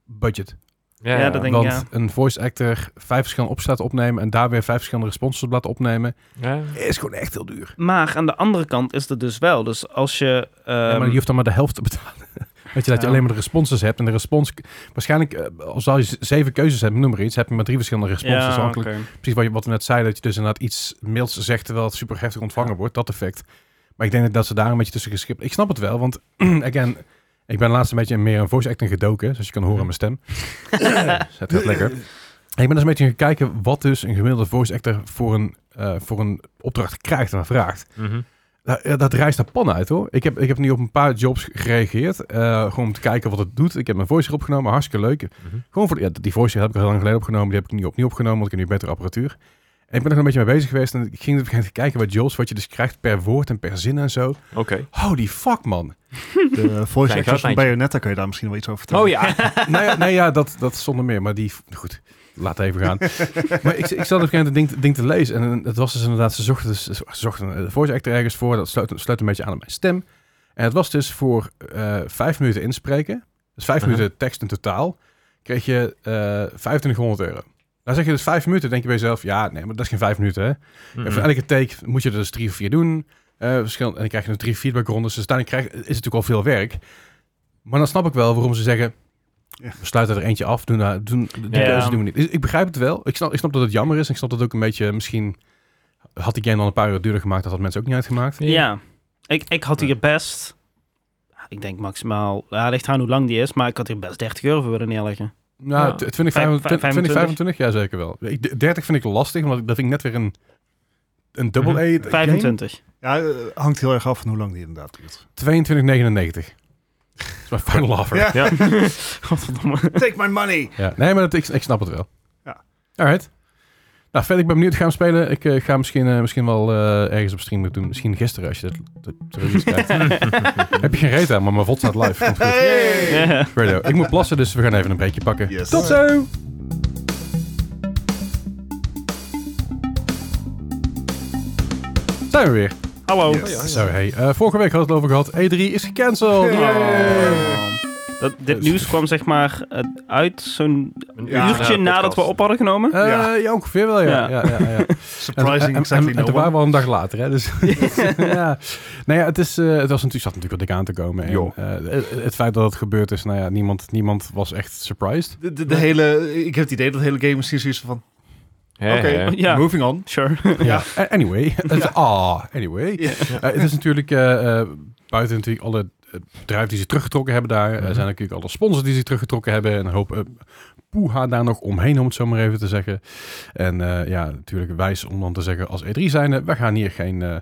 [SPEAKER 3] budget.
[SPEAKER 1] Ja, dat denk ik,
[SPEAKER 3] want
[SPEAKER 1] ja.
[SPEAKER 3] een voice actor vijf verschillende opstaan opnemen en daar weer vijf verschillende responses op laten opnemen,
[SPEAKER 2] Ja.
[SPEAKER 3] is gewoon echt heel duur.
[SPEAKER 1] Maar aan de andere kant is dat dus wel. Dus als je...
[SPEAKER 3] Ja, maar
[SPEAKER 1] ehm,
[SPEAKER 3] je hoeft dan maar de helft te betalen. Weet je, dat
[SPEAKER 1] Ja.
[SPEAKER 3] je alleen maar de responses hebt. En de respons... Waarschijnlijk, eh, als al je z- zeven keuzes hebt, noem maar iets, heb je maar drie verschillende responses.
[SPEAKER 1] ja,
[SPEAKER 3] afhankelijk
[SPEAKER 1] oké.
[SPEAKER 3] precies wat, je, wat we net zeiden, dat je dus inderdaad iets mails zegt terwijl het super heftig ontvangen wordt, dat effect. Maar ik denk dat ze daar een beetje tussen geschipt. Ik snap het wel, want again, ik ben laatst een beetje meer in voice acting gedoken, zoals je kan horen aan mijn stem. Het gaat lekker. En ik ben dus een beetje gaan kijken wat dus een gemiddelde voice actor voor een, eh, voor een opdracht krijgt en vraagt.
[SPEAKER 2] Mhm.
[SPEAKER 3] Nou, ja, dat reist naar pan uit hoor. Ik heb, ik heb nu op een paar jobs gereageerd. eh, gewoon om te kijken wat het doet. Ik heb mijn voice opgenomen. Hartstikke leuk.
[SPEAKER 2] Mhm.
[SPEAKER 3] Gewoon voor, de- ja, die voice heb ik al heel lang geleden opgenomen. Die heb ik nu opnieuw opgenomen. Want ik heb nu betere apparatuur. En ik ben er nog een beetje mee bezig geweest. En ik ging op een gegeven moment kijken bij Jules wat je dus krijgt per woord en per zin en zo.
[SPEAKER 2] Oké.
[SPEAKER 3] Holy fuck, man.
[SPEAKER 4] De voice
[SPEAKER 2] Kijk,
[SPEAKER 4] actors van
[SPEAKER 2] uitlijntje.
[SPEAKER 4] Bayonetta kun je daar misschien wel iets over vertellen.
[SPEAKER 2] Oh ja.
[SPEAKER 3] nou ja, nee, ja dat, dat zonder meer. Maar die... Goed, laat even gaan. maar ik, ik zat op een gegeven moment het ding, ding te lezen. En het was dus inderdaad... Ze zochten, dus- ze zochten een voice actor ergens voor. Dat sluit, sluit een beetje aan op mijn stem. En het was dus voor eh, vijf minuten inspreken. Dus vijf
[SPEAKER 2] Aha.
[SPEAKER 3] minuten tekst in totaal. Kreeg je eh 2500 euro. Nou zeg je dus vijf minuten, denk je bij jezelf... Ja, nee, maar dat is geen vijf minuten, hè?
[SPEAKER 2] Mhm.
[SPEAKER 3] En voor elke take moet je er dus drie of vier doen. Eh, verschillend, en dan krijg je nog drie feedbackrondes. Dus uiteindelijk krijg, is het natuurlijk al veel werk. Maar dan snap ik wel waarom ze zeggen...
[SPEAKER 4] Ja.
[SPEAKER 3] We sluiten er eentje af, doen, daar- doen, die
[SPEAKER 2] Ja.
[SPEAKER 3] keuze doen we niet. Ik, ik begrijp het wel. Ik snap, ik snap dat het jammer is. Ik snap dat ook een beetje... Misschien had die game al een paar uur duurder gemaakt... dat had mensen ook niet uitgemaakt.
[SPEAKER 1] Ja, ik, ik had hier best, ik denk maximaal, ja, ligt aan hoe lang die is, maar ik had hier best 30 euro voor willen neerleggen.
[SPEAKER 3] Nou,
[SPEAKER 2] Ja.
[SPEAKER 3] t- 20,
[SPEAKER 1] Vijf-
[SPEAKER 3] 25,
[SPEAKER 1] vijf-
[SPEAKER 3] 20, 25, ja zeker wel. Ik, d- 30 vind ik lastig, want ik- dat vind ik net weer een... Een double A game.
[SPEAKER 1] 25.
[SPEAKER 4] Ja, eh, hangt heel erg af van hoe lang die inderdaad duurt.
[SPEAKER 3] 22,99. Dat is mijn final offer.
[SPEAKER 4] Ja.
[SPEAKER 2] Ja.
[SPEAKER 1] Godverdomme.
[SPEAKER 4] Take my money!
[SPEAKER 3] Ja, nee, maar dat, ik, ik snap het wel.
[SPEAKER 4] Ja.
[SPEAKER 3] Alright. Nou, verder, ik ben benieuwd. Gaan we spelen? Ik eh, ga misschien, eh, misschien wel eh, ergens op stream doen. Misschien gisteren, als je dat, dat, dat release kijkt. Heb je geen reet aan, maar mijn VOD staat live. Komt goed.
[SPEAKER 4] Hey!
[SPEAKER 1] Ja.
[SPEAKER 3] Radio. Ik moet plassen, dus we gaan even een breekje pakken.
[SPEAKER 4] Yes.
[SPEAKER 3] Tot zo! Zijn we weer.
[SPEAKER 1] Hallo.
[SPEAKER 4] Yes. ja, ja.
[SPEAKER 3] Zo, hey. eh, vorige week hadden we het over gehad. E3 is gecanceld.
[SPEAKER 4] Hey.
[SPEAKER 3] Yay.
[SPEAKER 1] Dat, dit nieuws kwam zeg maar eh, uit zo'n
[SPEAKER 2] Ah,
[SPEAKER 4] Ja,
[SPEAKER 1] uurtje
[SPEAKER 3] nou,
[SPEAKER 1] nadat we op hadden genomen.
[SPEAKER 3] Eh,
[SPEAKER 4] Ja.
[SPEAKER 3] ja. ongeveer wel, ja. ja. ja, ja, ja.
[SPEAKER 4] Surprising
[SPEAKER 3] en,
[SPEAKER 4] exactly
[SPEAKER 3] en, en
[SPEAKER 4] no
[SPEAKER 3] toen waren
[SPEAKER 4] one.
[SPEAKER 3] we al een dag later, hè? Dus, ja. Nou ja, het, is, eh, het was natuurlijk, zat natuurlijk al dik aan te komen. En,
[SPEAKER 2] Jo.
[SPEAKER 3] eh, het, het feit dat het gebeurd is, nou ja, niemand, niemand was echt surprised.
[SPEAKER 4] De, de- de hele, ik heb het idee dat de hele game misschien zoiets van... Oké,
[SPEAKER 1] Ja.
[SPEAKER 4] moving on.
[SPEAKER 1] Sure.
[SPEAKER 3] Ja. Anyway. Het- Ah, anyway.
[SPEAKER 4] Ja.
[SPEAKER 3] Eh, het is natuurlijk, eh, eh, buiten natuurlijk alle eh, bedrijven die ze teruggetrokken hebben daar, eh,
[SPEAKER 2] Mhm.
[SPEAKER 3] zijn natuurlijk alle sponsors die ze teruggetrokken hebben en een hoop eh, poeha daar nog omheen, om het zo maar even te zeggen. En eh, ja, natuurlijk wijs om dan te zeggen, als E3 zijnde, we gaan hier geen... eh,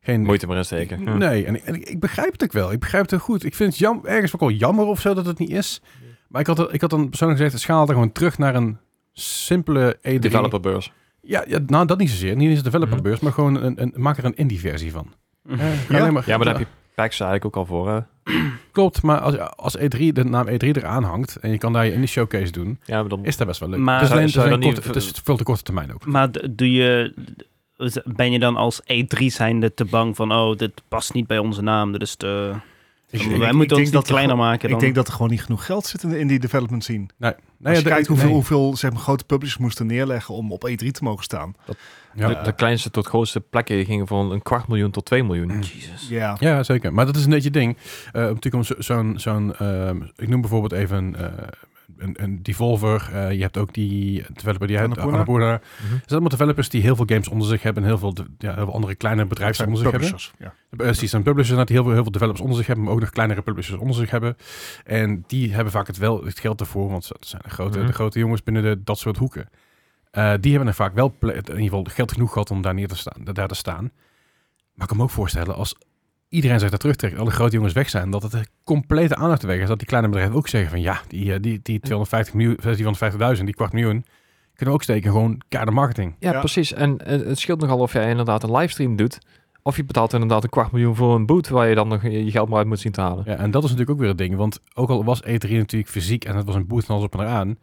[SPEAKER 3] geen
[SPEAKER 2] Moeite maar insteken. Ja.
[SPEAKER 3] Nee, en, ik, en ik, ik begrijp het ook wel. Ik begrijp het heel goed. Ik vind het jam, ergens ook wel jammer of zo dat het niet is. Maar ik had, er- ik had dan persoonlijk gezegd, schaal er gewoon terug naar een simpele E3.
[SPEAKER 2] Developerbeurs.
[SPEAKER 3] Ja, ja, nou dat niet zozeer. Niet eens een developerbeurs, maar gewoon een, een, maak er een indie versie van. Ga alleen maar-
[SPEAKER 2] Mhm. Ja, maar daar heb je PAX eigenlijk ook al voor. hè?
[SPEAKER 3] Klopt, maar als, als E3 de naam E3 eraan hangt en je kan daar je indie showcase doen,
[SPEAKER 2] Ja, maar dan...
[SPEAKER 3] is dat best wel leuk.
[SPEAKER 1] Maar-
[SPEAKER 3] het, is alleen, het, is
[SPEAKER 2] Zou- zou
[SPEAKER 3] alleen
[SPEAKER 2] dan
[SPEAKER 3] korte-
[SPEAKER 2] niet-
[SPEAKER 3] het is veel te korte termijn ook.
[SPEAKER 1] Maar d- doe je, d- ben je dan als E3 zijnde te bang van, oh, dit past niet bij onze naam, dit is te...
[SPEAKER 4] Ik-
[SPEAKER 1] wij
[SPEAKER 4] ik- ik
[SPEAKER 1] moeten
[SPEAKER 4] denk
[SPEAKER 1] ons
[SPEAKER 4] dat
[SPEAKER 1] niet
[SPEAKER 4] er
[SPEAKER 1] kleiner maken dan...
[SPEAKER 4] Ik denk dat er gewoon niet genoeg geld zit in de indie development scene.
[SPEAKER 3] Nou
[SPEAKER 4] Als je
[SPEAKER 3] ja,
[SPEAKER 4] kijkt
[SPEAKER 3] de-
[SPEAKER 4] hoeveel,
[SPEAKER 3] nee.
[SPEAKER 4] hoeveel zeg maar, grote publishers moesten neerleggen om op E3 te mogen staan.
[SPEAKER 3] Ja.
[SPEAKER 2] de, de kleinste tot grootste plekken gingen van een kwart miljoen tot 2 miljoen.
[SPEAKER 1] Jezus.
[SPEAKER 4] Ja.
[SPEAKER 3] Ja, zeker. Maar dat is een beetje het ding. Eh, natuurlijk om zo- zo'n, zo'n ehm, ik noem bijvoorbeeld even een, eh, een, een Devolver. Eh, je hebt ook die developer die uit
[SPEAKER 4] Annapurna.
[SPEAKER 3] Annapurna. Het
[SPEAKER 2] Mhm.
[SPEAKER 3] zijn allemaal developers die heel veel games onder zich hebben en heel veel, de- ja, heel veel andere kleine
[SPEAKER 4] Dat
[SPEAKER 3] bedrijven
[SPEAKER 4] zijn
[SPEAKER 3] onder zich hebben.
[SPEAKER 4] publishers. Ja.
[SPEAKER 3] Precies, zijn Eh, publishers dat die heel veel, heel veel developers onder zich hebben, maar ook nog kleinere publishers onder zich hebben. En die hebben vaak het, wel, het geld ervoor, want dat zijn de grote,
[SPEAKER 2] Mhm.
[SPEAKER 3] de grote jongens binnen de, dat soort hoeken. Eh, die hebben er vaak wel ple- in ieder geval geld genoeg gehad om daar neer te staan. Daar te staan. Maar ik kan me ook voorstellen, als iedereen zich daar terugtrekt, alle grote jongens weg zijn, dat het een complete aandacht weg is. Dat die kleine bedrijven ook zeggen van ja, die, eh, die, die 250 miljoen, eh, die 150.000, die kwart miljoen, kunnen we ook steken gewoon kader marketing.
[SPEAKER 2] Ja,
[SPEAKER 4] Ja.
[SPEAKER 2] precies. En, eh, het scheelt nogal of jij inderdaad een livestream doet. Of je betaalt inderdaad een kwart miljoen voor een boot waar je dan nog je je geld maar uit moet zien te halen.
[SPEAKER 3] Ja, en dat is natuurlijk ook weer het ding, want ook al was E3 natuurlijk fysiek en het was een boot en alles op en eraan,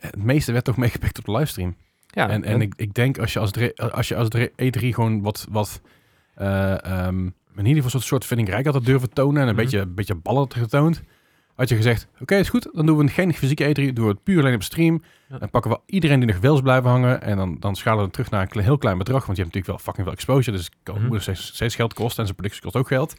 [SPEAKER 3] het meeste werd toch meegepikt op de livestream.
[SPEAKER 2] Ja,
[SPEAKER 3] en en ik, ik denk als je als, dre- als, je als dre- E3 gewoon wat, wat eh, ehm, in ieder geval een soort vindingrijk had durven tonen en een
[SPEAKER 2] Mhm.
[SPEAKER 3] beetje, een beetje ballen had getoond, had je gezegd, oké, is goed, dan doen we geen fysieke E3, doen we het puur alleen op stream.
[SPEAKER 2] Ja.
[SPEAKER 3] Dan pakken we iedereen die nog wel is blijven hangen en dan, dan schalen we het terug naar een kle- heel klein bedrag, want je hebt natuurlijk wel fucking veel exposure, dus het kan
[SPEAKER 2] Mhm.
[SPEAKER 3] moet nog steeds, steeds geld kosten en zijn productie kost ook geld.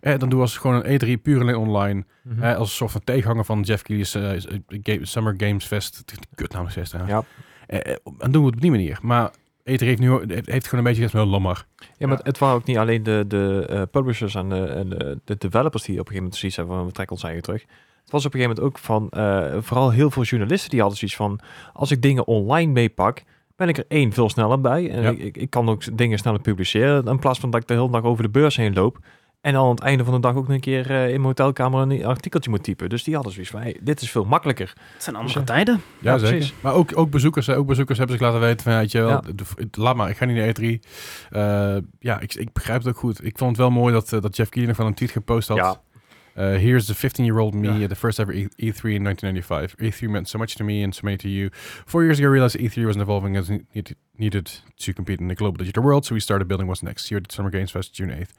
[SPEAKER 3] En dan doen we als gewoon een E3 puur alleen online.
[SPEAKER 2] Mhm.
[SPEAKER 3] Hè, als een soort van tegenhanger van Jeff Keighley's eh, is- eh, Ga- Summer Games Fest. Kutnaam is Fest, hè.
[SPEAKER 2] Ja.
[SPEAKER 3] Eh, eh, dan doen we het op die manier. Maar Eter heeft nu heeft, heeft gewoon een beetje gezegd, nou, lammer.
[SPEAKER 2] Ja, maar het waren ook niet alleen de, de eh, publishers en, de, en de, de developers die op een gegeven moment zoiets hebben van we trekken ons eigen terug. Het was op een gegeven moment ook van eh, vooral heel veel journalisten die hadden zoiets van als ik dingen online meepak, ben ik er één veel sneller bij. En
[SPEAKER 3] Ja.
[SPEAKER 2] ik, ik, ik kan ook dingen sneller publiceren. In plaats van dat ik de hele dag over de beurs heen loop En dan aan het einde van de dag ook nog een keer eh, in mijn hotelkamer een artikeltje moet typen. Dus die hadden zoiets van, hey, dit is veel makkelijker.
[SPEAKER 1] Het zijn andere tijden.
[SPEAKER 3] Ja,
[SPEAKER 2] Ja,
[SPEAKER 3] zeker.
[SPEAKER 2] precies.
[SPEAKER 3] Maar ook, ook, bezoekers, hè, ook bezoekers hebben zich laten weten van, ja, weet je wel,
[SPEAKER 2] Ja.
[SPEAKER 3] de- de- laat maar, ik ga niet naar E3. Eh, ja, ik, ik begrijp het ook goed. Ik vond het wel mooi dat, eh, dat Jeff Keighley nog wel een tweet gepost had.
[SPEAKER 2] Ja.
[SPEAKER 3] Eh, here's the 15-year-old me,
[SPEAKER 2] Ja.
[SPEAKER 3] at the first ever E- E3 in 1995. E3 meant so much to me and so many to you. Four years ago, I realized E3 wasn't evolving as it need- needed to compete in the global digital world, so we started building what's next. Here at Summer Games Fest, June 8th.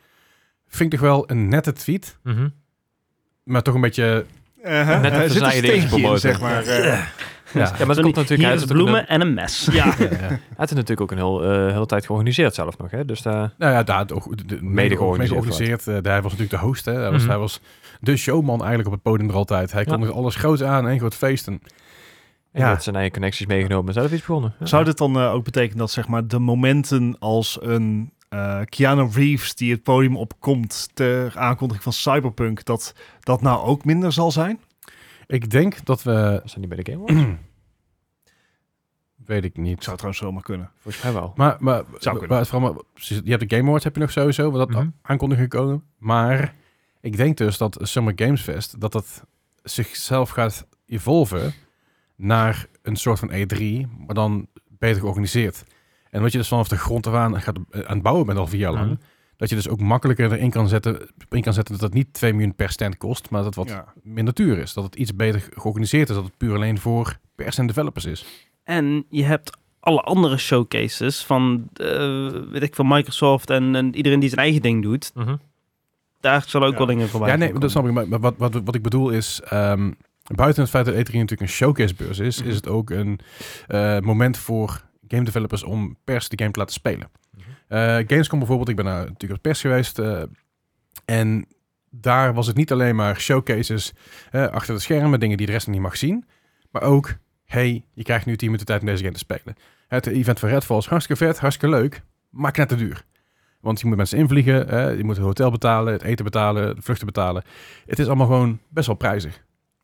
[SPEAKER 3] Vind ik toch wel een nette tweet,
[SPEAKER 2] Mhm.
[SPEAKER 3] maar toch een beetje...
[SPEAKER 4] Uh-huh.
[SPEAKER 2] Net
[SPEAKER 4] Er
[SPEAKER 2] even
[SPEAKER 4] zit
[SPEAKER 2] zijn
[SPEAKER 4] een
[SPEAKER 2] eieren in
[SPEAKER 4] steentje in,
[SPEAKER 2] verboten.
[SPEAKER 4] zeg maar. eh.
[SPEAKER 2] Ja, maar het
[SPEAKER 1] Zo
[SPEAKER 2] komt
[SPEAKER 1] niet,
[SPEAKER 2] natuurlijk
[SPEAKER 1] Hier
[SPEAKER 2] uit
[SPEAKER 1] is
[SPEAKER 2] dat het
[SPEAKER 1] bloemen en een mes. Ja.
[SPEAKER 3] ja, ja.
[SPEAKER 2] Hij heeft het natuurlijk ook een heel, eh, hele tijd georganiseerd zelf nog. Hè? Dus daar
[SPEAKER 3] Nou ja, daar, ook- de- de- mede
[SPEAKER 2] georganiseerd
[SPEAKER 3] georganiseerd. Eh, daar- hij was natuurlijk de host. Hè. Hij, was,
[SPEAKER 2] Mhm.
[SPEAKER 3] hij was de showman eigenlijk op het podium er altijd. Hij
[SPEAKER 2] Ja.
[SPEAKER 3] kondigde alles groot aan en groot feesten.
[SPEAKER 2] en
[SPEAKER 3] Ja.
[SPEAKER 2] dat zijn eigen connecties meegenomen en zelf iets begonnen. Ja.
[SPEAKER 4] Zou dit dan eh, ook betekenen dat zeg maar, de momenten als een eh, Keanu Reeves die het podium opkomt ter aankondiging van Cyberpunk, dat dat nou ook minder zal zijn?
[SPEAKER 3] Ik denk dat we...
[SPEAKER 2] Was dat niet bij de Game Awards?
[SPEAKER 3] Weet ik niet.
[SPEAKER 4] Zou trouwens zomaar kunnen.
[SPEAKER 2] Volgens mij wel.
[SPEAKER 3] Maar, maar,
[SPEAKER 4] Zou
[SPEAKER 3] maar,
[SPEAKER 4] kunnen.
[SPEAKER 3] het vooral maar- precies, je hebt de Game Awards heb je nog sowieso, wat dat
[SPEAKER 2] Mhm.
[SPEAKER 3] aankondiging gekomen. Maar ik denk dus dat Summer Games Fest, dat dat zichzelf gaat evolven naar een soort van E3, maar dan beter georganiseerd. En wat je dus vanaf de grond af aan gaat, eh, aan het bouwen bent al vier jaar lang,
[SPEAKER 2] Mhm.
[SPEAKER 3] dat je dus ook makkelijker erin kan zetten, in kan zetten dat het niet 2 miljoen per stand kost, maar dat het wat
[SPEAKER 4] Ja.
[SPEAKER 3] minder duur is. Dat het iets beter georganiseerd is, dat het puur alleen voor pers en developers is.
[SPEAKER 1] En je hebt alle andere showcases van, eh, weet ik, van Microsoft en, en iedereen die zijn eigen ding doet.
[SPEAKER 2] Mhm.
[SPEAKER 1] Daar zal ook
[SPEAKER 4] Ja.
[SPEAKER 1] wel dingen voorbij
[SPEAKER 3] Ja, nee, dus
[SPEAKER 1] komen.
[SPEAKER 3] dat snap ik. Maar maar wat, wat, wat ik bedoel is, ehm, buiten het feit dat E3 natuurlijk een showcasebeurs is,
[SPEAKER 1] Mhm.
[SPEAKER 3] is het ook een eh, moment voor game developers om pers de game te laten spelen.
[SPEAKER 2] Mhm.
[SPEAKER 3] Eh, Gamescom bijvoorbeeld, ik ben daar natuurlijk op pers geweest. eh, en daar was het niet alleen maar showcases eh, achter de schermen, dingen die de rest nog niet mag zien. Maar ook, hey, je krijgt nu 10 minuten tijd om deze game te spelen. Het event van Redfall is hartstikke vet, hartstikke leuk, maar net te duur. Want je moet mensen invliegen, eh, je moet het hotel betalen, het eten betalen, de vluchten betalen. Het is allemaal gewoon best wel prijzig.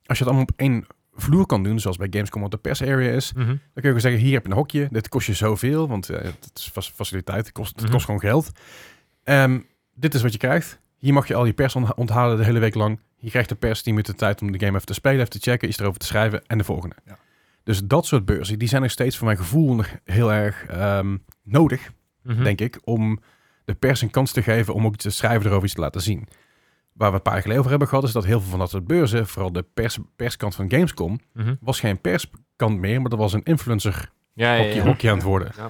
[SPEAKER 3] Als je het allemaal op één vloer kan doen, zoals bij Gamescom wat de pers area is,
[SPEAKER 2] Mhm.
[SPEAKER 3] dan kun je gewoon zeggen, hier heb je een hokje. Dit kost je zoveel, want eh, het is fac- faciliteit. Het kost, het
[SPEAKER 2] Mhm.
[SPEAKER 3] kost gewoon geld. Ehm, dit is wat je krijgt. Hier mag je al je pers ontha- onthalen de hele week lang. Je krijgt de pers 10 minuten tijd om de game even te spelen, even te checken, iets erover te schrijven en de volgende.
[SPEAKER 4] Ja.
[SPEAKER 3] Dus dat soort beurzen, die zijn nog steeds voor mijn gevoel nog heel erg ehm, nodig
[SPEAKER 2] Mhm.
[SPEAKER 3] denk ik, om de pers een kans te geven om ook iets te schrijven erover iets te laten zien. Waar we een paar jaar geleden over hebben gehad, is dat heel veel van dat soort beurzen, vooral de pers, perskant van Gamescom,
[SPEAKER 2] Mhm.
[SPEAKER 3] was geen perskant meer, maar dat was een influencer
[SPEAKER 2] Ja, ja, ja.
[SPEAKER 3] hokje, hokje aan het worden.
[SPEAKER 2] Ja.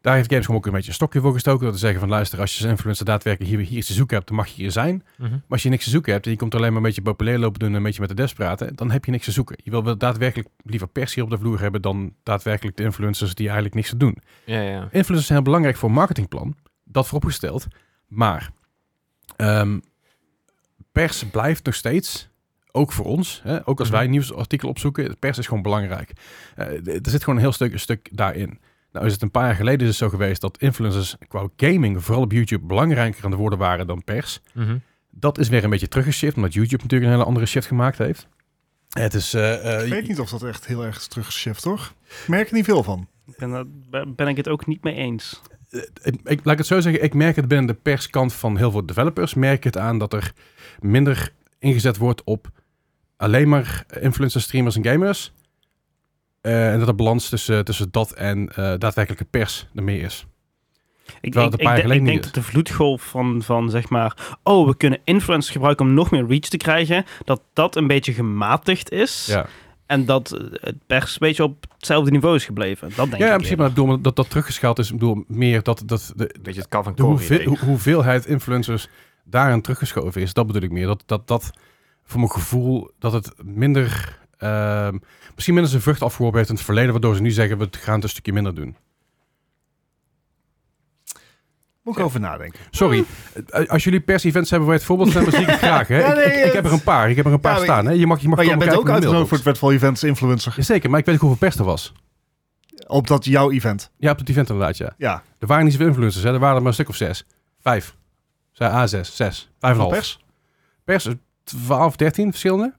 [SPEAKER 3] Daar heeft Gamescom ook een beetje een stokje voor gestoken. Dat te zeggen van luister, als je als influencer daadwerkelijk hier, hier iets te zoeken hebt, dan mag je hier zijn.
[SPEAKER 2] Mhm.
[SPEAKER 3] Maar als je niks te zoeken hebt en je komt alleen maar een beetje populair lopen doen en een beetje met de desk praten, dan heb je niks te zoeken. Je wil wel daadwerkelijk liever pers hier op de vloer hebben dan daadwerkelijk de influencers die eigenlijk niks te doen.
[SPEAKER 2] ja, ja.
[SPEAKER 3] Influencers zijn heel belangrijk voor een marketingplan. Dat vooropgesteld. Maar ehm, pers blijft nog steeds, ook voor ons, hè, ook als wij
[SPEAKER 2] Mhm.
[SPEAKER 3] nieuwsartikelen opzoeken, pers is gewoon belangrijk. Eh, d- er zit gewoon een heel stuk, een stuk daarin. Nou is het een paar jaar geleden dus zo geweest dat influencers qua gaming, vooral op YouTube, belangrijker aan de woorden waren dan pers.
[SPEAKER 2] Mhm.
[SPEAKER 3] Dat is weer een beetje teruggeshift, omdat YouTube natuurlijk een hele andere shift gemaakt heeft. Het is... eh, eh,
[SPEAKER 4] Ik weet niet of dat echt heel erg teruggeschift, toch? Ik merk er niet veel van.
[SPEAKER 1] Ik ben, dat- ben- ben ik het ook niet mee eens.
[SPEAKER 3] Eh, ik, ik- laat ik het zo zeggen, ik merk het binnen de perskant van heel veel developers. Merk ik het aan dat er minder ingezet wordt op alleen maar influencers, streamers en gamers. Eh, en dat de balans tussen, tussen dat en eh, daadwerkelijke pers er meer is.
[SPEAKER 1] Ik,
[SPEAKER 3] Terwijl
[SPEAKER 1] ik, ik
[SPEAKER 3] het een paar jaar
[SPEAKER 1] de-
[SPEAKER 3] geleden
[SPEAKER 1] ik
[SPEAKER 3] niet
[SPEAKER 1] denk dat de vloedgolf van, van zeg maar, oh, we kunnen influencers gebruiken om nog meer reach te krijgen, dat dat een beetje gematigd is. En dat eh, het pers een beetje op hetzelfde niveau is gebleven. Dat denk
[SPEAKER 3] ja,
[SPEAKER 1] ik.
[SPEAKER 3] in principe. Maar ik bedoel, dat dat teruggeschaald is, ik bedoel meer dat, dat de,
[SPEAKER 2] Een beetje het Calvin
[SPEAKER 3] de
[SPEAKER 2] Cory
[SPEAKER 3] hoeveel-
[SPEAKER 2] idee.
[SPEAKER 3] hoe- hoeveelheid influencers daarin teruggeschoven is, dat bedoel ik meer. Dat dat, dat voor mijn gevoel dat het minder. ehm, misschien minder zijn vrucht afgeworpen heeft in het verleden, waardoor ze nu zeggen we gaan het een stukje minder doen.
[SPEAKER 4] Moet ik over nadenken.
[SPEAKER 3] Sorry, eh, als jullie pers-events hebben waar je het voorbeeld van hebt, dan zie ik het graag. Hè?
[SPEAKER 4] Ja, nee,
[SPEAKER 3] ik, ik, ik heb er een paar, ik heb er een paar
[SPEAKER 4] Ja, maar-
[SPEAKER 3] staan. Hè? Je mag, je mag
[SPEAKER 4] maar jij
[SPEAKER 3] komen
[SPEAKER 4] bent ook
[SPEAKER 3] kijken in de
[SPEAKER 4] uitgenodigd voor het
[SPEAKER 3] mailbox.
[SPEAKER 4] Redfall Events influencer.
[SPEAKER 3] Jazeker, maar ik weet ook hoeveel pers er was.
[SPEAKER 4] Op dat jouw event.
[SPEAKER 3] Ja, op het event inderdaad, ja.
[SPEAKER 4] Ja.
[SPEAKER 3] Er waren niet zoveel influencers, hè? er waren er maar een stuk of zes. Vijf. Zij A6, zes. Vijf en een half.
[SPEAKER 4] Pers?
[SPEAKER 3] pers, 12, 13 verschillende.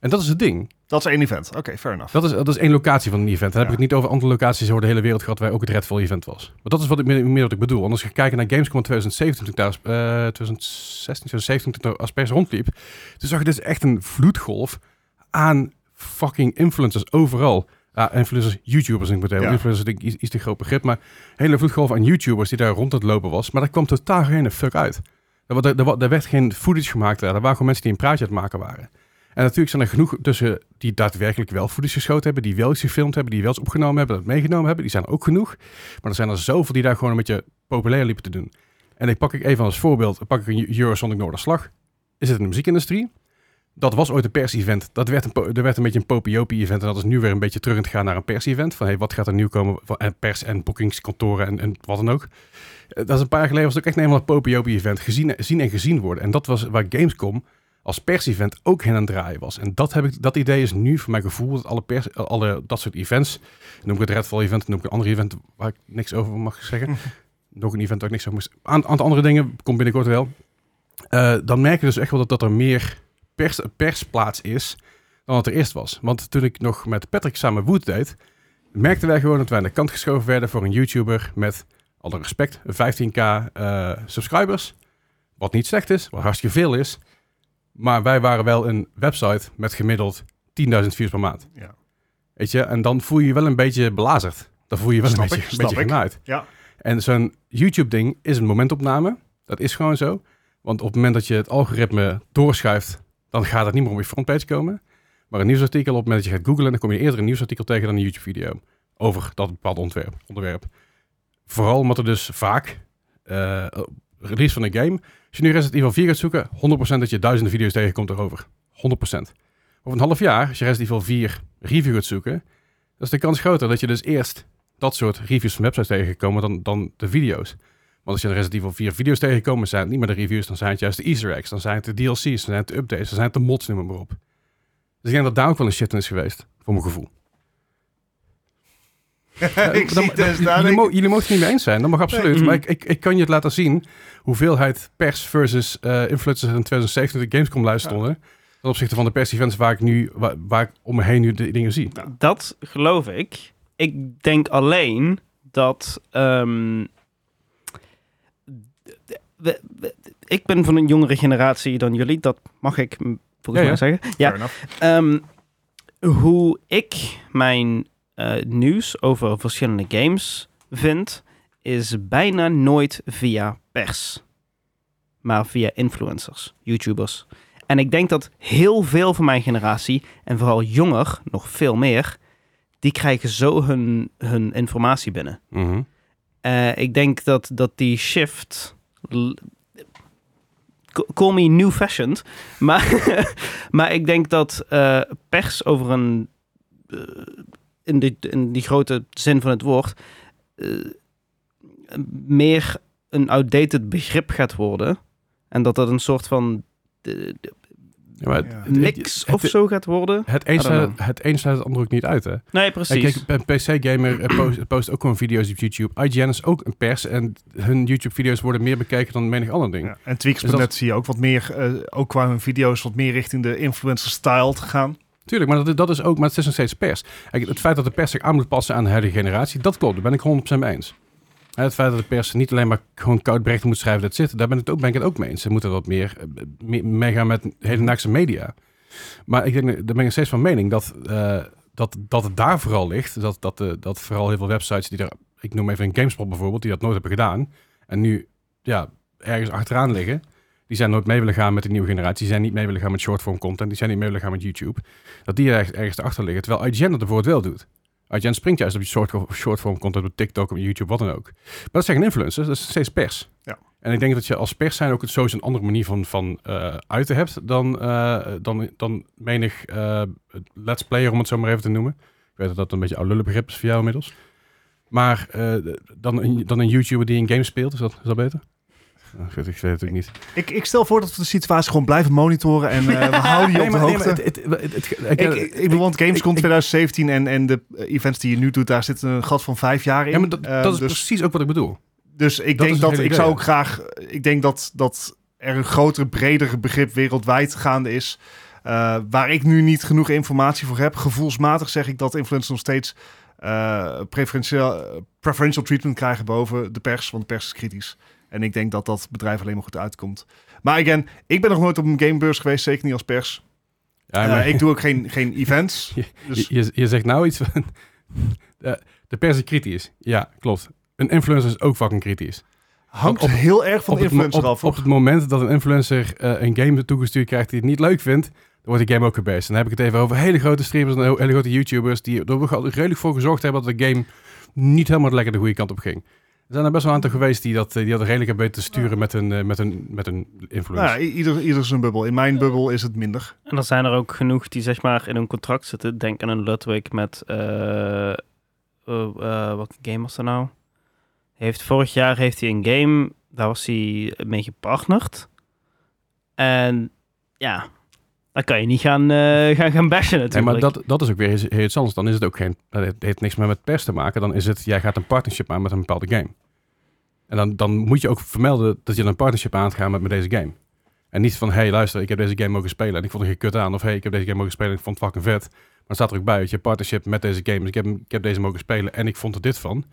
[SPEAKER 3] En dat is het ding.
[SPEAKER 4] Dat is één event. Oké, fair enough.
[SPEAKER 3] Dat is, dat is één locatie van een event. Dan heb
[SPEAKER 4] Ja.
[SPEAKER 3] ik het niet over andere locaties over de hele wereld gehad waar ook het Redfall event was. Maar dat is wat ik, meer meer wat ik bedoel. Anders ga je kijken naar Gamescom 2017, toen ik daar, eh 2016, 2017, toen ik daar als pers rondliep. Toen zag je dus echt een vloedgolf aan fucking influencers overal. Ja, influencers, YouTubers in het meteen.
[SPEAKER 4] Ja.
[SPEAKER 3] Influencers denk ik iets, iets te groot begrip. Maar een hele vloedgolf aan YouTubers die daar rond aan het lopen was. Maar daar kwam totaal geen fuck uit. Er, wa- er, wa- er werd geen footage gemaakt. daar. Er waren gewoon mensen die een praatje aan het maken waren. En natuurlijk zijn er genoeg tussen die daadwerkelijk wel footage geschoten hebben, die wel iets gefilmd hebben, die wel iets opgenomen hebben, dat meegenomen hebben. Die zijn er ook genoeg. Maar er zijn er zoveel die daar gewoon een beetje populair liepen te doen. En ik pak ik even als voorbeeld, pak ik een Eurosonic Noorderslag. Is het in de muziekindustrie? Dat was ooit een pers-event. Dat werd een, po- er werd een beetje een popiopie-event. En dat is nu weer een beetje terug aan het gaan naar een pers-event. Van hey, wat gaat er nieuw komen? Van, en pers en boekingskantoren en, en wat dan ook. Eh, Dat is een paar jaar geleden was het ook echt eenmaal een popiopie-event. Gezien, zien en gezien worden. En dat was waar Gamescom als pers-event ook heen aan het draaien was. En dat, heb ik, dat idee is nu voor mijn gevoel dat alle, pers, alle dat soort events, noem ik het Redfall event, noem ik een ander event waar ik niks over mag zeggen, nog een event waar ik niks over moest. Aan aantal andere dingen, komt binnenkort wel. Eh, dan merk je dus echt wel dat, dat er meer pers, persplaats is dan dat er eerst was. Want toen ik nog met Patrick samen Wood deed, merkten wij gewoon dat wij aan de kant geschoven werden voor een YouTuber met, alle respect, 15k eh, subscribers. Wat niet slecht is, wat hartstikke veel is. Maar wij waren wel een website met gemiddeld 10.000 views per maand.
[SPEAKER 4] Ja.
[SPEAKER 3] Weet je, en dan voel je je wel een beetje belazerd. Dan voel je je wel
[SPEAKER 4] Snap
[SPEAKER 3] een beetje,
[SPEAKER 4] ik,
[SPEAKER 3] een
[SPEAKER 4] snap
[SPEAKER 3] beetje
[SPEAKER 4] ik.
[SPEAKER 3] genaaid.
[SPEAKER 4] Ja.
[SPEAKER 3] En zo'n YouTube-ding is een momentopname. Dat is gewoon zo. Want op het moment dat je het algoritme doorschuift, dan gaat het niet meer op je frontpage komen. Maar een nieuwsartikel, op het moment dat je gaat googlen, dan kom je eerder een nieuwsartikel tegen dan een YouTube-video over dat bepaald ontwerp, onderwerp. Vooral omdat er dus vaak, eh, op release van een game, als je nu Resident Evil 4 gaat zoeken, 100% dat je duizenden video's tegenkomt erover. 100%. Over een half jaar, als je Resident Evil 4 review gaat zoeken, dan is de kans groter dat je dus eerst dat soort reviews van websites tegenkomt dan, dan de video's. Want als je de Resident Evil 4 video's tegenkomt, zijn het niet meer de reviews, dan zijn het juist de easter eggs, dan zijn het de DLC's, dan zijn het de updates, dan zijn het de mods, noem maar op. Dus ik denk dat daar ook wel een shit in is geweest, voor mijn gevoel.
[SPEAKER 4] ik
[SPEAKER 3] eh, Dan-
[SPEAKER 4] zie
[SPEAKER 3] dan-
[SPEAKER 4] Tess
[SPEAKER 3] jullie,
[SPEAKER 4] nadenken.
[SPEAKER 3] mo- jullie mogen het niet mee eens zijn, dat mag absoluut.
[SPEAKER 1] Nee.
[SPEAKER 3] Maar ik, ik, ik kan je het laten zien, hoeveelheid pers versus eh, influencers in 2017 de Gamescom luisteren stonden. Ten opzichte van de pers-events waar ik nu, waar, waar ik om me heen nu de dingen zie.
[SPEAKER 1] Dat geloof ik. Ik denk alleen dat. ehm, d- we- we- ik ben van een jongere generatie dan jullie, dat mag ik m, volgens
[SPEAKER 3] Ja,
[SPEAKER 1] mij zeggen. Ja,
[SPEAKER 4] Fair
[SPEAKER 1] Ehm,
[SPEAKER 4] enough.
[SPEAKER 1] hoe ik mijn eh, nieuws over verschillende games vind, is bijna nooit via pers. Maar via influencers, YouTubers. En ik denk dat heel veel van mijn generatie, en vooral jonger, nog veel meer, die krijgen zo hun, hun informatie binnen.
[SPEAKER 3] Mhm.
[SPEAKER 1] Eh, ik denk dat, dat die shift. l- c- Call me new fashioned. Maar, maar ik denk dat eh, pers over een. eh, in, die, in die grote zin van het woord. eh, meer een outdated begrip gaat worden. En dat dat een soort van. eh,
[SPEAKER 3] Ja, maar het-
[SPEAKER 4] Ja.
[SPEAKER 3] het-
[SPEAKER 1] mix
[SPEAKER 3] het-
[SPEAKER 1] of zo gaat worden.
[SPEAKER 3] Het een,
[SPEAKER 1] I don't
[SPEAKER 3] sluit, het een sluit het ander ook niet uit, hè?
[SPEAKER 1] Nee,
[SPEAKER 3] En
[SPEAKER 1] precies.
[SPEAKER 3] Kijk, een PC-gamer eh, post, post ook gewoon video's op YouTube. IGN is ook een pers en hun YouTube-video's worden meer bekeken dan menig ander ding.
[SPEAKER 4] Ja. En Tweaks
[SPEAKER 3] Dus dat-
[SPEAKER 4] net zie je ook wat meer, eh, ook qua hun video's, wat meer richting de influencer-style te gaan.
[SPEAKER 3] Tuurlijk, maar dat, dat is ook, maar het is nog steeds pers. Kijk, het feit dat de pers zich aan moet passen aan de huidige generatie, dat klopt, daar ben ik 100% mee eens. En Het feit dat de pers niet alleen maar gewoon koud bericht moet schrijven, dat zit, daar ben ik, het ook, ben ik het ook mee eens. Ze moeten wat meer eh, me- meegaan met hedendaagse media. Maar ik denk, daar ben ik nog steeds van mening dat, eh, dat, dat het daar vooral ligt. Dat, dat, eh, dat vooral heel veel websites die er, ik noem even een GameSpot bijvoorbeeld, die dat nooit hebben gedaan. En nu ja, ergens achteraan liggen. Die zijn nooit mee willen gaan met de nieuwe generatie. Die zijn niet mee willen gaan met shortform content. Die zijn niet mee willen gaan met YouTube dat die ergens, ergens achter liggen. Terwijl IGN dat bijvoorbeeld wel doet. IGN springt juist op je short, shortform content op TikTok, op YouTube, wat dan ook. Maar dat zijn geen influencers, dat is steeds pers.
[SPEAKER 4] Ja.
[SPEAKER 3] En ik denk dat je als pers zijn ook het sowieso een andere manier van, van eh, uiten hebt dan, eh, dan, dan menig eh, let's player, om het zo maar even te noemen. Ik weet dat dat een beetje oude lullenbegrip is voor jou inmiddels. Maar eh, dan, een, dan een YouTuber die een game speelt, is dat, is dat beter? Nou, Ik weet, ik weet het natuurlijk niet.
[SPEAKER 4] Ik, ik stel voor dat we de situatie gewoon blijven monitoren en eh, we houden je op de hoogte. ik, ik, ik bedoel, want Gamescom
[SPEAKER 3] ik- ik-
[SPEAKER 4] 2017 en, en de eh, events die je nu doet, daar zit een gat van vijf jaar in.
[SPEAKER 3] Ja, maar dat,
[SPEAKER 4] Eh,
[SPEAKER 3] dat is
[SPEAKER 4] dus,
[SPEAKER 3] precies ook wat ik bedoel.
[SPEAKER 4] dus ik
[SPEAKER 3] dat is
[SPEAKER 4] denk
[SPEAKER 3] het
[SPEAKER 4] dat,
[SPEAKER 3] hele
[SPEAKER 4] ik
[SPEAKER 3] idee,
[SPEAKER 4] zou
[SPEAKER 3] ja.
[SPEAKER 4] ook graag, ik denk dat, dat er een groter, breder begrip wereldwijd gaande is. eh, Eh, waar ik nu niet genoeg informatie voor heb. Gevoelsmatig zeg ik dat influencers nog steeds eh, preferentieel, preferential treatment krijgen boven de pers. Want de pers is kritisch. En ik denk dat dat bedrijf alleen maar goed uitkomt. Maar again, ik ben nog nooit op een gamebeurs geweest. Zeker niet als pers.
[SPEAKER 3] Ja,
[SPEAKER 4] Eh, ik doe ook geen, geen events. Dus
[SPEAKER 3] je, je, je zegt nou iets van... eh, de pers is kritisch. Ja, klopt. Een influencer is ook fucking kritisch.
[SPEAKER 4] hangt
[SPEAKER 3] op-
[SPEAKER 4] heel erg van de
[SPEAKER 3] het mo-
[SPEAKER 4] influencer
[SPEAKER 3] op,
[SPEAKER 4] af. hoor.
[SPEAKER 3] op het moment dat een influencer eh, een game toegestuurd krijgt die het niet leuk vindt, dan wordt die game ook gebased. En dan heb ik het even over hele grote streamers en heel- hele grote YouTubers die er wel redelijk voor gezorgd hebben dat de game niet helemaal lekker de goede kant op ging. Er zijn er best wel een aantal geweest die dat, eh, die dat redelijk hebben weten te sturen met hun, eh, met hun, met hun influencer.
[SPEAKER 4] Nou, ja, i- ieder, ieder zijn bubbel. In mijn bubbel is het minder.
[SPEAKER 1] En dan zijn er ook genoeg die zeg maar in hun contract zitten. Denk aan een Ludwig met... eh, eh, eh, welke game was dat nou? Heeft, vorig jaar heeft hij een game, daar was hij mee gepartnerd. En ja, dan kan je niet gaan, eh, gaan, gaan bashen
[SPEAKER 3] Nee,
[SPEAKER 1] natuurlijk.
[SPEAKER 3] maar dat, dat is ook weer iets- heel iets anders. Dan is het ook geen. Het heeft- heeft niks meer met pers te maken. Dan is het. Jij gaat een partnership aan met een bepaalde game. En dan, dan moet je ook vermelden dat je een partnership aan gaat gaan met, met deze game. En niet van. hey, luister, ik heb deze game mogen spelen. En ik vond er geen kut aan. Of hey, ik heb deze game mogen spelen. En ik vond het fucking vet. Maar dan staat er ook bij dat je partnership met deze game. is. ik, heb, hem- ik heb deze mogen spelen. En ik vond er dit van.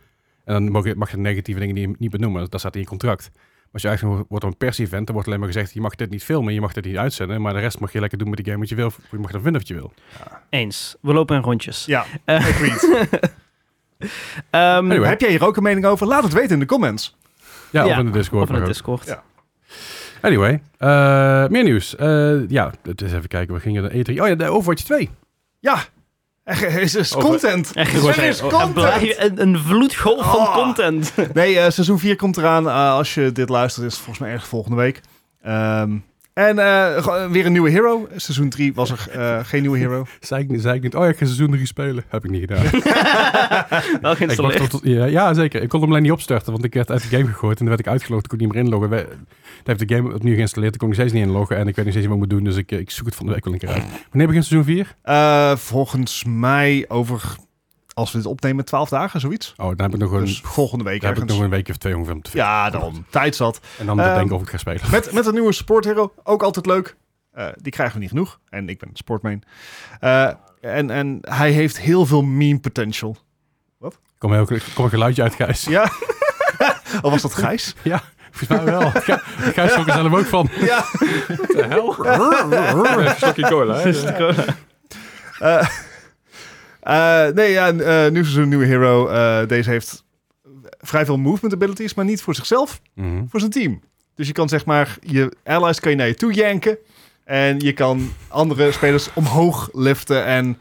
[SPEAKER 3] En dan mag je, mag je negatieve dingen niet, niet benoemen. Dat staat in je contract. Maar als je eigenlijk wordt op een pers-event, dan wordt alleen maar gezegd: je mag dit niet filmen, je mag dit niet uitzenden. Maar de rest mag je lekker doen met die game wat je wil. of Je mag er vinden wat je wil.
[SPEAKER 1] Eens, we lopen in rondjes.
[SPEAKER 4] Ja,
[SPEAKER 1] Eh.
[SPEAKER 4] agreed.
[SPEAKER 1] Ehm,
[SPEAKER 3] Anyway.
[SPEAKER 4] Heb jij hier ook een mening over? Laat het weten in de comments.
[SPEAKER 3] Ja,
[SPEAKER 1] Ja,
[SPEAKER 3] of in de Discord.
[SPEAKER 1] Of in
[SPEAKER 3] maar
[SPEAKER 1] het
[SPEAKER 3] ook.
[SPEAKER 1] Discord.
[SPEAKER 4] Ja.
[SPEAKER 3] Anyway, eh, meer nieuws. Eh, ja, het is even kijken. We gingen naar E3. Oh ja, de Overwatch 2.
[SPEAKER 4] Ja, er is, is
[SPEAKER 2] Over-
[SPEAKER 4] content.
[SPEAKER 1] Echt,
[SPEAKER 4] Er is
[SPEAKER 3] oh,
[SPEAKER 1] en blij-
[SPEAKER 4] content.
[SPEAKER 1] een, een vloedgolf
[SPEAKER 4] Ah.
[SPEAKER 1] van content.
[SPEAKER 4] Nee, eh, seizoen 4 komt eraan. Eh, als je dit luistert, is het volgens mij erg volgende week. Ehm, en eh, gewoon weer een nieuwe hero. Seizoen 3 was er eh, geen nieuwe hero.
[SPEAKER 3] Zei ik, niet- zei ik niet, oh ja, ik ga seizoen 3 spelen. Heb ik niet gedaan.
[SPEAKER 1] Wel
[SPEAKER 3] ik wachtte
[SPEAKER 1] geïnstalleerd.
[SPEAKER 3] tot- ja, ja, zeker. Ik kon hem alleen niet opstarten, want ik werd uit de game gegooid. En dan werd ik uitgelogd, kon ik niet meer inloggen. We- Toen heeft de game opnieuw geïnstalleerd, ik kon nog steeds niet inloggen. En ik weet nog steeds niet wat ik moet doen, dus ik, eh, ik zoek het van de week wel een keer uit. Wanneer begint seizoen 4?
[SPEAKER 4] Eh, volgens mij over, als we dit opnemen, 12 dagen, zoiets.
[SPEAKER 3] Oh, dan heb ik nog een,
[SPEAKER 4] Dus volgende week
[SPEAKER 3] dan heb ik nog
[SPEAKER 4] ergens.
[SPEAKER 3] een weekje of twee ongeveer om te vinden.
[SPEAKER 4] Ja, dan. Tijd zat.
[SPEAKER 3] En dan bedenken
[SPEAKER 4] Ehm,
[SPEAKER 3] of ik ga spelen.
[SPEAKER 4] Met, met een nieuwe support hero, ook altijd leuk. Eh, die krijgen we niet genoeg. En ik ben sportmain. Eh, en, en hij heeft heel veel meme potential.
[SPEAKER 3] Er komt heel- er komt een geluidje uit, Gijs.
[SPEAKER 4] Ja. Al was dat Gijs?
[SPEAKER 3] Volgens mij wel. Gij- Gijs schrok er zelf ook van.
[SPEAKER 4] Ja.
[SPEAKER 2] de hel? Slokje cola, hè?
[SPEAKER 4] Eh, eh, nee, ja, eh, nieuw seizoen, nieuwe hero. Eh, deze heeft vrij veel movement abilities, maar niet voor zichzelf,
[SPEAKER 3] Mhm.
[SPEAKER 4] voor zijn team. Dus je kan zeg maar, je allies kan je naar je toe janken. En je kan andere spelers omhoog liften. En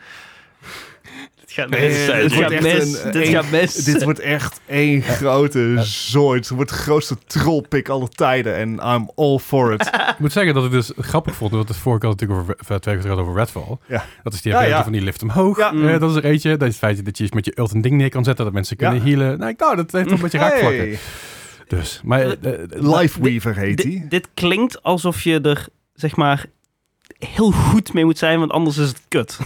[SPEAKER 1] Het gaat
[SPEAKER 4] Nee,
[SPEAKER 1] mis.
[SPEAKER 4] het
[SPEAKER 1] Het
[SPEAKER 4] wordt
[SPEAKER 1] gaat
[SPEAKER 4] echt
[SPEAKER 1] mis.
[SPEAKER 4] een-
[SPEAKER 1] Dit
[SPEAKER 4] een-
[SPEAKER 1] gaat mis.
[SPEAKER 4] Dit wordt echt één grote zooi. Het wordt de grootste trollpik alle tijden. En I'm all for it.
[SPEAKER 3] Ik moet zeggen dat ik dus grappig vond, want het vorige keer had het natuurlijk over, eh, twee keer over Redfall.
[SPEAKER 4] Ja.
[SPEAKER 3] Dat is die
[SPEAKER 4] Ja,
[SPEAKER 3] ability
[SPEAKER 4] ja.
[SPEAKER 3] van die lift omhoog.
[SPEAKER 4] Ja.
[SPEAKER 3] Eh, dat is er eentje. Dat is het feit dat je iets met je ult een ding neer kan zetten, dat mensen kunnen
[SPEAKER 4] Ja.
[SPEAKER 3] healen. Nou, ik- nou, dat heeft wel een beetje raakvlakken.
[SPEAKER 4] Hey, Oh,
[SPEAKER 3] Dus, maar... eh, eh,
[SPEAKER 4] Lifeweaver heet
[SPEAKER 1] Dit-
[SPEAKER 4] hij.
[SPEAKER 1] Dit klinkt alsof je er, zeg maar, heel goed mee moet zijn, want anders is het kut.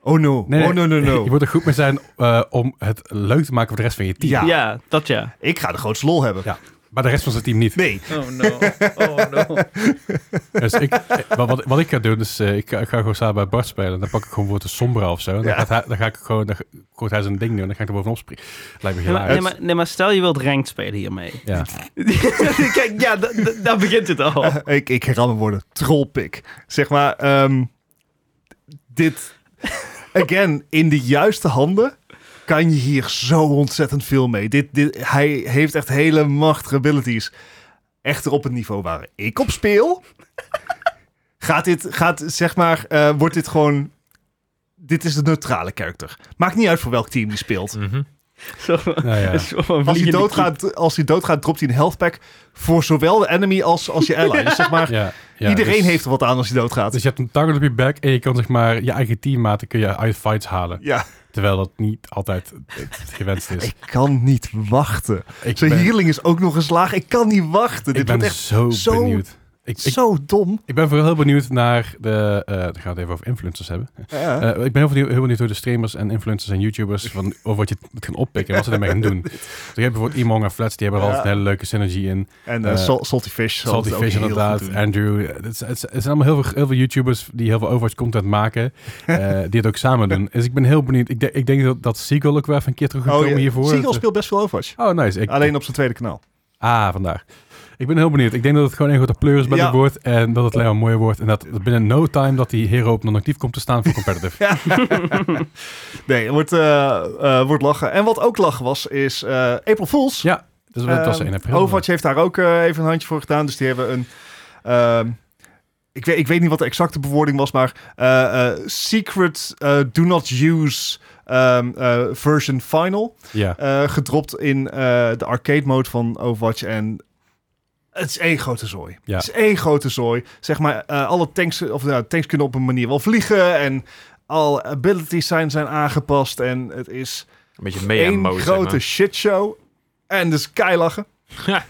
[SPEAKER 4] Oh no.
[SPEAKER 3] Nee, nee.
[SPEAKER 4] Oh no, no,
[SPEAKER 3] Je
[SPEAKER 4] no.
[SPEAKER 3] moet er goed mee zijn eh, om het leuk te maken voor de rest van je team.
[SPEAKER 4] Ja.
[SPEAKER 1] Ja, dat ja.
[SPEAKER 4] Ik ga de grootste lol hebben.
[SPEAKER 3] Ja. Maar de rest van zijn team niet.
[SPEAKER 4] Nee.
[SPEAKER 1] Oh no. Oh no.
[SPEAKER 3] Dus ik, eh, wat- wat, wat ik ga doen, is eh, ik, ga, ik ga gewoon samen bij Bart spelen. Dan pak ik gewoon woord de sombra of zo. En Dan,
[SPEAKER 4] Ja.
[SPEAKER 3] gaat hij, dan ga ik gewoon, dan gooit hij zijn ding doen en dan ga ik er bovenop springen. Lijkt
[SPEAKER 1] Nee,
[SPEAKER 3] me heel
[SPEAKER 1] maar, nee, maar, nee, maar stel je wilt ranked spelen hiermee.
[SPEAKER 3] Ja.
[SPEAKER 1] Kijk, ja, da- da- daar begint het al.
[SPEAKER 4] ik, ik herhaal mijn woorden. Trollpik. Zeg maar, ehm, dit... Again, in de juiste handen kan je hier zo ontzettend veel mee. Dit, dit, hij heeft echt hele machtige abilities. Echter op het niveau waar ik op speel... gaat dit, gaat, zeg maar, eh, wordt dit gewoon... Dit is de neutrale karakter. Maakt niet uit voor welk team die speelt.
[SPEAKER 2] Mhm.
[SPEAKER 1] Zo van-
[SPEAKER 3] Nou ja.
[SPEAKER 1] zo van
[SPEAKER 4] Als hij,
[SPEAKER 1] vliegende
[SPEAKER 4] doodgaat, als hij doodgaat, dropt hij een health pack voor zowel de enemy als, als je ally. Dus zeg maar,
[SPEAKER 3] Ja, ja,
[SPEAKER 4] Iedereen
[SPEAKER 3] dus-
[SPEAKER 4] heeft er wat aan als hij doodgaat.
[SPEAKER 3] Dus je hebt een target op je back en je kan zeg maar je eigen teammaten kun je uit fights halen.
[SPEAKER 4] ja,
[SPEAKER 3] Terwijl dat niet altijd het gewenst is.
[SPEAKER 4] ik kan niet wachten.
[SPEAKER 3] Ik
[SPEAKER 4] Zijn
[SPEAKER 3] ben,
[SPEAKER 4] healing is ook nog een slaag. Ik kan niet wachten.
[SPEAKER 3] ik
[SPEAKER 4] Dit
[SPEAKER 3] ben
[SPEAKER 4] wordt echt
[SPEAKER 3] zo,
[SPEAKER 4] zo-
[SPEAKER 3] benieuwd. Ik, ik,
[SPEAKER 4] Zo dom.
[SPEAKER 3] ik ben vooral heel benieuwd naar de... eh dan gaan we het even over influencers hebben.
[SPEAKER 4] Ja.
[SPEAKER 3] Eh, ik ben heel benieuwd, heel benieuwd hoe de streamers en influencers en YouTubers... Van, over wat je het kan oppikken en wat ze ermee gaan doen. Dus je hebt bijvoorbeeld Imong en Flats, die hebben er
[SPEAKER 4] Ja.
[SPEAKER 3] altijd een hele leuke synergie in.
[SPEAKER 4] en eh,
[SPEAKER 3] eh,
[SPEAKER 4] Sal- Salty Fish. zal
[SPEAKER 3] Salty
[SPEAKER 4] het ook
[SPEAKER 3] Fish
[SPEAKER 4] heel goed
[SPEAKER 3] inderdaad,
[SPEAKER 4] doen.
[SPEAKER 3] Andrew. Het, is- het, is- het zijn allemaal heel veel, heel veel YouTubers die heel veel Overwatch content maken. eh, die het ook samen doen. Dus ik ben heel benieuwd. Ik, denk- ik denk dat, dat Seagull ook wel even een keer terug gaat
[SPEAKER 4] Oh,
[SPEAKER 3] komen
[SPEAKER 4] ja.
[SPEAKER 3] hiervoor.
[SPEAKER 4] Seagull speelt best veel Overwatch.
[SPEAKER 3] Oh, nice. Ik,
[SPEAKER 4] Alleen op zijn tweede kanaal.
[SPEAKER 3] Ah, vandaar. Ik ben heel benieuwd. Ik denk dat het gewoon een grote pleur is bij
[SPEAKER 4] Ja.
[SPEAKER 3] dit woord. En dat het alleen maar mooier wordt. En dat het binnen no time dat die hero op non-actief komt te staan voor competitive.
[SPEAKER 4] Nee, het wordt, eh, eh, wordt lachen. En wat ook lachen was, is eh, April Fools.
[SPEAKER 3] Ja, Dus dat was
[SPEAKER 4] Ehm,
[SPEAKER 3] 1 april.
[SPEAKER 4] Overwatch heeft daar ook eh, even een handje voor gedaan. Dus die hebben een... ehm, ik, weet, ik weet niet wat de exacte bewoording was, maar... eh, eh, secret eh, do not use ehm, eh, version final.
[SPEAKER 3] Ja.
[SPEAKER 4] eh, gedropt in eh, de arcade mode van Overwatch. En het is één grote zooi.
[SPEAKER 3] Ja.
[SPEAKER 4] Het is één grote zooi. Zeg maar, eh, alle tanks, of, nou, tanks kunnen op een manier wel vliegen. En alle abilities zijn, zijn aangepast. En het is
[SPEAKER 2] Een beetje
[SPEAKER 4] één
[SPEAKER 2] mee-mode.
[SPEAKER 4] grote shitshow. En dus keilachen.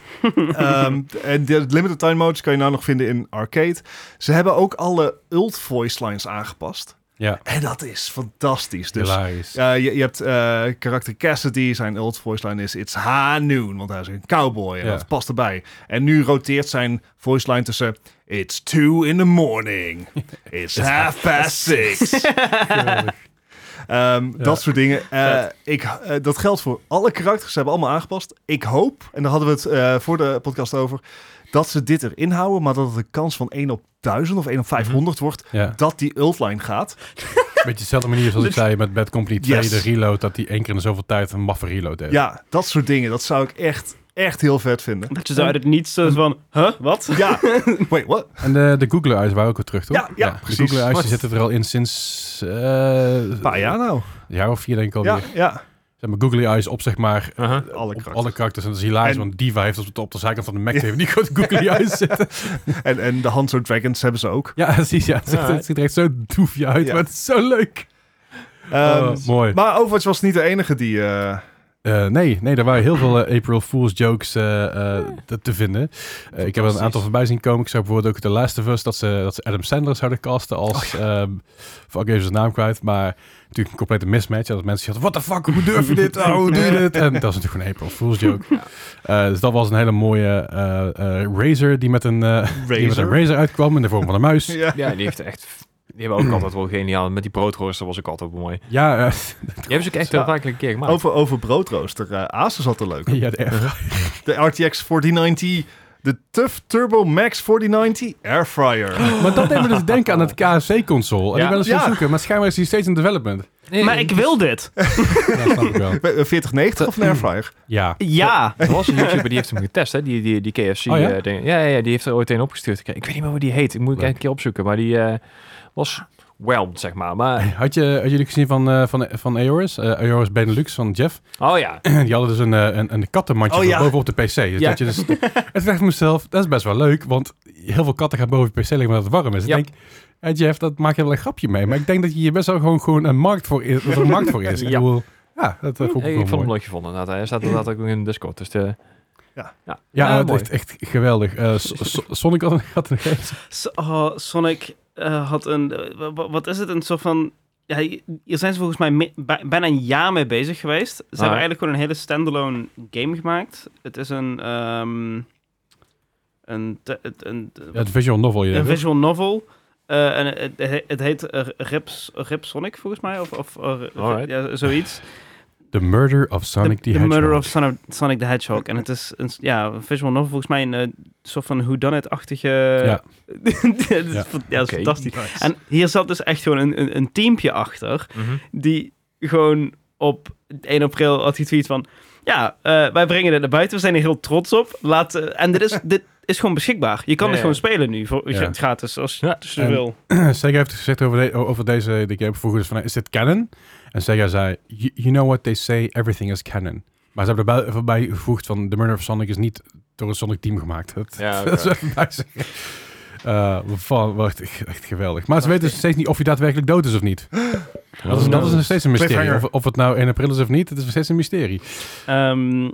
[SPEAKER 4] Ehm, en de limited time modes kan je nou nog vinden in arcade. Ze hebben ook alle ult voice lines aangepast.
[SPEAKER 3] Ja.
[SPEAKER 4] En dat is fantastisch. Dus
[SPEAKER 3] Hilarisch.
[SPEAKER 4] ja, je, je hebt eh, karakter Cassidy, zijn ult voice line is It's High Noon, want hij is een cowboy en
[SPEAKER 3] Ja.
[SPEAKER 4] dat past erbij. En nu roteert zijn voice line tussen It's two in the morning, It's half past six. Ehm, Dat soort dingen. Eh, ik, eh, dat geldt voor alle karakters, ze hebben allemaal aangepast. Ik hoop, en daar hadden we het eh, voor de podcast over, dat ze dit erin houden, maar dat het een kans van 1 op 1000 of 1 op 500
[SPEAKER 3] Mhm.
[SPEAKER 4] wordt
[SPEAKER 3] Ja.
[SPEAKER 4] dat die ultline gaat.
[SPEAKER 3] Beetje dezelfde manier zoals ik zei met Bad Company 2,
[SPEAKER 4] Dus- Yes.
[SPEAKER 3] de reload, dat die één keer in zoveel tijd een maffe reload heeft.
[SPEAKER 4] Ja, dat soort dingen. Dat zou ik echt, echt heel vet vinden.
[SPEAKER 1] Dat je zo uit het niets zo van, huh, wat?
[SPEAKER 4] Ja, wait, what?
[SPEAKER 3] En de, de Google Eyes waren ook weer terug, toch?
[SPEAKER 4] Ja, ja, precies.
[SPEAKER 3] De Google Eyes die
[SPEAKER 4] Wat?
[SPEAKER 3] zitten er al in sinds... eh
[SPEAKER 4] Een paar jaar nou.
[SPEAKER 3] jaar of vier denk ik alweer.
[SPEAKER 4] Ja, ja.
[SPEAKER 3] Zeg maar Google Eyes op, zeg maar,
[SPEAKER 2] Uh-huh.
[SPEAKER 4] Alle
[SPEAKER 3] op
[SPEAKER 4] krachten.
[SPEAKER 3] Oh, alle karakters. En dat is hilarisch,
[SPEAKER 4] En-
[SPEAKER 3] want Diva heeft op de, op de zijkant van de Mac even die grote Google Eyes zitten.
[SPEAKER 4] En, en de Hanzo Dragons hebben ze ook.
[SPEAKER 3] Ja, precies. Ja. Het, ziet, het ziet er echt zo doefje uit,
[SPEAKER 4] Ja.
[SPEAKER 3] maar het is zo leuk.
[SPEAKER 4] Ehm,
[SPEAKER 3] Oh, mooi.
[SPEAKER 4] Maar Overwatch was niet de enige die... eh,
[SPEAKER 3] Eh, nee, nee, er waren heel veel eh, April Fool's jokes eh, eh, te, te vinden. Eh, ik heb er een aantal voorbij zien komen. Ik zag bijvoorbeeld ook The Last of Us, dat ze, dat ze Adam Sandler zouden casten als... ehm fuck, ik heb even zijn naam kwijt, maar natuurlijk een complete mismatch. En Dat mensen zeiden, what the fuck, hoe durf je dit? Oh, hoe doe je dit? En dat is natuurlijk gewoon een April Fool's joke. Eh, dus dat was een hele mooie eh, eh, Razer die met een, eh, die met een
[SPEAKER 4] Razer.
[SPEAKER 3] Razer uitkwam in de vorm van een muis.
[SPEAKER 4] Ja.
[SPEAKER 2] Ja, die heeft echt... Die hebben ook altijd wel geniaal. Met die broodrooster was ik altijd mooi. Die
[SPEAKER 3] Ja, eh,
[SPEAKER 2] hebben ze ook echt
[SPEAKER 4] Ja.
[SPEAKER 2] heel vaak een keer gemaakt.
[SPEAKER 4] Over, over broodrooster. eh Asus had er leuk.
[SPEAKER 3] ja, de airfryer.
[SPEAKER 4] De RTX 4090. De TUF Turbo Max 4090 Airfryer.
[SPEAKER 3] Maar dat deed me dus denken aan het KFC-console. En
[SPEAKER 2] Ja.
[SPEAKER 3] ik ben eens gaan
[SPEAKER 4] Ja.
[SPEAKER 3] zoeken, maar schijnbaar is die steeds in development.
[SPEAKER 2] Nee,
[SPEAKER 1] Maar ik wil dit.
[SPEAKER 3] Ja, snap ik wel.
[SPEAKER 4] Eh, 4090 of een Airfryer?
[SPEAKER 3] Ja.
[SPEAKER 1] Ja.
[SPEAKER 2] Er was een YouTuber die heeft hem getest, hè? Die, die, die KFC
[SPEAKER 3] Oh, ja?
[SPEAKER 2] eh, ding. ja? Ja, ja, die heeft er ooit een opgestuurd gekregen. Ik weet niet meer hoe die heet. Ik moet ik
[SPEAKER 3] Leuk.
[SPEAKER 2] een keer opzoeken. Maar die eh, was whelmed, zeg maar. Maar,
[SPEAKER 3] Had je, had jullie gezien van, eh van, van Aorus? Eh Aorus Benelux van Jeff.
[SPEAKER 2] oh ja.
[SPEAKER 3] Die hadden dus een, eh, een, een kattenmandje
[SPEAKER 4] Oh,
[SPEAKER 3] voor
[SPEAKER 4] ja.
[SPEAKER 3] bovenop de PC. Dus
[SPEAKER 2] Ja.
[SPEAKER 3] dat je dus, en toen dacht ik mezelf, dat is best wel leuk. Want heel veel katten gaan boven de PC liggen omdat het warm is.
[SPEAKER 2] Ja.
[SPEAKER 3] Ik denk, eh, Jeff, dat maak je wel een grapje mee. Maar ik denk dat je hier best wel gewoon, gewoon een markt voor is. Dat er een markt voor is. Ik
[SPEAKER 2] Ja.
[SPEAKER 3] bedoel, ja, dat eh, vond
[SPEAKER 2] Hey,
[SPEAKER 3] ik
[SPEAKER 2] ik
[SPEAKER 3] ook
[SPEAKER 2] vond hem
[SPEAKER 3] wel mooi.
[SPEAKER 2] leuk gevonden. Inderdaad. Hij staat inderdaad ook in de Discord. Dus de,
[SPEAKER 4] Ja.
[SPEAKER 2] ja.
[SPEAKER 3] Ja,
[SPEAKER 2] Ah,
[SPEAKER 3] het
[SPEAKER 2] mooi.
[SPEAKER 3] echt, echt geweldig. Eh, So- So- Sonic had een had een
[SPEAKER 1] So- oh, Sonic eh, had een. eh, wa- wa- wat is het? Een soort van. Ja, hier zijn ze volgens mij mi- bij- bijna een jaar mee bezig geweest. Ze
[SPEAKER 3] Ah.
[SPEAKER 1] hebben eigenlijk gewoon een hele standalone game gemaakt. Het is een. ehm, een, te- het- een,
[SPEAKER 3] Ja, het visual novel. Je
[SPEAKER 1] een
[SPEAKER 3] denkt,
[SPEAKER 1] visual novel. Eh, en het, het- het heet eh, Rips, Rip Sonic, volgens mij. Of, of eh,
[SPEAKER 2] Alright.
[SPEAKER 1] ja, zoiets.
[SPEAKER 3] The Murder of Sonic the,
[SPEAKER 1] the, the
[SPEAKER 3] Hedgehog.
[SPEAKER 1] Murder of Sonic, Sonic the Hedgehog. En het is een s- ja, een visual novel, volgens mij een eh, soort van whodunit-achtige...
[SPEAKER 3] Ja.
[SPEAKER 1] Het is
[SPEAKER 3] Ja.
[SPEAKER 1] fan- ja, dat is
[SPEAKER 2] Oké.
[SPEAKER 1] fantastisch. En hier zat dus echt gewoon een, een, een teampje achter
[SPEAKER 3] Mhm.
[SPEAKER 1] die gewoon op 1 april had getweet van... Ja, eh, wij brengen dit naar buiten. We zijn er heel trots op. Laat, eh, en dit is, dit is gewoon beschikbaar. Je kan het
[SPEAKER 2] Ja, ja.
[SPEAKER 1] gewoon spelen nu, voor,
[SPEAKER 3] Ja.
[SPEAKER 1] gratis, als,
[SPEAKER 2] Ja,
[SPEAKER 1] als je
[SPEAKER 3] en-
[SPEAKER 1] wil.
[SPEAKER 3] Sega heeft gezegd over, de- over deze de game vroeger dus van, is dit canon? En Sega zei, you, you know what they say, everything is canon. Maar ze hebben er wel even bij gevoegd van, The Murder of Sonic is niet door het Sonic team gemaakt. Dat,
[SPEAKER 2] Ja,
[SPEAKER 3] dat is
[SPEAKER 2] oké.
[SPEAKER 3] even bij zeggen. Eh, van, wacht, echt geweldig. Maar ze weten dus steeds niet of hij daadwerkelijk dood is of niet. Dat is, dat is nog steeds een mysterie. Of,
[SPEAKER 4] Cliffhanger.
[SPEAKER 3] of het nou 1 april is of niet, het is nog steeds een mysterie.
[SPEAKER 1] Ehm,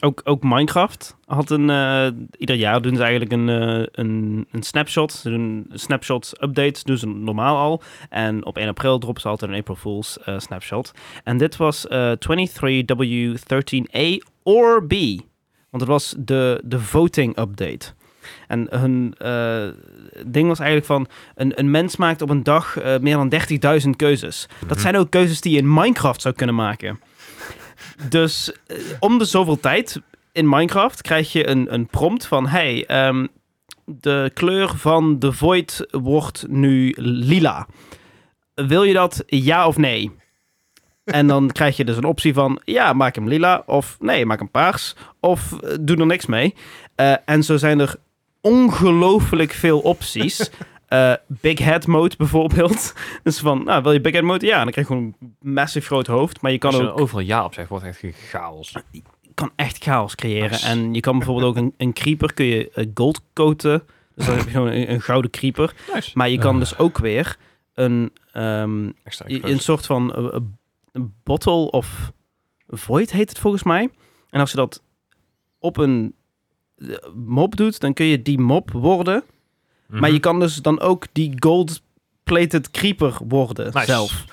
[SPEAKER 1] ook, ook Minecraft had een. eh, ieder jaar doen ze eigenlijk een, eh, een, een snapshot. Ze doen snapshot updates, doen ze normaal al. En op 1 april droppen ze altijd een April Fool's eh, snapshot. En dit was eh, 23W13A or B. Want het was de, de voting update. En hun eh, ding was eigenlijk van... Een, een mens maakt op een dag eh, meer dan 30.000 keuzes. Dat zijn ook keuzes die je in Minecraft zou kunnen maken. Dus eh, om de zoveel tijd in Minecraft krijg je een, een prompt van... Hey, ehm, de kleur van de void wordt nu lila. Wil je dat ja of nee? En dan krijg je dus een optie van ja, maak hem lila. Of nee, maak hem paars. Of eh, doe er niks mee. Eh, en zo zijn er ongelooflijk veel opties. Eh, big head mode bijvoorbeeld. Dus van, nou, wil je big head mode? Ja, dan krijg je gewoon een massief groot hoofd. Maar je kan
[SPEAKER 2] Als je
[SPEAKER 1] ook
[SPEAKER 2] er overal ja op zegt, wordt het echt chaos.
[SPEAKER 1] kan echt chaos creëren. En je kan bijvoorbeeld ook een, een creeper, kun je eh, gold coaten. Dus dan heb je gewoon een, een gouden creeper.
[SPEAKER 2] Nice.
[SPEAKER 1] Maar je kan dus ook weer een, ehm,
[SPEAKER 2] Extra
[SPEAKER 1] i-
[SPEAKER 2] explosies.
[SPEAKER 1] een soort van eh, eh, een bottle of void heet het volgens mij. En als je dat op een eh, mop doet, dan kun je die mop worden.
[SPEAKER 3] Mhm.
[SPEAKER 1] Maar
[SPEAKER 2] Mhm.
[SPEAKER 1] je kan dus dan ook die gold-plated creeper worden
[SPEAKER 2] Nice.
[SPEAKER 1] zelf.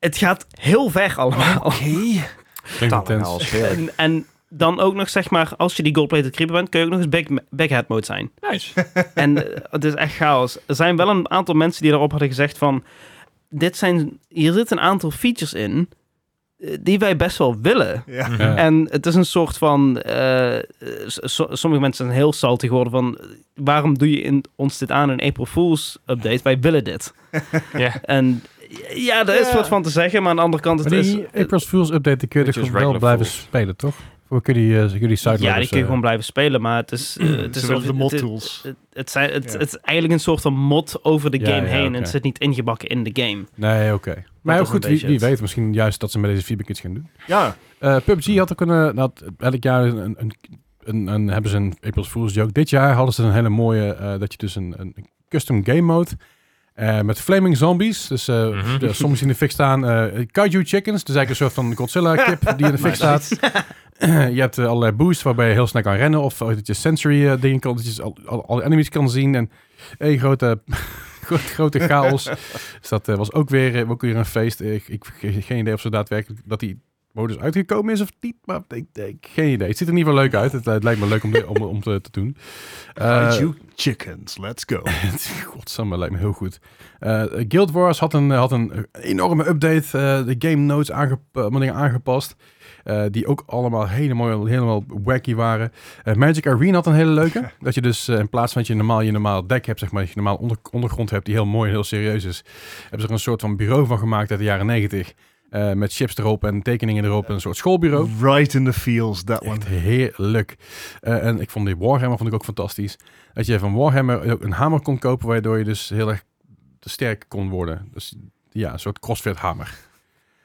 [SPEAKER 1] Het gaat heel ver allemaal.
[SPEAKER 3] Klinkt intens.
[SPEAKER 2] Totale chaos.
[SPEAKER 1] En, en dan ook nog, zeg maar, als je die gold-plated creeper bent, kun je ook nog eens back, backhead mode zijn.
[SPEAKER 2] Nice.
[SPEAKER 1] en eh, het is echt chaos. Er zijn wel een aantal mensen die daarop hadden gezegd van, dit zijn, hier zitten een aantal features in eh, die wij best wel willen.
[SPEAKER 4] Ja.
[SPEAKER 3] Ja.
[SPEAKER 1] En het is een soort van. eh, s- so- sommige mensen zijn heel salty geworden van. eh, Waarom doe je in, ons dit aan in April Fools update? Wij willen dit.
[SPEAKER 2] Ja.
[SPEAKER 1] En ja, daar is
[SPEAKER 4] Ja.
[SPEAKER 1] wat van te zeggen, maar aan de andere kant, het
[SPEAKER 3] Maar
[SPEAKER 1] is.
[SPEAKER 3] die April Fools update, die kun je
[SPEAKER 2] Which
[SPEAKER 3] toch
[SPEAKER 2] is
[SPEAKER 3] wel
[SPEAKER 2] regular
[SPEAKER 3] blijven
[SPEAKER 2] Fools.
[SPEAKER 3] spelen, toch? Voor kun je die, eh, kun je die sideloaders,
[SPEAKER 1] ja, die kun je
[SPEAKER 3] eh,
[SPEAKER 1] gewoon blijven spelen, maar het is. eh, het is
[SPEAKER 4] Ze willen de mod
[SPEAKER 1] het-
[SPEAKER 4] tools.
[SPEAKER 1] het, het, zijn, het,
[SPEAKER 4] Ja.
[SPEAKER 1] het is eigenlijk een soort van mod over de
[SPEAKER 3] Ja,
[SPEAKER 1] game
[SPEAKER 3] ja,
[SPEAKER 1] heen.
[SPEAKER 3] oké.
[SPEAKER 1] En het zit niet ingebakken in de game.
[SPEAKER 3] Nee, oké. Maar
[SPEAKER 1] dat
[SPEAKER 3] heel
[SPEAKER 1] is
[SPEAKER 3] goed,
[SPEAKER 1] een
[SPEAKER 3] wie,
[SPEAKER 1] beetje
[SPEAKER 3] wie
[SPEAKER 1] het.
[SPEAKER 3] weet misschien juist dat ze met deze feedback iets gaan doen.
[SPEAKER 4] Ja,
[SPEAKER 3] Eh, PUBG had ook een, eh, had elk jaar een, een, een, een- een- hebben ze een April Fool's joke. Dit jaar hadden ze een hele mooie, eh, dat je dus een, een custom game mode eh, met flaming zombies. Dus eh,
[SPEAKER 2] Mhm.
[SPEAKER 3] ja, soms in de fik staan eh, kaiju chickens. Dus eigenlijk een soort van Godzilla kip die in de fik staat. je hebt eh, allerlei boosts waarbij je heel snel kan rennen. Of eh, dat je sensory eh, dingen kan, dat je al, al, alle enemies kan zien. En één grote... grote- Grote chaos. Dus dat eh, was ook weer, eh, ook weer een feest. Ik, ik geen idee of ze daadwerkelijk dat die modus uitgekomen is of niet. Maar ik, ik geen idee. Het ziet er niet wel leuk uit. Het, eh, het lijkt me leuk om, te- om, om te, te doen. Eh,
[SPEAKER 4] Kaiju chickens, let's go.
[SPEAKER 3] Godsamme, lijkt me heel goed. Eh, Guild Wars had een, had een enorme update. eh, de game notes aangep eh, allemaal dingen aangepast. eh, die ook allemaal helemaal, helemaal wacky waren. Eh, Magic Arena had een hele leuke. Dat je dus eh, in plaats van dat je normaal je normaal dek hebt, zeg maar, dat je normaal onder, ondergrond hebt die heel mooi en heel serieus is, hebben ze er een soort van bureau van gemaakt uit de jaren negentig. eh, met chips erop en tekeningen erop, en een soort schoolbureau.
[SPEAKER 4] Right in the feels, that one.
[SPEAKER 3] Echt heerlijk. Eh, en ik vond die Warhammer vond ik ook fantastisch. Dat je van Warhammer ook een hamer kon kopen, waardoor je dus heel erg sterk kon worden. Dus ja, een soort crossfit hamer.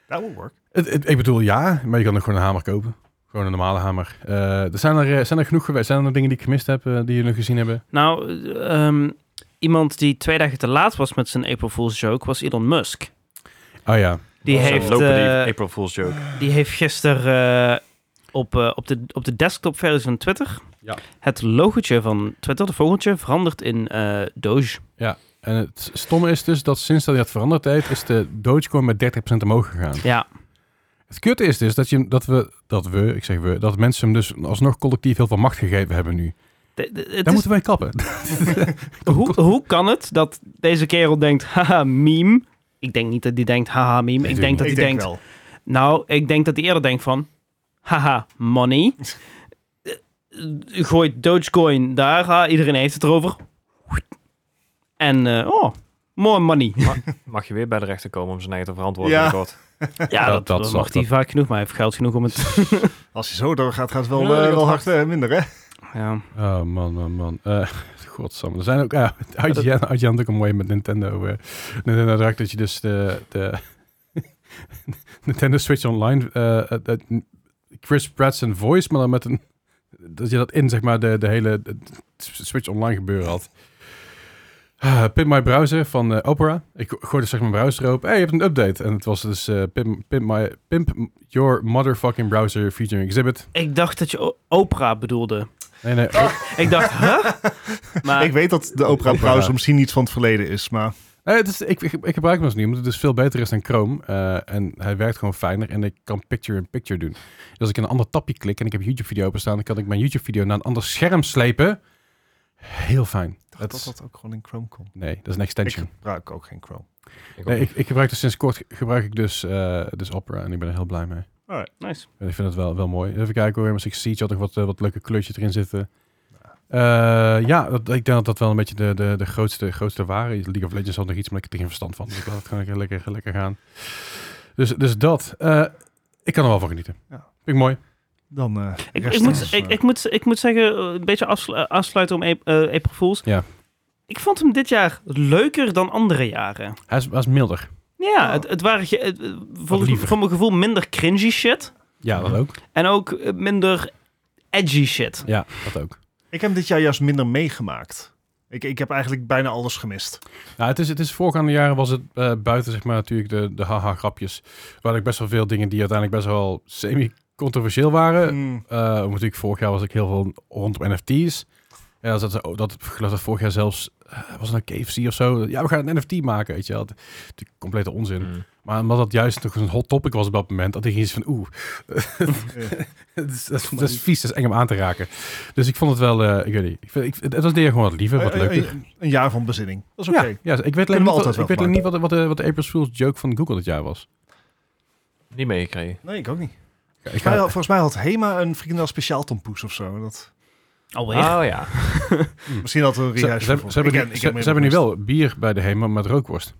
[SPEAKER 4] That will work.
[SPEAKER 3] Het, het- ik bedoel ja, maar je kan ook gewoon een hamer kopen. Gewoon een normale hamer. Eh, er zijn, er, eh, zijn er genoeg geweest. Zijn er nog dingen die ik gemist heb, eh, die jullie nog gezien hebben?
[SPEAKER 1] Nou, ehm, iemand die twee dagen te laat was met zijn April Fool's joke was Elon Musk.
[SPEAKER 3] Ah ja.
[SPEAKER 1] Die
[SPEAKER 2] Zo'n
[SPEAKER 1] heeft.
[SPEAKER 2] lopende
[SPEAKER 1] eh,
[SPEAKER 2] April Fool's joke.
[SPEAKER 1] Die heeft gisteren op, eh, op de, op de desktop-versie van Twitter
[SPEAKER 3] Ja.
[SPEAKER 1] het logotje van Twitter, de vogeltje, veranderd in eh, Doge.
[SPEAKER 3] En het stomme is dus dat sinds dat hij dat veranderd heeft, is de Dogecoin met 30% omhoog gegaan.
[SPEAKER 1] Ja,
[SPEAKER 3] Het kutte is dus dat, je, hem- dat we, dat we, ik zeg we, dat mensen hem dus alsnog collectief heel veel macht gegeven hebben nu.
[SPEAKER 1] De- de- het
[SPEAKER 3] Daar
[SPEAKER 1] is-
[SPEAKER 3] moeten wij kappen.
[SPEAKER 1] hoe, hoe kan het dat deze kerel denkt, haha, meme? Ik denk niet dat die denkt, haha, meme.
[SPEAKER 3] Nee,
[SPEAKER 1] ik
[SPEAKER 3] tuurlijk
[SPEAKER 1] denk dat
[SPEAKER 4] Ik
[SPEAKER 1] hij
[SPEAKER 4] denk
[SPEAKER 1] denkt,
[SPEAKER 4] wel.
[SPEAKER 1] nou, ik denk dat hij eerder denkt van, haha, money. Eh, Gooit Dogecoin daar, ha, iedereen heeft het erover. En, eh, oh, more money.
[SPEAKER 2] Mag je weer bij de rechter komen om zijn eigen te verantwoorden?
[SPEAKER 4] Ja.
[SPEAKER 2] binnenkort?
[SPEAKER 1] Ja,
[SPEAKER 3] Dat-
[SPEAKER 1] dat,
[SPEAKER 3] dat
[SPEAKER 1] dat
[SPEAKER 3] zal-
[SPEAKER 1] mag hij
[SPEAKER 3] dat-
[SPEAKER 1] vaak genoeg, maar hij heeft geld genoeg om het
[SPEAKER 4] Als hij zo doorgaat, gaat het wel,
[SPEAKER 2] Ja,
[SPEAKER 4] eh,
[SPEAKER 2] dat
[SPEAKER 4] wel
[SPEAKER 2] gaat
[SPEAKER 4] hard eh, minder, hè?
[SPEAKER 1] Ja.
[SPEAKER 3] Oh man, man, man. Eh Godsamme. Er zijn ook... ja, IGN, IGN had ook een mooie met Nintendo. eh Nintendo Direct dat je dus de... de Nintendo Switch Online... eh, eh, dat- Chris Pratt's en voice, maar dan met een... Dat je dat in, zeg maar, de, de hele de- Switch Online gebeuren had. Ah, Pimp My Browser van eh, Opera. Ik gooide straks mijn browser op. hey, je hebt een update. En het was dus eh, Pimp, Pimp, my, Pimp Your Motherfucking Browser featuring Exhibit.
[SPEAKER 1] Ik dacht dat je o- Oprah bedoelde.
[SPEAKER 3] Nee, nee.
[SPEAKER 1] Ik dacht, huh? Maar
[SPEAKER 4] Ik weet dat de Opera
[SPEAKER 3] Opera.
[SPEAKER 4] browser misschien iets van het verleden is, maar
[SPEAKER 3] Nee, het is, ik, ik, ik gebruik hem dus niet, omdat het dus veel beter is dan Chrome. eh, en hij werkt gewoon fijner en ik kan picture-in-picture doen. Dus als ik in een ander tapje klik en ik heb YouTube-video openstaan, dan kan ik mijn YouTube-video naar een ander scherm slepen. Heel fijn.
[SPEAKER 4] ik
[SPEAKER 3] Dat
[SPEAKER 4] dacht
[SPEAKER 3] is-
[SPEAKER 4] dat dat ook gewoon in Chrome komt.
[SPEAKER 3] Nee, dat is een
[SPEAKER 4] Ik
[SPEAKER 3] extension.
[SPEAKER 4] gebruik ook geen Chrome.
[SPEAKER 2] Ik
[SPEAKER 3] nee,
[SPEAKER 2] ook.
[SPEAKER 3] ik, ik gebruik dus sinds kort gebruik ik dus, eh, dus Opera en ik ben er heel blij mee.
[SPEAKER 1] nice.
[SPEAKER 3] En ik vind het wel, wel mooi. Even kijken hoor, maar Six Siege had nog wat, eh, wat leuke kleurtjes erin zitten. Eh, ja, dat, ik denk dat dat wel een beetje de, de, de grootste, grootste waren. League of Legends had nog iets, maar ik heb er geen verstand van. Dus ik laat het gewoon lekker, lekker, lekker gaan. Dus, dus dat. Eh, ik kan er wel van genieten.
[SPEAKER 4] Ja.
[SPEAKER 3] Vind ik mooi.
[SPEAKER 4] Dan eh,
[SPEAKER 1] Ik,
[SPEAKER 4] rest
[SPEAKER 1] ik,
[SPEAKER 4] ons,
[SPEAKER 1] moet, ik,
[SPEAKER 4] eh,
[SPEAKER 1] ik, moet, ik moet zeggen, eh, een beetje afslu- eh, afsluiten om Ap- eh, April Fools.
[SPEAKER 3] Ja.
[SPEAKER 1] Ik vond hem dit jaar leuker dan andere jaren.
[SPEAKER 3] Hij is, hij is milder.
[SPEAKER 1] Ja,
[SPEAKER 4] Oh.
[SPEAKER 1] het, het waren ge- het, eh, voor,
[SPEAKER 3] liever.
[SPEAKER 1] voor mijn gevoel minder cringy shit.
[SPEAKER 3] Ja, dat ook.
[SPEAKER 1] En ook eh, minder edgy shit.
[SPEAKER 3] Ja, dat ook.
[SPEAKER 4] ik heb dit jaar juist minder meegemaakt. Ik, ik heb eigenlijk bijna alles gemist.
[SPEAKER 3] Nou, het is, het is voorgaande jaren was het eh, buiten zeg maar natuurlijk de, de haha-grapjes. Waar ik best wel veel dingen die uiteindelijk best wel semi-controversieel waren.
[SPEAKER 4] Mm.
[SPEAKER 3] Eh, want natuurlijk, vorig jaar was ik heel veel rondom NFT's. En dat, dat, dat, ik geloof dat vorig jaar zelfs, eh, was het een KFC of zo? Ja, we gaan een NFT maken, weet je wel. De complete onzin.
[SPEAKER 4] Hmm.
[SPEAKER 2] Mm.
[SPEAKER 3] Maar omdat dat juist toch een hot topic was op dat moment, dat ik iets van, oeh, dat is, dat, is, dat is vies, dat is eng om aan te raken. Dus ik vond het wel, eh, ik weet niet, ik vind, ik, het was de gewoon wat liever, wat
[SPEAKER 4] Eh, eh,
[SPEAKER 3] leuker.
[SPEAKER 4] eh, een jaar van bezinning. Dat is oké.
[SPEAKER 3] Ja, ja, ik weet
[SPEAKER 4] we
[SPEAKER 3] alleen niet,
[SPEAKER 4] altijd
[SPEAKER 3] wat,
[SPEAKER 4] wel
[SPEAKER 3] ik weet alleen niet
[SPEAKER 4] maken.
[SPEAKER 3] wat, de- wat, de, wat de April Fool's joke van Google dit jaar was.
[SPEAKER 2] Niet meegekregen.
[SPEAKER 4] Nee, ik ook niet.
[SPEAKER 3] Ik
[SPEAKER 4] Volgens mij,
[SPEAKER 3] ga,
[SPEAKER 4] had- volgens mij had Hema een frikandel speciaal tompoes of zo. Dat, Ah,
[SPEAKER 1] Alweer.
[SPEAKER 2] Oh ja.
[SPEAKER 4] misschien had een
[SPEAKER 3] ze, ze,
[SPEAKER 4] rehash.
[SPEAKER 3] ze hebben- ze hebben nu- ze- ze hebben nu wel bier bij de Hema met rookworst.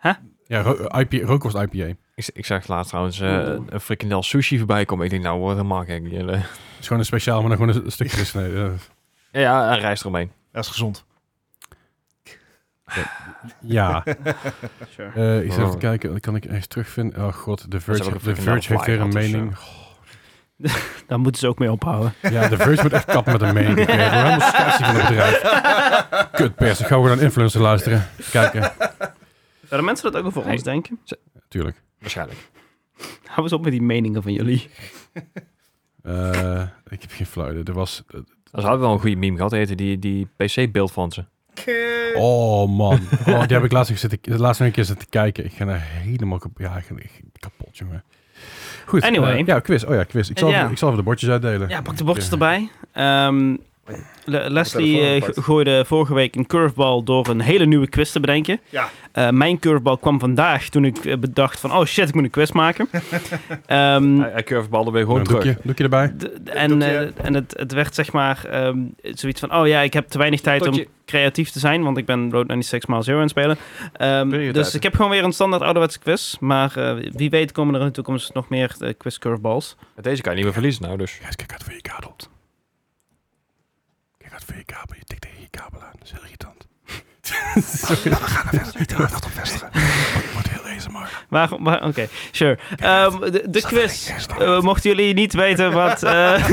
[SPEAKER 1] Huh?
[SPEAKER 3] Ja, ro- IP, rookworst IPA.
[SPEAKER 2] Ik, ik zag laatst trouwens eh, een frikandel sushi voorbij komen. Ik denk, nou wordt helemaal gek. Ja,
[SPEAKER 3] Het is gewoon een speciaal, maar dan gewoon een, een stukje gesneden. Eh,
[SPEAKER 2] Ja, hij reist eromheen.
[SPEAKER 4] Dat is gezond.
[SPEAKER 3] Ja.
[SPEAKER 1] Sure.
[SPEAKER 3] Eh, ik zal even
[SPEAKER 2] Oh.
[SPEAKER 3] kijken, dan kan ik ergens terugvinden. Oh god, The
[SPEAKER 2] ook
[SPEAKER 3] Verge,
[SPEAKER 2] een
[SPEAKER 3] The
[SPEAKER 2] fucking
[SPEAKER 3] Verge heeft weer een
[SPEAKER 2] Delphi,
[SPEAKER 3] mening.
[SPEAKER 1] Daar moeten ze ook mee ophouden.
[SPEAKER 3] Ja, The Verge moet echt kappen met een mening. Ik ben helemaal schaatsie van het bedrijf. Kut pers, ik ga gewoon aan influencer luisteren. Kijken,
[SPEAKER 1] Zouden mensen dat ook over ons denken?
[SPEAKER 3] natuurlijk.
[SPEAKER 2] Waarschijnlijk.
[SPEAKER 1] Hou eens op met die meningen van jullie.
[SPEAKER 3] Eh, ik heb geen flauw idee. Er was...
[SPEAKER 2] Ze hadden wel een goede meme gehad, heette die, die PC-beeld van ze.
[SPEAKER 3] oh man. Oh, die heb ik laatst, nog zitten, de laatste nog een keer zitten kijken. Ik ga daar helemaal kap- ja, ik ga- ik- kapot, jongen. Goed.
[SPEAKER 1] Anyway.
[SPEAKER 3] eh, ja, quiz. Oh ja, quiz. Ik zal,
[SPEAKER 1] Ja.
[SPEAKER 3] even, ik zal even de bordjes uitdelen.
[SPEAKER 1] Ja, pak de bordjes erbij. Ehm, Le- Leslie
[SPEAKER 4] telefoon
[SPEAKER 1] eh,
[SPEAKER 4] apart.
[SPEAKER 1] go- gooide vorige week een curveball door een hele nieuwe quiz te bedenken.
[SPEAKER 4] Ja.
[SPEAKER 1] Eh, mijn curveball kwam vandaag toen ik eh, bedacht van... Oh shit, ik moet een quiz maken. Ehm,
[SPEAKER 2] Hij, hij curvebalde weer gewoon
[SPEAKER 3] Een
[SPEAKER 2] terug.
[SPEAKER 3] doekje, doekje erbij.
[SPEAKER 1] d- d- en
[SPEAKER 4] Doe je-
[SPEAKER 1] eh, en het, het werd zeg maar ehm, zoiets van... Oh ja, ik heb te weinig tijd om
[SPEAKER 2] Tot je-
[SPEAKER 1] creatief te zijn, want ik ben Road 96 Mile Zero aan het spelen. Ehm,
[SPEAKER 2] Ben je het
[SPEAKER 1] dus
[SPEAKER 2] uit,
[SPEAKER 1] ik heb gewoon weer een standaard ouderwetse quiz. Maar eh, wie weet komen er in de toekomst nog meer eh, quiz curveballs.
[SPEAKER 2] Met Deze kan je niet meer verliezen nou, dus.
[SPEAKER 3] Gijs, kijk uit voor je kabelt. Kijk uit voor je kabel. Je tikt tegen je kabel aan. Dat is heel irritant. Nou, we gaan naar vestigen. Niet te op vestigen. Het wordt heel deze maar.
[SPEAKER 1] Waarom? waar- Oké, sure. Ehm, de, de quiz. Eh, mochten jullie niet weten wat... eh,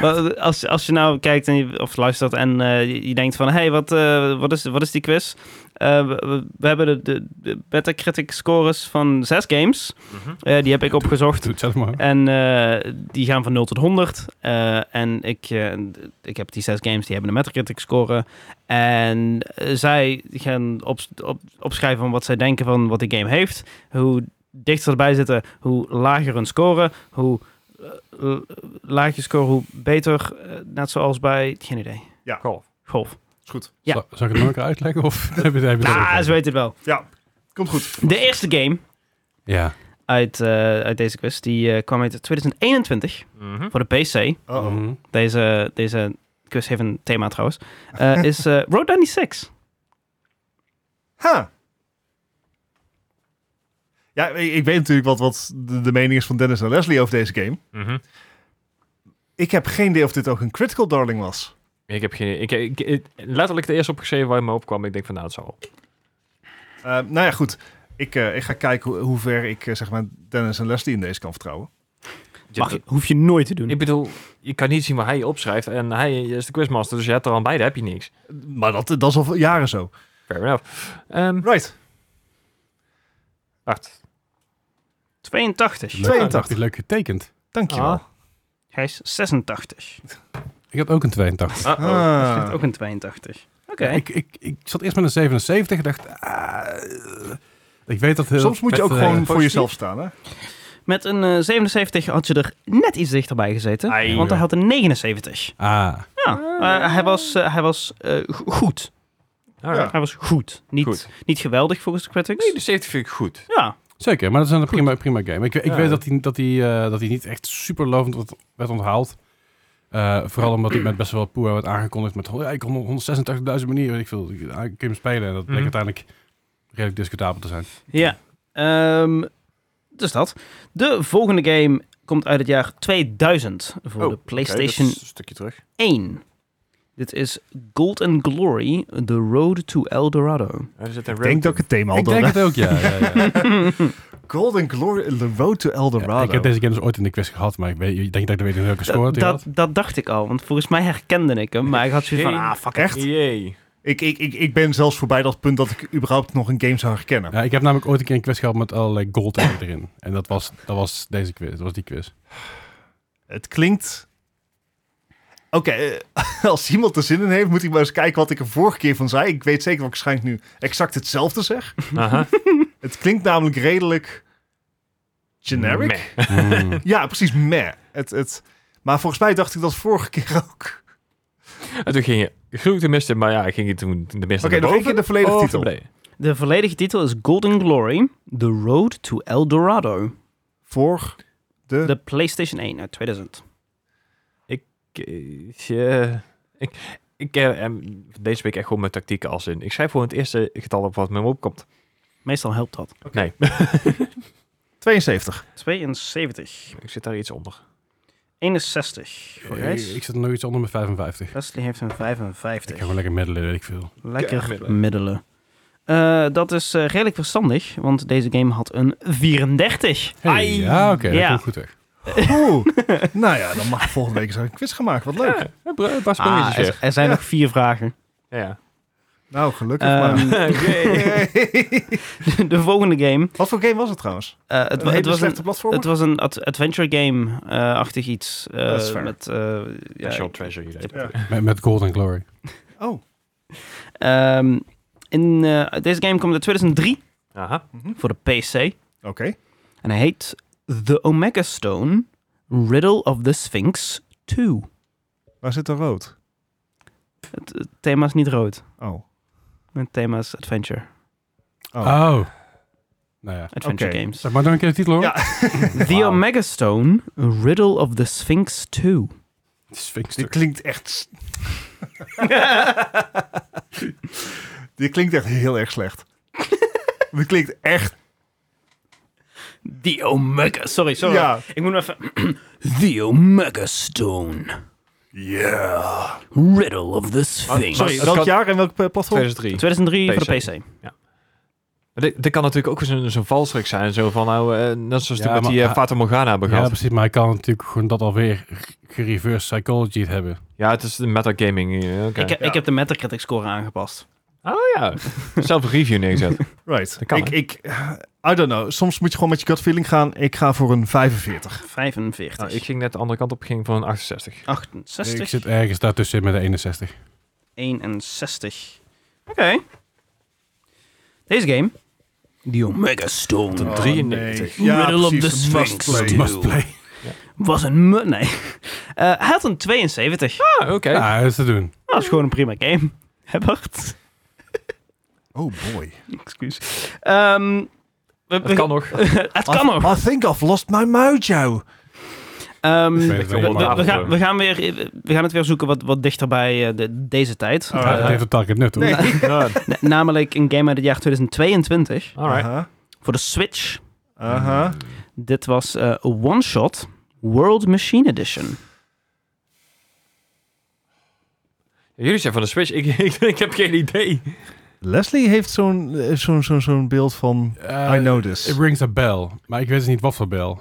[SPEAKER 1] wat- als, als je nou kijkt en je, of luistert en eh, je, je denkt van... Hé, hey, wat, eh, wat, is, wat is die quiz? Eh, we, we- we hebben de, de, de Metacritic scores van zes games. Eh, die heb ik opgezocht.
[SPEAKER 3] Doe het zelf maar.
[SPEAKER 1] En eh, die gaan van 0 tot 100. Eh, en ik, eh, ik heb die zes games, die hebben een Metacritic score. En eh, zij gaan op, op, opschrijven van wat zij denken van wat die game heeft. Hoe dichter ze erbij zitten, hoe lager hun score. Hoe eh, eh, laag je score, hoe beter. Eh, net zoals bij, geen idee,
[SPEAKER 2] Golf.
[SPEAKER 1] golf.
[SPEAKER 4] Is goed.
[SPEAKER 1] Ja.
[SPEAKER 3] Zal, zal ik het nog een keer uitleggen? Of heb je, heb je dat ook
[SPEAKER 1] Ah,
[SPEAKER 3] al?
[SPEAKER 1] ze weten het wel.
[SPEAKER 4] Komt goed.
[SPEAKER 1] De eerste game
[SPEAKER 3] Ja.
[SPEAKER 1] uit, eh, uit deze quiz, die eh, kwam uit 2021
[SPEAKER 2] Mhm.
[SPEAKER 1] voor de PC.
[SPEAKER 4] Uh-oh.
[SPEAKER 3] Mhm.
[SPEAKER 1] Deze, deze quiz heeft een thema trouwens. Eh, is eh Road 96.
[SPEAKER 4] Ha. Ja, ik, ik weet natuurlijk wat, wat de, de mening is van Dennis en Leslie over deze game.
[SPEAKER 2] Mhm.
[SPEAKER 4] Ik heb geen idee of dit ook een Critical Darling was.
[SPEAKER 2] Ik heb geen... Ik, ik, ik- letterlijk de eerste opgeschreven waar je me opkwam. Ik denk van, nou, het zal wel.
[SPEAKER 4] Eh, nou ja, goed. Ik, eh, ik ga kijken hoe, hoe ver ik eh, zeg maar Dennis en Leslie in deze kan vertrouwen.
[SPEAKER 1] Mag, je- hoef je nooit te
[SPEAKER 2] Ik
[SPEAKER 1] doen.
[SPEAKER 2] bedoel, je kan niet zien waar hij opschrijft. En hij is de quizmaster, dus je hebt er aan beide heb je niks.
[SPEAKER 4] Maar dat, dat is al jaren zo.
[SPEAKER 2] Fair enough. Ehm
[SPEAKER 4] Right.
[SPEAKER 2] wacht.
[SPEAKER 1] 82.
[SPEAKER 3] Leuk,
[SPEAKER 4] 82.
[SPEAKER 3] heb je leuk getekend.
[SPEAKER 4] Dankjewel.
[SPEAKER 2] Ah.
[SPEAKER 1] Hij is 86.
[SPEAKER 3] Ik had ook een 82.
[SPEAKER 2] Uh-oh.
[SPEAKER 1] Hij
[SPEAKER 4] Ah.
[SPEAKER 1] heeft ook een 82. Oké.
[SPEAKER 3] Ik, ik, ik zat eerst met een 77 en dacht... ah, ik weet dat heel
[SPEAKER 4] Soms moet je
[SPEAKER 3] vet,
[SPEAKER 4] ook
[SPEAKER 3] eh,
[SPEAKER 4] gewoon voor
[SPEAKER 3] positief.
[SPEAKER 4] jezelf staan, hè?
[SPEAKER 1] Met een eh, 77 had je er net iets dichterbij gezeten.
[SPEAKER 2] Ai,
[SPEAKER 1] want hij
[SPEAKER 3] ja.
[SPEAKER 1] had een 79.
[SPEAKER 3] Ah,
[SPEAKER 1] Ja, eh, hij was, eh, hij was eh, go- goed.
[SPEAKER 2] Alright.
[SPEAKER 1] Hij was goed. Niet,
[SPEAKER 2] Goed.
[SPEAKER 1] niet geweldig volgens de critics.
[SPEAKER 2] Nee, de 70 vind ik goed.
[SPEAKER 1] Ja,
[SPEAKER 3] zeker. Maar dat is een prima, prima game. Ik, ik
[SPEAKER 2] Ja.
[SPEAKER 3] weet dat hij dat die, eh, dat die niet echt super lovend werd- werd onthaald. Eh, vooral omdat ik met best wel poe werd aangekondigd met... Oh, ja, ik kon op 186.000 manieren. weet Ik, veel, ik, ah, ik kun je hem spelen. En dat bleek
[SPEAKER 2] Mhm.
[SPEAKER 3] uiteindelijk redelijk discutabel te zijn.
[SPEAKER 1] ja. Ehm, dus dat. De volgende game komt uit het jaar 2000 voor de PlayStation
[SPEAKER 2] een stukje terug.
[SPEAKER 1] 1. Dit is Gold and Glory, The Road to El Dorado.
[SPEAKER 2] Er zit een
[SPEAKER 4] Ik denk dat ik het thema al
[SPEAKER 3] ik denk het
[SPEAKER 4] door
[SPEAKER 3] ook, ja. ja, ja.
[SPEAKER 4] Golden Glory, eh, The Road to El
[SPEAKER 3] Ja, ik
[SPEAKER 4] Dorado.
[SPEAKER 3] heb deze game dus ooit in de quiz gehad, maar ik weet, ik denk dat ik weet niet welke score
[SPEAKER 1] Dat,
[SPEAKER 3] die had.
[SPEAKER 1] dat, dat dacht ik al, want volgens mij herkende ik hem. Maar ik had zoiets van,
[SPEAKER 2] Geen-
[SPEAKER 1] ah, fuck
[SPEAKER 4] Echt?
[SPEAKER 2] Jee.
[SPEAKER 4] Ik, ik, ik, ik ben zelfs voorbij dat punt dat ik überhaupt nog een game zou herkennen.
[SPEAKER 3] Ja, ik heb namelijk ooit een keer een quiz gehad met allerlei gold en erin. En dat was, dat was deze quiz, dat was die quiz.
[SPEAKER 4] Het klinkt... Oké, eh, als iemand er zin in heeft, moet hij maar eens kijken wat ik er vorige keer van zei. Ik weet zeker dat ik waarschijnlijk nu exact hetzelfde zeg.
[SPEAKER 2] Aha.
[SPEAKER 4] Het klinkt namelijk redelijk generic.
[SPEAKER 2] Meh.
[SPEAKER 3] Hmm.
[SPEAKER 4] Ja, precies, meh. Het, het... Maar volgens mij dacht ik dat vorige keer ook.
[SPEAKER 2] En toen ging je groeit de mist in, maar ja, ging je toen de Oh, mist
[SPEAKER 4] Oké, nog één keer de volledige titel.
[SPEAKER 1] De volledige titel is Golden Glory, The Road to El Dorado.
[SPEAKER 4] Voor de...
[SPEAKER 1] De PlayStation 1 uit 2000.
[SPEAKER 2] Ja, ik, ik eh, em, deze week echt gewoon mijn tactieken als in. Ik schrijf gewoon het eerste getal op wat me opkomt.
[SPEAKER 1] Meestal helpt dat.
[SPEAKER 2] Nee,
[SPEAKER 4] 72.
[SPEAKER 1] 72.
[SPEAKER 2] ik zit daar iets onder.
[SPEAKER 1] 61. Voor
[SPEAKER 3] ik,
[SPEAKER 1] Gijs.
[SPEAKER 3] ik zit nog iets onder mijn 55.
[SPEAKER 1] Leslie heeft een
[SPEAKER 3] Ik ga
[SPEAKER 1] 55.
[SPEAKER 3] gewoon lekker middelen, weet ik veel.
[SPEAKER 1] Lekker
[SPEAKER 2] Ja,
[SPEAKER 1] middelen.
[SPEAKER 2] middelen.
[SPEAKER 1] Eh, dat is eh, redelijk verstandig, want deze game had een 34.
[SPEAKER 3] Hey,
[SPEAKER 1] Ai.
[SPEAKER 3] ja, oké, dat
[SPEAKER 1] Ja.
[SPEAKER 3] komt goed weg.
[SPEAKER 4] Oeh. nou ja, dan mag ik volgende week eens een quiz gaan maken. Wat leuk.
[SPEAKER 2] Ja, een br- een paar
[SPEAKER 1] Ah,
[SPEAKER 2] spelletjes
[SPEAKER 1] er,
[SPEAKER 2] weer.
[SPEAKER 1] er zijn nog vier vragen.
[SPEAKER 2] Ja, ja.
[SPEAKER 4] Nou, gelukkig maar.
[SPEAKER 1] Ehm, de volgende game.
[SPEAKER 4] Wat voor game was het trouwens?
[SPEAKER 1] eh, het, wa-
[SPEAKER 4] een
[SPEAKER 1] het
[SPEAKER 4] hele
[SPEAKER 1] was een,
[SPEAKER 4] slechte platform?
[SPEAKER 1] het was een ad- adventure game-achtig iets. eh,
[SPEAKER 4] Dat is fair.
[SPEAKER 1] met, eh, ja,
[SPEAKER 2] National Treasure. jullie.
[SPEAKER 4] Ja.
[SPEAKER 3] Met, met Gold and Glory.
[SPEAKER 4] Oh.
[SPEAKER 1] Ehm, in, eh, deze game komt uit 2003
[SPEAKER 2] Aha.
[SPEAKER 4] Mhm.
[SPEAKER 1] voor de PC.
[SPEAKER 4] Oké.
[SPEAKER 1] En hij heet The Omega Stone, Riddle of the Sphinx 2.
[SPEAKER 4] Waar zit er rood?
[SPEAKER 1] Het, het thema is niet rood.
[SPEAKER 4] Oh.
[SPEAKER 1] Het thema is adventure.
[SPEAKER 4] Oh.
[SPEAKER 3] Oh. Nou ja.
[SPEAKER 1] Adventure
[SPEAKER 4] Oké.
[SPEAKER 1] games.
[SPEAKER 3] Zeg maar nog een keer de titel hoor.
[SPEAKER 4] Ja.
[SPEAKER 1] The Omega Stone, Riddle of the Sphinx 2.
[SPEAKER 4] Dit
[SPEAKER 3] Sphinxter.
[SPEAKER 4] klinkt echt... s- Dit klinkt echt heel erg slecht. Dit klinkt echt...
[SPEAKER 1] The Omega... Sorry, sorry.
[SPEAKER 4] Ja.
[SPEAKER 1] Ik moet hem even... The Omega Stone,
[SPEAKER 4] Yeah.
[SPEAKER 1] Riddle of the
[SPEAKER 2] Oh,
[SPEAKER 1] Sphinx.
[SPEAKER 4] Sorry,
[SPEAKER 2] Het
[SPEAKER 4] welk
[SPEAKER 2] kan-
[SPEAKER 4] jaar en welk eh, platform?
[SPEAKER 2] 2003.
[SPEAKER 1] 2003 voor
[SPEAKER 2] PC.
[SPEAKER 1] de PC.
[SPEAKER 2] Maar Dit, dit kan natuurlijk ook zo'n zo'n valstrik zijn. Zo van, nou, eh, net zoals
[SPEAKER 3] Ja,
[SPEAKER 2] toen met
[SPEAKER 3] maar-
[SPEAKER 2] die eh, Fata Morgana hebben
[SPEAKER 3] Ja,
[SPEAKER 2] gehad.
[SPEAKER 3] precies, maar hij kan natuurlijk gewoon dat alweer g- gereverse psychology hebben.
[SPEAKER 2] Ja, het is de metagaming. eh, Oké.
[SPEAKER 1] Ik, heb-
[SPEAKER 4] Ja.
[SPEAKER 1] ik heb de Metacritic score aangepast.
[SPEAKER 2] Oh ja, zelf een review neergezet.
[SPEAKER 4] Right.
[SPEAKER 2] Dat kan,
[SPEAKER 4] ik,
[SPEAKER 2] hè?
[SPEAKER 4] ik, eh, I don't know. Soms moet je gewoon met je gut feeling gaan. Ik ga voor een 45.
[SPEAKER 1] 45.
[SPEAKER 2] nou, ik ging net de andere kant op, ging voor een 68.
[SPEAKER 1] 68.
[SPEAKER 3] Ik zit ergens daartussen met de 61.
[SPEAKER 1] 61. Oké. Deze game. Die Omega Stone.
[SPEAKER 4] Oh,
[SPEAKER 2] 93.
[SPEAKER 4] nee. Ja,
[SPEAKER 1] Middle of
[SPEAKER 4] precies.
[SPEAKER 1] the
[SPEAKER 4] Must
[SPEAKER 1] Sphinx.
[SPEAKER 4] play.
[SPEAKER 1] Must play. Was een... mu- Nee. Eh, hij had een 72.
[SPEAKER 2] Ah, oké.
[SPEAKER 3] Ja, dat is te doen.
[SPEAKER 1] Dat is gewoon een prima game. Hebbert.
[SPEAKER 4] Oh boy.
[SPEAKER 1] Excuus. Ehm, we-
[SPEAKER 2] Het
[SPEAKER 1] we-
[SPEAKER 2] kan nog.
[SPEAKER 1] het kan nog.
[SPEAKER 4] I think I've lost my mojo.
[SPEAKER 1] Ehm,
[SPEAKER 3] Ik
[SPEAKER 1] we,
[SPEAKER 3] weet het wel,
[SPEAKER 1] we-
[SPEAKER 3] maar- eh.
[SPEAKER 1] we gaan, we, gaan weer, we gaan het weer zoeken wat, wat dichter bij eh, de, deze tijd.
[SPEAKER 4] Oh,
[SPEAKER 3] Ja,
[SPEAKER 1] Eh,
[SPEAKER 3] Dat heeft totaal geen nut hoor.
[SPEAKER 2] Ja,
[SPEAKER 1] na- namelijk een game uit het jaar 2022.
[SPEAKER 2] Alright.
[SPEAKER 4] Aha.
[SPEAKER 1] Voor de Switch.
[SPEAKER 4] Aha.
[SPEAKER 1] Dit was eh, een One Shot World Machine Edition.
[SPEAKER 2] Jullie zijn van de Switch. Ik, ik, ik heb geen idee.
[SPEAKER 4] Leslie heeft zo'n eh, zo'n zo'n zo'n beeld van
[SPEAKER 3] Eh,
[SPEAKER 4] I know this.
[SPEAKER 3] It rings a bell, maar ik weet dus niet wat voor bel.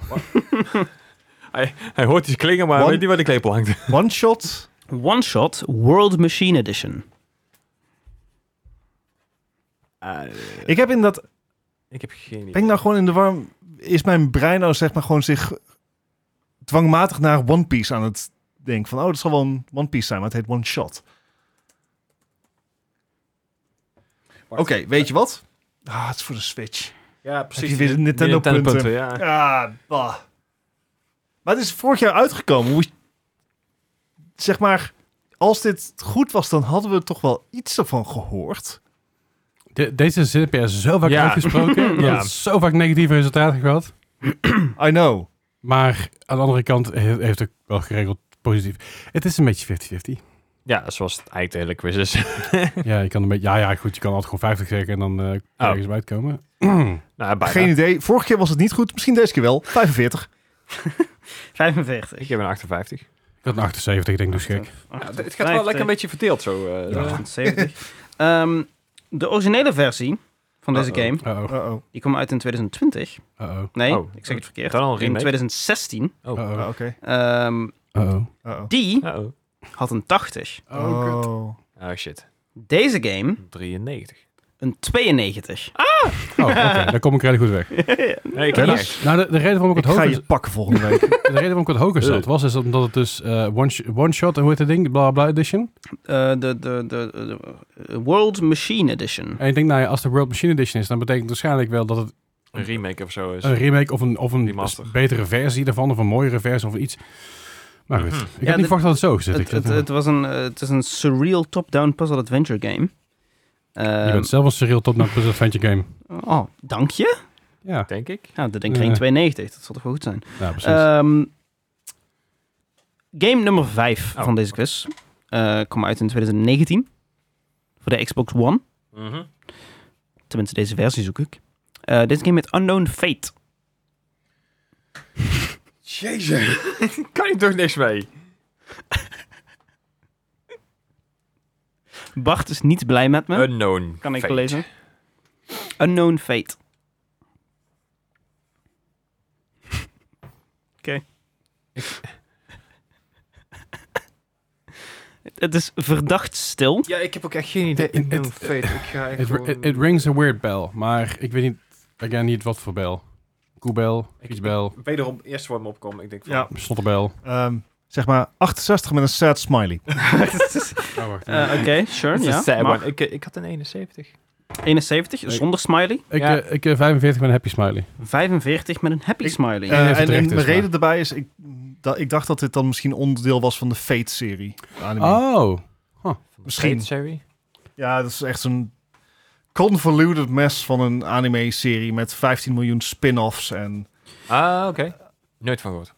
[SPEAKER 2] hij, hij hoort iets klingen, maar hij
[SPEAKER 4] One-
[SPEAKER 2] weet niet waar de klepel hangt.
[SPEAKER 4] One shot.
[SPEAKER 1] One Shot World Machine Edition.
[SPEAKER 2] Ah,
[SPEAKER 4] Ik heb inderdaad
[SPEAKER 2] ik heb geen idee.
[SPEAKER 4] Ben ik nou gewoon in de warm? Is mijn brein nou zeg maar gewoon zich dwangmatig naar One Piece aan het denken? Van, oh, dat zal wel een One Piece zijn, maar het heet One Shot. Oké, weet je wat? Ah, het is voor de Switch.
[SPEAKER 2] Ja,
[SPEAKER 4] Heb je weer Nintendo punten?
[SPEAKER 2] ja.
[SPEAKER 4] Ah, bah. Maar het is vorig jaar uitgekomen. Hoe- Zeg maar, als dit goed was, dan hadden we er toch wel iets ervan gehoord.
[SPEAKER 3] De- deze zin heb je zo vaak
[SPEAKER 2] Ja.
[SPEAKER 3] uitgesproken.
[SPEAKER 2] Ja.
[SPEAKER 3] ja. Zo vaak negatieve resultaten gehad.
[SPEAKER 4] I know.
[SPEAKER 3] Maar aan de andere kant he- heeft ook wel geregeld positief. Het is een beetje 50-50.
[SPEAKER 2] Ja, zoals het eigenlijk de hele quiz is.
[SPEAKER 3] ja, je kan een beetje, ja, ja, goed, je kan altijd gewoon 50 zeggen en dan eh kan je
[SPEAKER 2] Oh.
[SPEAKER 3] ergens bij uitkomen.
[SPEAKER 2] nou, bijna.
[SPEAKER 4] Geen idee. Vorige keer was het niet goed. Misschien deze keer wel. 45.
[SPEAKER 1] 45.
[SPEAKER 2] Ik heb een 58.
[SPEAKER 3] Ik had een 78, ik denk dus gek.
[SPEAKER 2] het gaat wel lekker een beetje verdeeld zo. eh,
[SPEAKER 3] Ja.
[SPEAKER 1] 70. Ehm, de originele versie van deze
[SPEAKER 2] Uh-oh.
[SPEAKER 1] game,
[SPEAKER 3] Uh-oh,
[SPEAKER 4] Uh-oh.
[SPEAKER 1] die kwam uit in 2020.
[SPEAKER 3] uh-oh,
[SPEAKER 1] Nee,
[SPEAKER 2] Oh.
[SPEAKER 1] ik zeg het verkeerd.
[SPEAKER 2] Dan al een
[SPEAKER 1] in
[SPEAKER 2] remake.
[SPEAKER 1] 2016.
[SPEAKER 2] Oh.
[SPEAKER 4] Oh, Oké.
[SPEAKER 3] uh-oh,
[SPEAKER 1] ehm,
[SPEAKER 3] uh-oh.
[SPEAKER 4] Uh-oh.
[SPEAKER 1] die
[SPEAKER 2] Oh.
[SPEAKER 1] had een 80.
[SPEAKER 3] Oh, kut.
[SPEAKER 4] Oh.
[SPEAKER 2] oh shit.
[SPEAKER 1] Deze game
[SPEAKER 2] 93.
[SPEAKER 1] een 92.
[SPEAKER 2] Ah.
[SPEAKER 3] Oh, oké, daar kom ik redelijk goed weg.
[SPEAKER 2] Nee, ik
[SPEAKER 4] Dennis?
[SPEAKER 2] niet.
[SPEAKER 3] Nou, de, de reden waarom ik
[SPEAKER 4] Ik
[SPEAKER 3] het
[SPEAKER 4] ga
[SPEAKER 3] hoger
[SPEAKER 4] je pakken volgende week.
[SPEAKER 3] De reden waarom ik het hoger
[SPEAKER 2] Eh.
[SPEAKER 3] zat was is omdat het dus eh, one, sh- one shot en hoe heet dat ding? Bla bla edition.
[SPEAKER 1] Eh, de, de, de, de- de World Machine Edition.
[SPEAKER 3] En ik denk, nou ja, als de World Machine Edition is, dan betekent het waarschijnlijk wel dat het
[SPEAKER 2] Een remake of zo dus is.
[SPEAKER 3] een remake of een, of een
[SPEAKER 2] Remaster.
[SPEAKER 3] betere versie daarvan, of een mooiere versie of iets. Maar goed,
[SPEAKER 2] Mhm.
[SPEAKER 3] ik
[SPEAKER 1] Ja,
[SPEAKER 3] heb
[SPEAKER 1] dit-
[SPEAKER 3] niet verwacht dat het zo zit.
[SPEAKER 1] Het,
[SPEAKER 3] Ik-
[SPEAKER 1] het, het was een, eh, het is een surreal top-down puzzle adventure game.
[SPEAKER 3] eh, je
[SPEAKER 1] Ehm,
[SPEAKER 3] bent zelf een surreal top naar Puzzle Adventure Game.
[SPEAKER 1] oh, dank je.
[SPEAKER 3] Ja,
[SPEAKER 2] Denk ik.
[SPEAKER 1] Nou, dat denk ik geen
[SPEAKER 3] Ja.
[SPEAKER 1] 92. Dat zal toch wel goed zijn.
[SPEAKER 3] nou, precies.
[SPEAKER 1] Ehm, game nummer 5
[SPEAKER 2] Oh.
[SPEAKER 1] van deze quiz eh, kwam uit in 2019 voor de Xbox One.
[SPEAKER 2] Mhm.
[SPEAKER 1] Tenminste, deze versie zoek ik. Eh, deze game heet Unknown Fate.
[SPEAKER 2] Jezus. kan je toch niks mee?
[SPEAKER 1] Bart is niet blij met
[SPEAKER 2] Eh,
[SPEAKER 1] me.
[SPEAKER 2] Unknown.
[SPEAKER 1] kan ik
[SPEAKER 2] fate.
[SPEAKER 1] lezen? Unknown Fate. Oké. Het is verdacht stil.
[SPEAKER 2] Ja, ik heb ook echt geen idee.
[SPEAKER 3] Het- het-
[SPEAKER 2] Unknown fate. Ik ga echt
[SPEAKER 3] It,
[SPEAKER 2] gewoon-
[SPEAKER 3] it, it rings a weird bell, maar ik weet niet, again, niet wat voor bel. Koebel,
[SPEAKER 2] Ik-
[SPEAKER 3] kiesbel,
[SPEAKER 2] Wederom, eerst wat me opkomt. Ik denk van...
[SPEAKER 4] Ja.
[SPEAKER 3] slotterbel.
[SPEAKER 4] Ehm, zeg maar 68 met een sad smiley.
[SPEAKER 3] Oh, wacht.
[SPEAKER 1] Eh, Oké, sure.
[SPEAKER 2] Dat is
[SPEAKER 1] Ja,
[SPEAKER 2] een sad
[SPEAKER 1] mag.
[SPEAKER 2] one. Ik, eh, ik had een 71.
[SPEAKER 1] 71
[SPEAKER 3] Nee.
[SPEAKER 1] zonder smiley.
[SPEAKER 3] ik,
[SPEAKER 2] ja.
[SPEAKER 3] eh, ik eh, 45 met een happy smiley.
[SPEAKER 1] 45 met een happy
[SPEAKER 4] Ik-
[SPEAKER 1] smiley.
[SPEAKER 3] denk dat
[SPEAKER 4] Eh,
[SPEAKER 3] het
[SPEAKER 4] en
[SPEAKER 3] terecht
[SPEAKER 4] en
[SPEAKER 3] is,
[SPEAKER 4] mijn
[SPEAKER 3] maar-
[SPEAKER 4] reden daarbij is, ik, da- ik dacht dat dit dan misschien onderdeel was van de Fate-serie. de anime.
[SPEAKER 3] Oh,
[SPEAKER 4] Misschien.
[SPEAKER 2] Fate serie.
[SPEAKER 4] Ja, dat is echt zo'n convoluted mess van een anime-serie met 15 miljoen spin-offs en...
[SPEAKER 2] Ah, oké. Nooit van gehoord.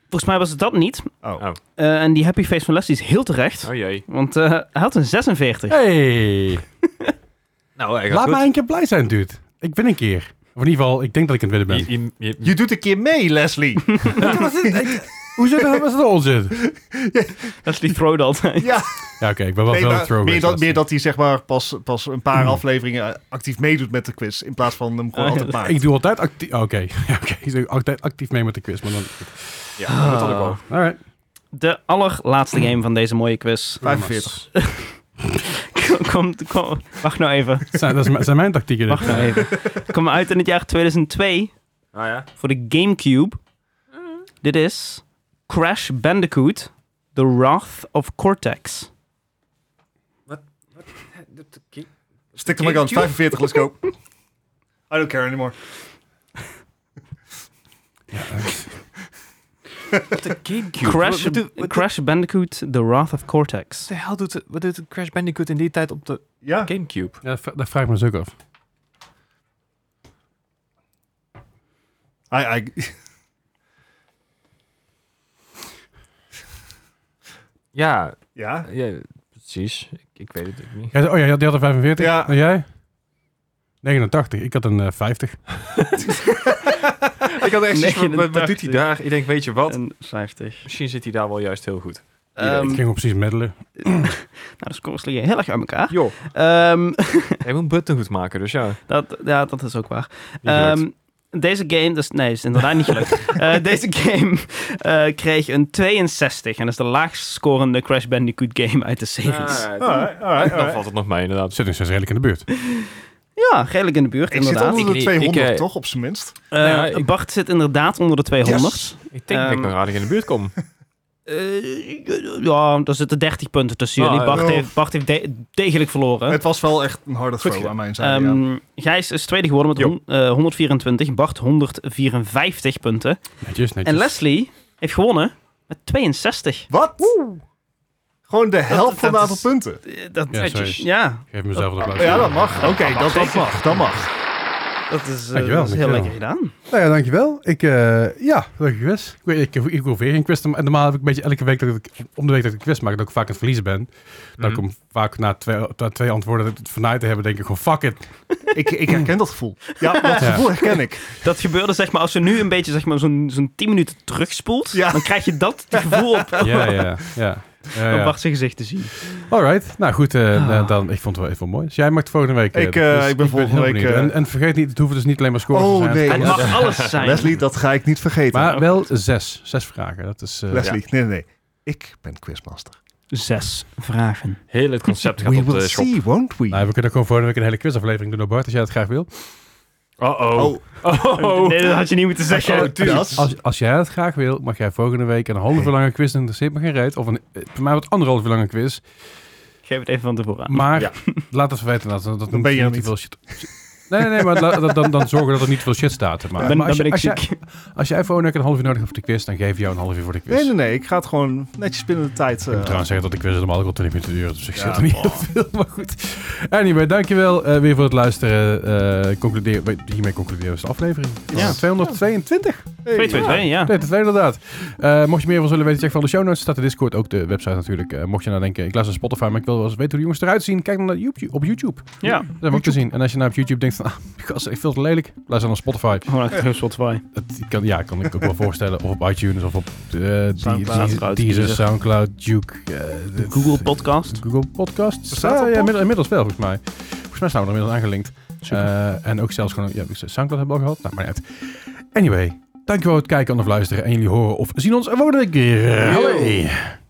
[SPEAKER 1] Volgens mij was het dat niet.
[SPEAKER 4] Oh,
[SPEAKER 2] Oh.
[SPEAKER 1] Eh, en die happy face van Leslie is heel terecht.
[SPEAKER 2] Oh jee.
[SPEAKER 1] Want eh, hij had een 46.
[SPEAKER 3] hey.
[SPEAKER 2] Nou, hij
[SPEAKER 3] Laat
[SPEAKER 2] goed.
[SPEAKER 3] mij een keer blij zijn, dude. Ik ben een keer. Of in ieder geval, ik denk dat ik aan het winnen ben.
[SPEAKER 2] Je- je- je-
[SPEAKER 4] Je doet een keer mee, Leslie!
[SPEAKER 3] Hoezo dat was het onzin?
[SPEAKER 1] Leslie throwde altijd.
[SPEAKER 4] ja,
[SPEAKER 3] Ja, oké, ik ben wel
[SPEAKER 4] nee,
[SPEAKER 3] veel
[SPEAKER 4] maar
[SPEAKER 3] throwers.
[SPEAKER 4] meer, dat, meer dat hij zeg maar pas, pas een paar afleveringen eh, actief meedoet met de quiz, in plaats van hem
[SPEAKER 1] Ah,
[SPEAKER 4] gewoon
[SPEAKER 1] ja.
[SPEAKER 4] altijd maakt.
[SPEAKER 3] Ik doe altijd actief... Oké, ja, oké, ik doe altijd actief mee met de quiz, maar dan...
[SPEAKER 2] Ja, dat had ik
[SPEAKER 1] Oh.
[SPEAKER 2] wel.
[SPEAKER 3] Alright.
[SPEAKER 1] De allerlaatste game van deze mooie quiz.
[SPEAKER 4] 45.
[SPEAKER 1] kom, kom, wacht nou even.
[SPEAKER 3] Dat zijn, dat is mijn- zijn mijn tactieken. dit.
[SPEAKER 1] Wacht nou even. Kom uit in het jaar 2002
[SPEAKER 2] Ah ja.
[SPEAKER 1] voor de GameCube. Dit is Crash Bandicoot, The Wrath of Cortex.
[SPEAKER 4] Stick to my guns, 45, let's go. I don't care anymore.
[SPEAKER 2] de Gamecube.
[SPEAKER 1] Crash,
[SPEAKER 2] Wat, wat,
[SPEAKER 1] Crash Bandicoot, The Wrath of Cortex.
[SPEAKER 2] de hel doet, wat doet Crash Bandicoot in die tijd op de
[SPEAKER 4] Ja,
[SPEAKER 2] Gamecube?
[SPEAKER 3] Ja, dat vra- dat vraag ik me dus ook af.
[SPEAKER 4] I, I,
[SPEAKER 2] Ja,
[SPEAKER 4] ja.
[SPEAKER 2] ja precies. Ik, ik weet het ook niet.
[SPEAKER 3] Jij zei- oh ja, die had een 45.
[SPEAKER 4] Ja.
[SPEAKER 3] En jij? 89. Ik had een eh, 50.
[SPEAKER 2] ik had echt zoiets van, wat, wat
[SPEAKER 1] 89.
[SPEAKER 2] doet hij daar? Ik denk, weet je wat?
[SPEAKER 1] En 50.
[SPEAKER 2] Misschien zit hij daar wel juist heel goed.
[SPEAKER 1] Ehm,
[SPEAKER 2] weet.
[SPEAKER 3] Ik
[SPEAKER 1] nou,
[SPEAKER 3] ging op precies middelen.
[SPEAKER 1] de scores liggen heel erg uit elkaar.
[SPEAKER 2] Joh,
[SPEAKER 1] Ehm,
[SPEAKER 2] hij moet een button goed maken, dus ja.
[SPEAKER 1] dat, ja, dat is ook waar.
[SPEAKER 2] die
[SPEAKER 1] Ehm, Deze game, dus, nee, is inderdaad niet gelukt. Eh, deze game eh, kreeg een 62 en is de laagst scorende Crash Bandicoot game uit de
[SPEAKER 2] Ah,
[SPEAKER 1] series.
[SPEAKER 4] Alright, alright,
[SPEAKER 2] Dan
[SPEAKER 4] alright.
[SPEAKER 2] valt het nog mee, inderdaad.
[SPEAKER 3] Zit dus redelijk in de buurt.
[SPEAKER 1] Ja, redelijk in de buurt,
[SPEAKER 4] Ik zit
[SPEAKER 1] inderdaad.
[SPEAKER 4] onder
[SPEAKER 2] Ik
[SPEAKER 4] de
[SPEAKER 2] niet.
[SPEAKER 4] 200,
[SPEAKER 2] Ik, eh,
[SPEAKER 4] toch? Op zijn minst.
[SPEAKER 1] Eh,
[SPEAKER 2] Nou ja, ik-
[SPEAKER 1] Bart zit inderdaad onder de 200.
[SPEAKER 4] Yes.
[SPEAKER 2] Ik denk dat ik
[SPEAKER 1] Ehm,
[SPEAKER 2] nog aardig in de buurt kom.
[SPEAKER 1] Eh, ja, daar zitten 30 punten tussen
[SPEAKER 2] Ah,
[SPEAKER 1] jullie. Bart
[SPEAKER 4] ja.
[SPEAKER 1] heeft, Bart heeft de- degelijk verloren.
[SPEAKER 4] Het was wel echt een harde throw
[SPEAKER 2] gedaan.
[SPEAKER 4] aan mijn zijde. ja.
[SPEAKER 1] Ehm Gijs is tweede geworden met
[SPEAKER 2] Jo.
[SPEAKER 1] hon- eh, 124, Bart 154 punten.
[SPEAKER 3] Netjes, netjes.
[SPEAKER 1] En Leslie heeft gewonnen met 62.
[SPEAKER 4] Wat? Gewoon de helft van het
[SPEAKER 1] dat
[SPEAKER 4] aantal
[SPEAKER 1] is-
[SPEAKER 4] punten.
[SPEAKER 1] Eh, Dat,
[SPEAKER 3] Ja, zo is-
[SPEAKER 1] ja,
[SPEAKER 3] Geef mezelf een applaus.
[SPEAKER 4] Ja, dat mag. Oké, dat, dat
[SPEAKER 1] zeker.
[SPEAKER 4] mag. Dat mag.
[SPEAKER 1] dat is, eh,
[SPEAKER 3] Dankjewel,
[SPEAKER 1] dat is heel
[SPEAKER 3] dankjewel.
[SPEAKER 1] lekker gedaan.
[SPEAKER 5] Nou ja, dankjewel. Ik, eh ja, leuk quiz.
[SPEAKER 3] Ik, weet- ik, ik hoef weer geen quiz te ma- En normaal heb ik een beetje elke week dat ik, om de week dat ik een quiz maak, dat ik vaak aan het verliezen ben. Dat ik
[SPEAKER 2] Mhm.
[SPEAKER 3] om vaak na twee, na twee antwoorden dat ik het vanuit te hebben, denk ik gewoon fuck it.
[SPEAKER 4] Ik, ik herken dat gevoel. Ja, dat
[SPEAKER 3] Ja.
[SPEAKER 4] gevoel herken ik.
[SPEAKER 1] Dat gebeurde zeg maar, als je nu een beetje zeg maar, zo'n zo'n 10 minuten terugspoelt,
[SPEAKER 4] Ja.
[SPEAKER 1] dan krijg je dat gevoel op,
[SPEAKER 3] Ja, ja, ja. ja,
[SPEAKER 1] op
[SPEAKER 3] ja.
[SPEAKER 1] Bart zijn gezicht te zien.
[SPEAKER 3] Alright, nou goed, eh,
[SPEAKER 1] Ah.
[SPEAKER 3] nou, dan, ik vond het wel even mooi. Dus jij maakt volgende week. eh,
[SPEAKER 4] Ik, eh, ik ben volgende
[SPEAKER 3] heel
[SPEAKER 4] week,
[SPEAKER 3] benieuwd.
[SPEAKER 4] eh,
[SPEAKER 3] en, en vergeet niet, het hoeven dus niet alleen maar scores
[SPEAKER 4] Oh,
[SPEAKER 3] te zijn.
[SPEAKER 4] nee.
[SPEAKER 1] Het
[SPEAKER 4] Ja.
[SPEAKER 1] mag alles zijn.
[SPEAKER 4] Leslie, dat ga ik niet vergeten.
[SPEAKER 3] Maar wel zes. Zes vragen. Dat is. eh,
[SPEAKER 4] Leslie, nee, nee, nee. Ik ben quizmaster.
[SPEAKER 1] Zes vragen.
[SPEAKER 2] Heel het concept gaat
[SPEAKER 4] We
[SPEAKER 2] op
[SPEAKER 4] will
[SPEAKER 2] de schop.
[SPEAKER 4] see, won't we?
[SPEAKER 3] Nou, we kunnen gewoon volgende week een hele quizaflevering doen, door Bart, als jij het graag wil.
[SPEAKER 2] Uh-oh.
[SPEAKER 4] Oh,
[SPEAKER 2] Oh.
[SPEAKER 1] Nee, dat had je niet moeten zeggen.
[SPEAKER 4] oh, dat.
[SPEAKER 3] Als, als jij het graag wil, mag jij volgende week een halve uur lange quiz doen. Dat zit me geen reet. Of een, eh, voor mij wat anderhalf uur lange quiz.
[SPEAKER 1] Geef het even van tevoren aan.
[SPEAKER 3] Maar
[SPEAKER 2] Ja.
[SPEAKER 3] laat het weten. Dat, dat
[SPEAKER 4] Ah, Dan ben je er
[SPEAKER 3] niet te veel shit. Nee, nee, nee, maar la- dan, dan, dan zorgen dat er niet te veel shit staat. Maar,
[SPEAKER 1] Dan,
[SPEAKER 3] maar
[SPEAKER 1] dan
[SPEAKER 3] als,
[SPEAKER 1] ben ik
[SPEAKER 3] je, als,
[SPEAKER 1] ziek.
[SPEAKER 3] jij, als jij volgende week een half uur nodig hebt voor de quiz, dan geef ik jou een half uur voor de quiz.
[SPEAKER 4] Nee, nee, nee. Ik ga het gewoon netjes binnen de tijd.
[SPEAKER 3] Ik
[SPEAKER 4] eh,
[SPEAKER 3] moet trouwens zeggen dat de quiz normaal ook al 20 minuten duurt. Dus ik
[SPEAKER 4] Ja,
[SPEAKER 3] zit er niet
[SPEAKER 4] oh.
[SPEAKER 3] heel veel. Maar goed. Anyway, dankjewel eh, weer voor het luisteren. Eh, concludeer, bij- hiermee concluderen we de aflevering.
[SPEAKER 1] Ja.
[SPEAKER 3] 222.
[SPEAKER 4] hey.
[SPEAKER 1] 2, 2, 2, ja.
[SPEAKER 3] Nee, dat is inderdaad. Eh, mocht je meer van willen weten, check vooral de show notes. Staat de Discord, ook de website natuurlijk. Eh, mocht je nou denken, ik luister naar Spotify, maar ik wil wel eens weten hoe de jongens eruit zien. Kijk dan naar YouTube, op YouTube. Daar
[SPEAKER 1] Ja.
[SPEAKER 3] hebben we ook te zien. En als je nou op YouTube denkt van, ah, gast, ik vind het lelijk. Luister naar Spotify.
[SPEAKER 1] Gewoon uit het Spotify.
[SPEAKER 3] Het kan, ja, kan ik ook wel voorstellen. Of op iTunes, of op eh
[SPEAKER 1] Soundcloud,
[SPEAKER 3] Deezer, Deezer,
[SPEAKER 1] Deezer.
[SPEAKER 3] Soundcloud, Duke. eh, de-
[SPEAKER 1] Google Podcast.
[SPEAKER 3] Google Podcasts.
[SPEAKER 4] Bestaat dat
[SPEAKER 3] Ah, ja,
[SPEAKER 4] nog?
[SPEAKER 3] inmiddel- inmiddels wel, volgens mij. Volgens mij staan we er inmiddels aangelinkt.
[SPEAKER 1] Super.
[SPEAKER 3] Eh, en ook zelfs gewoon... Ja, Soundcloud hebben we al gehad. Nou, maar net. Anyway, dankjewel voor het kijken en of luisteren. En jullie horen of zien ons volgende week weer. Hallo.